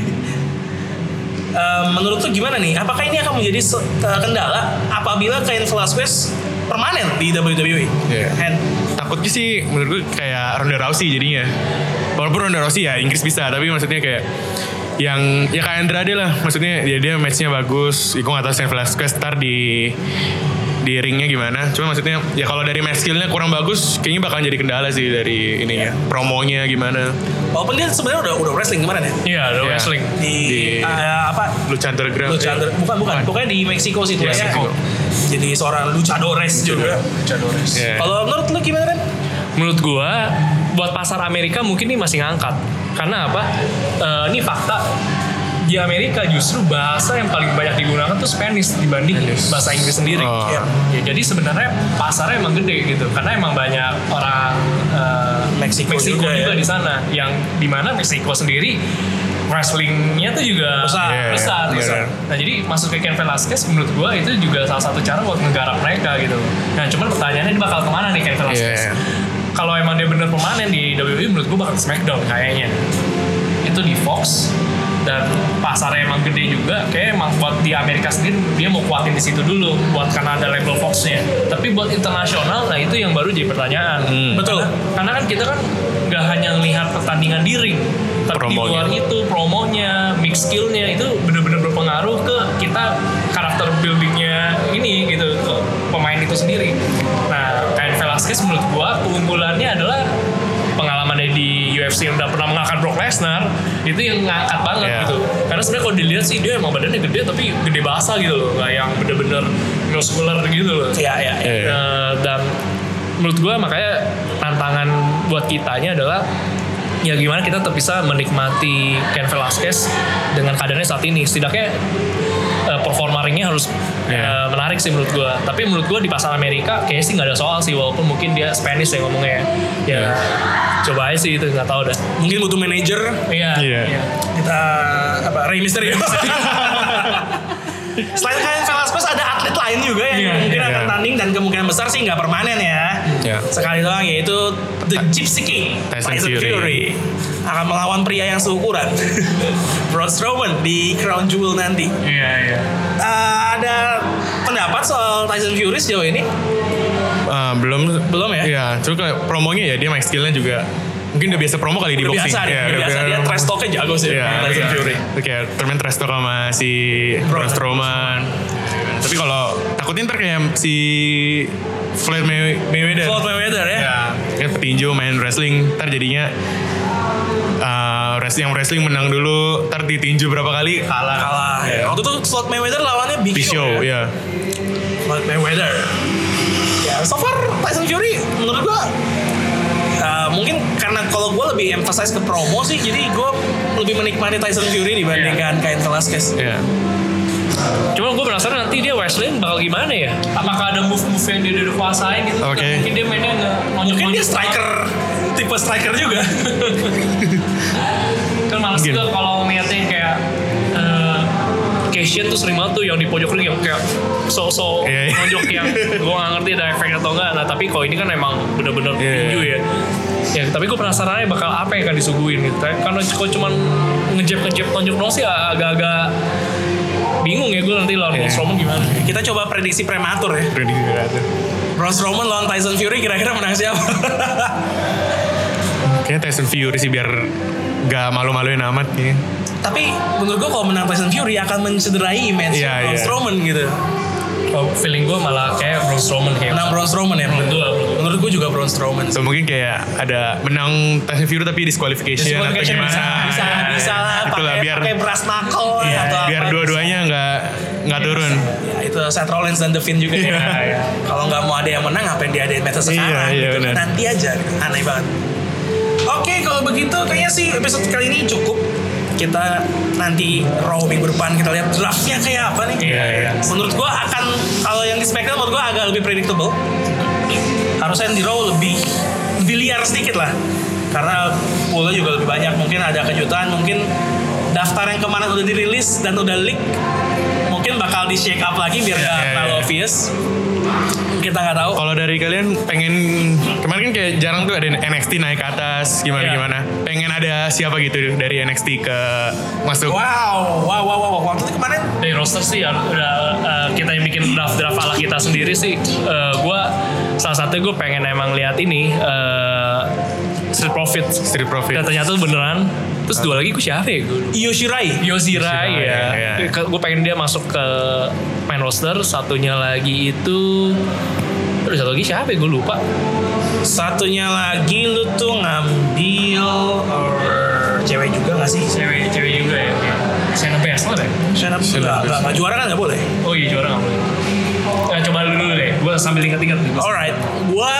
S1: Ehm, menurut lu gimana nih? Apakah ini akan menjadi se- ke- kendala apabila Cain Velasquez permanen di WWE?
S3: Iya.
S1: And
S3: takutnya sih menurut gue kayak Ronda Rousey jadinya walaupun Ronda Rousey ya Inggris bisa tapi maksudnya kayak yang ya kayak Andrade lah maksudnya ya dia dia matchnya bagus ya, gue nggak tahu Shane Velasquez ntar di di ringnya gimana cuma maksudnya ya kalau dari match skillnya kurang bagus kayaknya bakalan jadi kendala sih dari ini ya promonya gimana
S1: walaupun dia sebenarnya udah udah wrestling kemarin ya
S2: Iya, ada
S3: Iya.
S2: wrestling.
S1: di,
S3: Di-
S1: eh, apa
S3: Luchander Graham
S1: Luchador bukan bukan pokoknya di Meksiko sih tuh
S3: Meksiko.
S1: jadi seorang luchadores juga
S3: Iya. Ah.
S1: kalau menurut lu gimana Ren?
S2: menurut gua buat pasar Amerika mungkin ini masih ngangkat karena apa Eh, ini fakta di Amerika justru bahasa yang paling banyak digunakan tuh Spanish dibanding bahasa Inggris sendiri
S3: Oh.
S1: Iya.
S2: Ya, jadi sebenarnya pasarnya emang gede gitu karena emang banyak orang eh,
S1: Meksiko juga ya.
S2: di sana yang dimana Meksiko sendiri wrestlingnya tuh juga
S1: Besar.
S2: Iya,
S3: iya,
S2: besar,
S3: iya,
S2: besar.
S3: iya.
S2: Nah jadi masuk ke Ken Velasquez menurut gua itu juga salah satu cara buat menggarap mereka gitu. Nah cuman pertanyaannya dia bakal kemana nih Ken Velasquez?
S3: Iya.
S2: Kalau emang dia bener permanen di WWE menurut gua bakal ke Smackdown kayaknya. Itu di Fox dan pasarnya emang gede juga kayak emang buat di Amerika sendiri dia mau kuatin di situ dulu buat karena ada label Fox-nya tapi buat internasional nah itu yang baru jadi pertanyaan
S1: betul
S2: karena kan kita kan nggak hanya melihat pertandingan di ring tapi di
S3: Promonya.
S2: luar itu promonya mix skillnya itu benar-benar berpengaruh ke kita karakter buildingnya ini gitu ke pemain itu sendiri nah Cain Velasquez menurut gua keunggulannya adalah pengalamannya di UFC yang udah pernah mengangkat Brock Lesnar itu yang ngangkat banget
S3: Iya.
S2: gitu karena sebenarnya kalau dilihat sih dia emang badannya gede tapi gede basah gitu loh nggak yang bener-bener muscular gitu loh
S1: ya ya ya.
S3: Iya.
S2: Eh, dan menurut gue makanya tantangan buat kitanya adalah ya gimana kita tetap bisa menikmati Ken Velasquez dengan keadaannya saat ini setidaknya eh, performa ringnya harus eh,
S3: Iya.
S2: menarik sih menurut gue tapi menurut gue di pasar Amerika kayaknya sih nggak ada soal sih walaupun mungkin dia Spanish yang ngomongnya ya
S3: Iya.
S2: coba aja sih itu nggak tahu dah
S1: mungkin butuh manajer
S2: iya
S3: Iya.
S2: iya.
S1: kita apa Rey Mysterio selain Cain Velasquez ada atlet lain juga yang
S2: Iya,
S1: mungkin
S3: iya,
S1: akan
S3: iya.
S1: tanding dan kemungkinan besar sih nggak permanen ya
S3: Iya.
S1: sekali doang yaitu The Gypsy King
S3: Tyson Fury.
S1: akan melawan pria yang seukuran Braun Strowman di Crown Jewel nanti
S2: iya iya
S1: Eh, ada pendapat soal Tyson Fury sejauh ini?
S3: Ah, belum
S1: Belum ya?
S3: Iya, cuma kayak promonya ya dia main skillnya juga mungkin udah biasa promo kali di
S1: Udah
S3: boxing.
S1: biasa nih,
S3: Iya,
S1: udah biasa dia trash talknya jago sih
S3: Iya,
S1: Tyson Fury.
S3: Itu kayak termain trash talk sama si Braun Strowman. Tapi kalau takutnya ntar kayak si Floyd May- Mayweather.
S1: Floyd Mayweather ya.
S3: Ya, kan petinju main wrestling, ntar jadinya eh wrestling yang wrestling menang dulu, ntar ditinju berapa kali kalah.
S1: Kalah. ya.
S3: Iya.
S1: Waktu itu Floyd Mayweather lawannya Big
S3: Di show,
S1: Show. ya.
S3: ya.
S1: Floyd Mayweather. Ya, so far Tyson Fury menurut gua eh, mungkin karena kalau gua lebih emphasize ke promo sih, jadi gua lebih menikmati Tyson Fury dibandingkan Cain Velasquez.
S3: Iya.
S2: Cuma gue penasaran nanti dia wrestling bakal gimana ya? Apakah ada move-move yang dia udah kuasain gitu?
S3: Oke.
S2: Mungkin dia mainnya nge
S1: Mungkin dia
S2: nonjok-nonjok.
S1: striker, tipe striker juga.
S2: Kan males
S3: Mungkin.
S2: juga kalau ngeliatnya yang kayak eh Cashin tuh sering banget tuh yang di pojok ring yang kayak so-so
S3: Iya, iya.
S2: pojok yang gue gak ngerti ada efek atau enggak. Nah tapi kalau ini kan emang bener-bener
S3: Iya, iya.
S2: tinju ya. Ya tapi gue penasaran aja bakal apa yang akan disuguhin gitu. Karena kalau cuman ngejep-ngejep tonjok doang sih agak-agak bingung ya gue nanti lawan
S3: Iya.
S2: Braun Strowman gimana.
S1: Kita coba prediksi prematur ya.
S3: Prediksi berarti.
S1: Braun Strowman lawan Tyson Fury kira-kira menang siapa?
S3: Kayaknya Tyson Fury sih biar gak malu-maluin amat kayaknya.
S1: Tapi menurut gua kalau menang Tyson Fury akan mencederai image
S3: Iya,
S1: Braun
S3: iya.
S1: Strowman gitu.
S2: Oh, feeling gue malah kayak Braun Strowman kayak
S3: Nah,
S1: Menang Braun Strowman ya.
S2: Menurut gua, menurut gua.
S1: Menurut gua juga Braun Strowman.
S3: So, mungkin kayak ada menang Tyson Fury tapi disqualification,
S1: Disqualification
S3: atau
S1: bisa,
S3: gimana.
S1: bisa,
S3: Ya,
S1: bisa lah.
S3: Itulah
S1: Pakai
S3: biar
S1: pakai brass knuckle
S3: ya,
S1: atau
S3: biar
S1: apa.
S3: dua-duanya nggak nggak turun.
S1: Ya, itu Seth Rollins dan The Finn juga ya. Kalau nggak mau ada yang menang, ngapain dia adain meta sekarang?
S3: Iya, iya,
S1: gitu.
S3: benar.
S1: Nanti aja. gitu. Aneh banget. Oke, kalau begitu kayaknya sih episode kali ini cukup. kita nanti Raw minggu depan kita lihat draftnya kayak apa nih.
S2: Iya, iya.
S1: Menurut gua akan kalau yang di SmackDown menurut gua agak lebih predictable. Harusnya yang di Raw lebih lebih liar sedikit lah. Karena poolnya juga lebih banyak. Mungkin ada kejutan, mungkin daftar yang kemana udah dirilis dan udah leak mungkin bakal di shake up lagi biar nggak
S3: Iya, iya,
S1: terlalu
S3: iya.
S1: obvious. Kita nggak tahu.
S3: Kalau dari kalian pengen kemarin kan kayak jarang tuh ada NXT naik ke atas gimana
S1: Iya.
S3: gimana. Pengen ada siapa gitu dari NXT ke masuk.
S1: Wow, wow, wow, wow. Waktu itu kemarin
S2: dari roster sih ya, udah eh, kita yang bikin draft draft ala kita sendiri sih eh, gua salah satu gue pengen emang lihat ini eh, Street Profit
S3: Street Profit.
S2: dan ternyata beneran terus dua lagi gue siapa ya gue
S1: Yoshirai.
S2: Yozira
S3: Yozira,
S2: ya.
S3: iya, iya.
S2: Gue pengen dia masuk ke main roster. Satunya lagi itu, aduh satu lagi siapa? Gue lupa.
S1: Satunya lagi lu tuh ngambil er, cewek juga gak sih?
S2: Cewek, cewek juga ya. Shayna Baszler ya.
S1: Shana
S3: Shayna
S1: enggak, enggak, enggak juara kan gak boleh.
S2: Oh iya juara nggak boleh. Nah, coba dulu dulu deh. Gue sambil ingat-ingat. nih.
S1: Alright, gua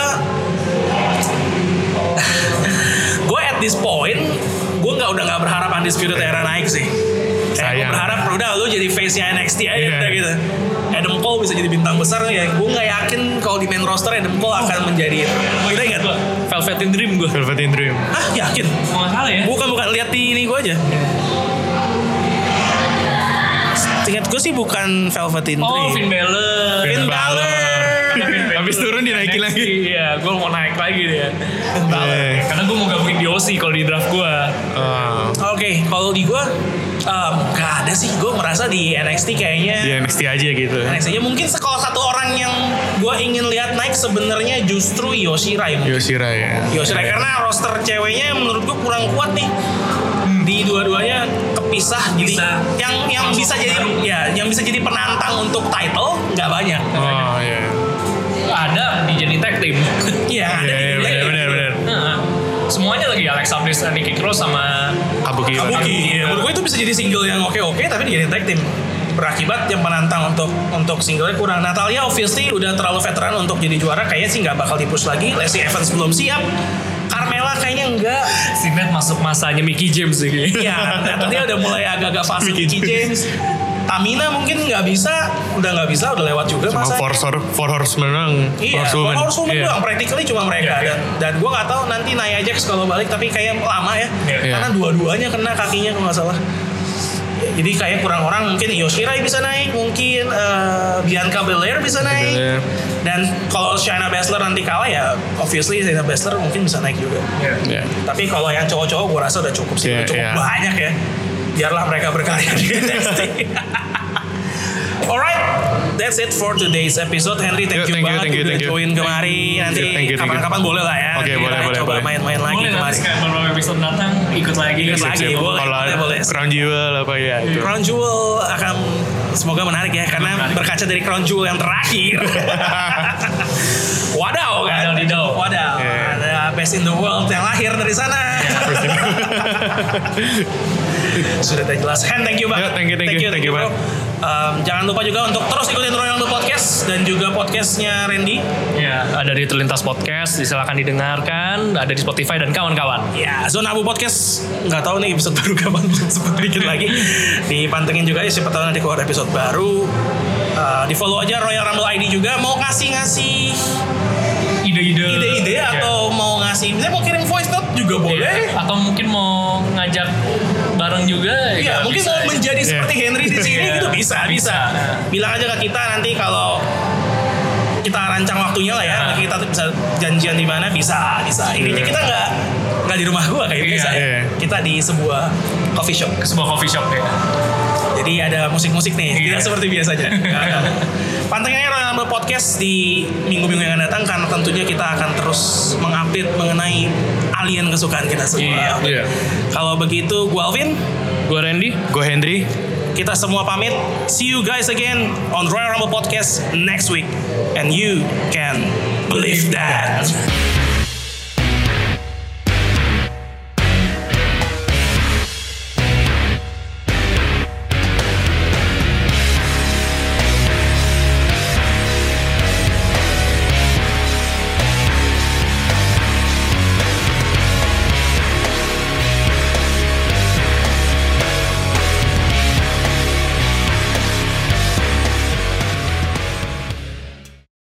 S1: gua at this point gua nggak udah nggak berharap undisputed era naik sih. Kayak gua
S3: Sayang.
S1: berharap udah lu jadi face-nya NXT aja
S3: Iya.
S1: udah gitu. Adam Cole bisa jadi bintang besar ya. Gue nggak yakin kalau di main roster Adam Cole akan menjadi itu. Udah ingat?
S2: Gua, Velvet in Dream gue.
S3: Velveteen Dream.
S1: Ah yakin?
S2: Kalau nggak salah ya.
S1: Bukan bukan lihat di ini gue aja. Ingat gue sih bukan Velveteen
S2: Oh
S1: Dream.
S2: Finn Balor.
S1: Finn Balor.
S3: Iya. Habis turun dinaikin lagi.
S2: Iya, gue mau naik lagi dia. Iya.
S3: Balor. Iya.
S2: Karena gue mau gabungin di OC kalau di draft gue.
S3: Oh,
S1: Oke, kalau di gue em gak ada sih. Gue merasa di NXT kayaknya
S3: di NXT aja gitu.
S1: NXT nya mungkin se- kalau satu orang yang gue ingin lihat naik sebenarnya justru Yoshirai mungkin.
S3: Yoshira ya.
S1: Yoshirai karena roster ceweknya menurut gue kurang kuat nih.
S3: Hmm.
S1: Di dua-duanya kepisah jadi
S2: Bisa.
S1: yang yang bisa jadi ya yang bisa jadi penantang untuk title nggak banyak.
S3: Oh iya.
S2: Ada di jadi tag team.
S1: Iya, ada di dunia
S3: Iya iya benar
S1: ini.
S3: benar benar.
S2: Nah, Semuanya lagi Alexa Bliss, Nikki Cross sama
S3: Kabuki.
S1: Kabuki. Iya, Menurut gue itu bisa jadi single yang oke-oke tapi dijadiin tag team. Berakibat yang penantang untuk untuk singlenya kurang. Natalia obviously udah terlalu veteran untuk jadi juara. Kayaknya sih nggak bakal dipush lagi. Lacey Evans belum siap. Carmela kayaknya enggak.
S2: Signet masuk masanya Mickey James sih kayaknya.
S1: Iya, Natalia udah mulai agak-agak fase Mickey James. Tamina mungkin nggak bisa. Udah nggak bisa, udah lewat juga
S3: Sama
S1: masa.
S3: Four, Sor- four Horsemen doang.
S1: Iya,
S3: Horsewoman.
S1: Power Woman
S3: Iya.
S1: doang, practically cuma mereka dan dan gue nggak tahu nanti Nia Jax kalau balik tapi kayak lama ya,
S3: Iya.
S1: karena dua-duanya kena kakinya kalau nggak salah. Jadi kayak kurang orang mungkin Yoshirai bisa naik, mungkin eh, Bianca Belair bisa naik.
S3: Belair.
S1: Dan kalau Shayna Baszler nanti kalah ya obviously Shayna Baszler mungkin bisa naik juga.
S3: Iya.
S1: Tapi kalau yang cowok-cowok gue rasa udah cukup sih,
S3: Iya,
S1: udah cukup
S3: iya.
S1: banyak ya. Biarlah mereka berkarya di NXT. Alright, that's it for today's episode. Henry, thank
S3: Yo,
S1: you
S3: thank you,
S1: banget
S3: thank you,
S1: udah
S3: thank you.
S1: join kemari. Nanti
S3: Thank you, thank you.
S1: kapan-kapan boleh lah ya.
S3: Oke,
S1: Nanti
S3: boleh,
S1: kita
S3: boleh,
S1: coba
S3: boleh.
S1: main-main lagi
S2: Boleh nanti
S1: kemari.
S2: sekali beberapa episode datang ikut lagi.
S3: Iya,
S1: Ikut lagi.
S3: Sip, sip.
S1: boleh,
S3: Kalau
S1: boleh, boleh.
S3: Crown Jewel apa ya itu.
S1: Crown Jewel akan semoga menarik ya karena
S2: Menarik.
S1: berkaca dari Crown Jewel yang terakhir. Wadaw kan?
S2: Wadaw, didaw.
S1: Wadaw.
S3: Iya.
S1: Ada best in the world yang lahir dari sana. Sudah terjelas. Hen, thank you banget.
S3: Ya, thank you, thank you, thank you,
S1: bro.
S3: Bang.
S1: Um, jangan lupa juga untuk terus ikutin Royal The Podcast dan juga podcastnya Randy.
S2: Ya, ada di Terlintas Podcast, silakan didengarkan, ada di Spotify dan kawan-kawan.
S1: Ya, Zona Abu Podcast nggak tahu nih episode baru kapan belum sempet bikin lagi. Dipantengin juga ya siapa tahu nanti keluar episode baru. Uh, di follow aja Royal Rumble ID juga mau ngasih ngasih
S2: Ide-ide.
S1: ide-ide
S3: Iya.
S2: Ya.
S1: atau mau ngasih misalnya mau kirim voice note juga
S2: Iya.
S1: boleh.
S2: Atau mungkin mau ngajak bareng juga.
S1: Iya,
S2: ya
S1: mungkin
S2: bisa.
S1: mau menjadi seperti Henry di sini
S2: Iya.
S1: gitu bisa, bisa. Bilang aja ke kita nanti kalau kita rancang waktunya lah ya.
S2: Iya.
S1: Kita tuh bisa janjian di mana bisa, bisa. Intinya
S3: Iya.
S1: kita nggak nggak di rumah gua kayak
S2: Iya,
S1: biasa. ya.
S3: iya.
S1: Kita di sebuah coffee shop.
S2: ke sebuah coffee shop ya.
S1: Jadi ada musik-musik nih,
S2: Iya.
S1: tidak seperti biasanya. Nggak ada. Pantengin Royal Rumble Podcast di minggu-minggu yang akan datang karena tentunya kita akan terus mengupdate mengenai alien kesukaan kita semua.
S3: Iya.
S1: Kalau begitu, gue Alvin,
S2: Gue Randy.
S3: Gue Hendry.
S1: kita semua pamit. See you guys again on Royal Rumble Podcast next week. And you can believe that.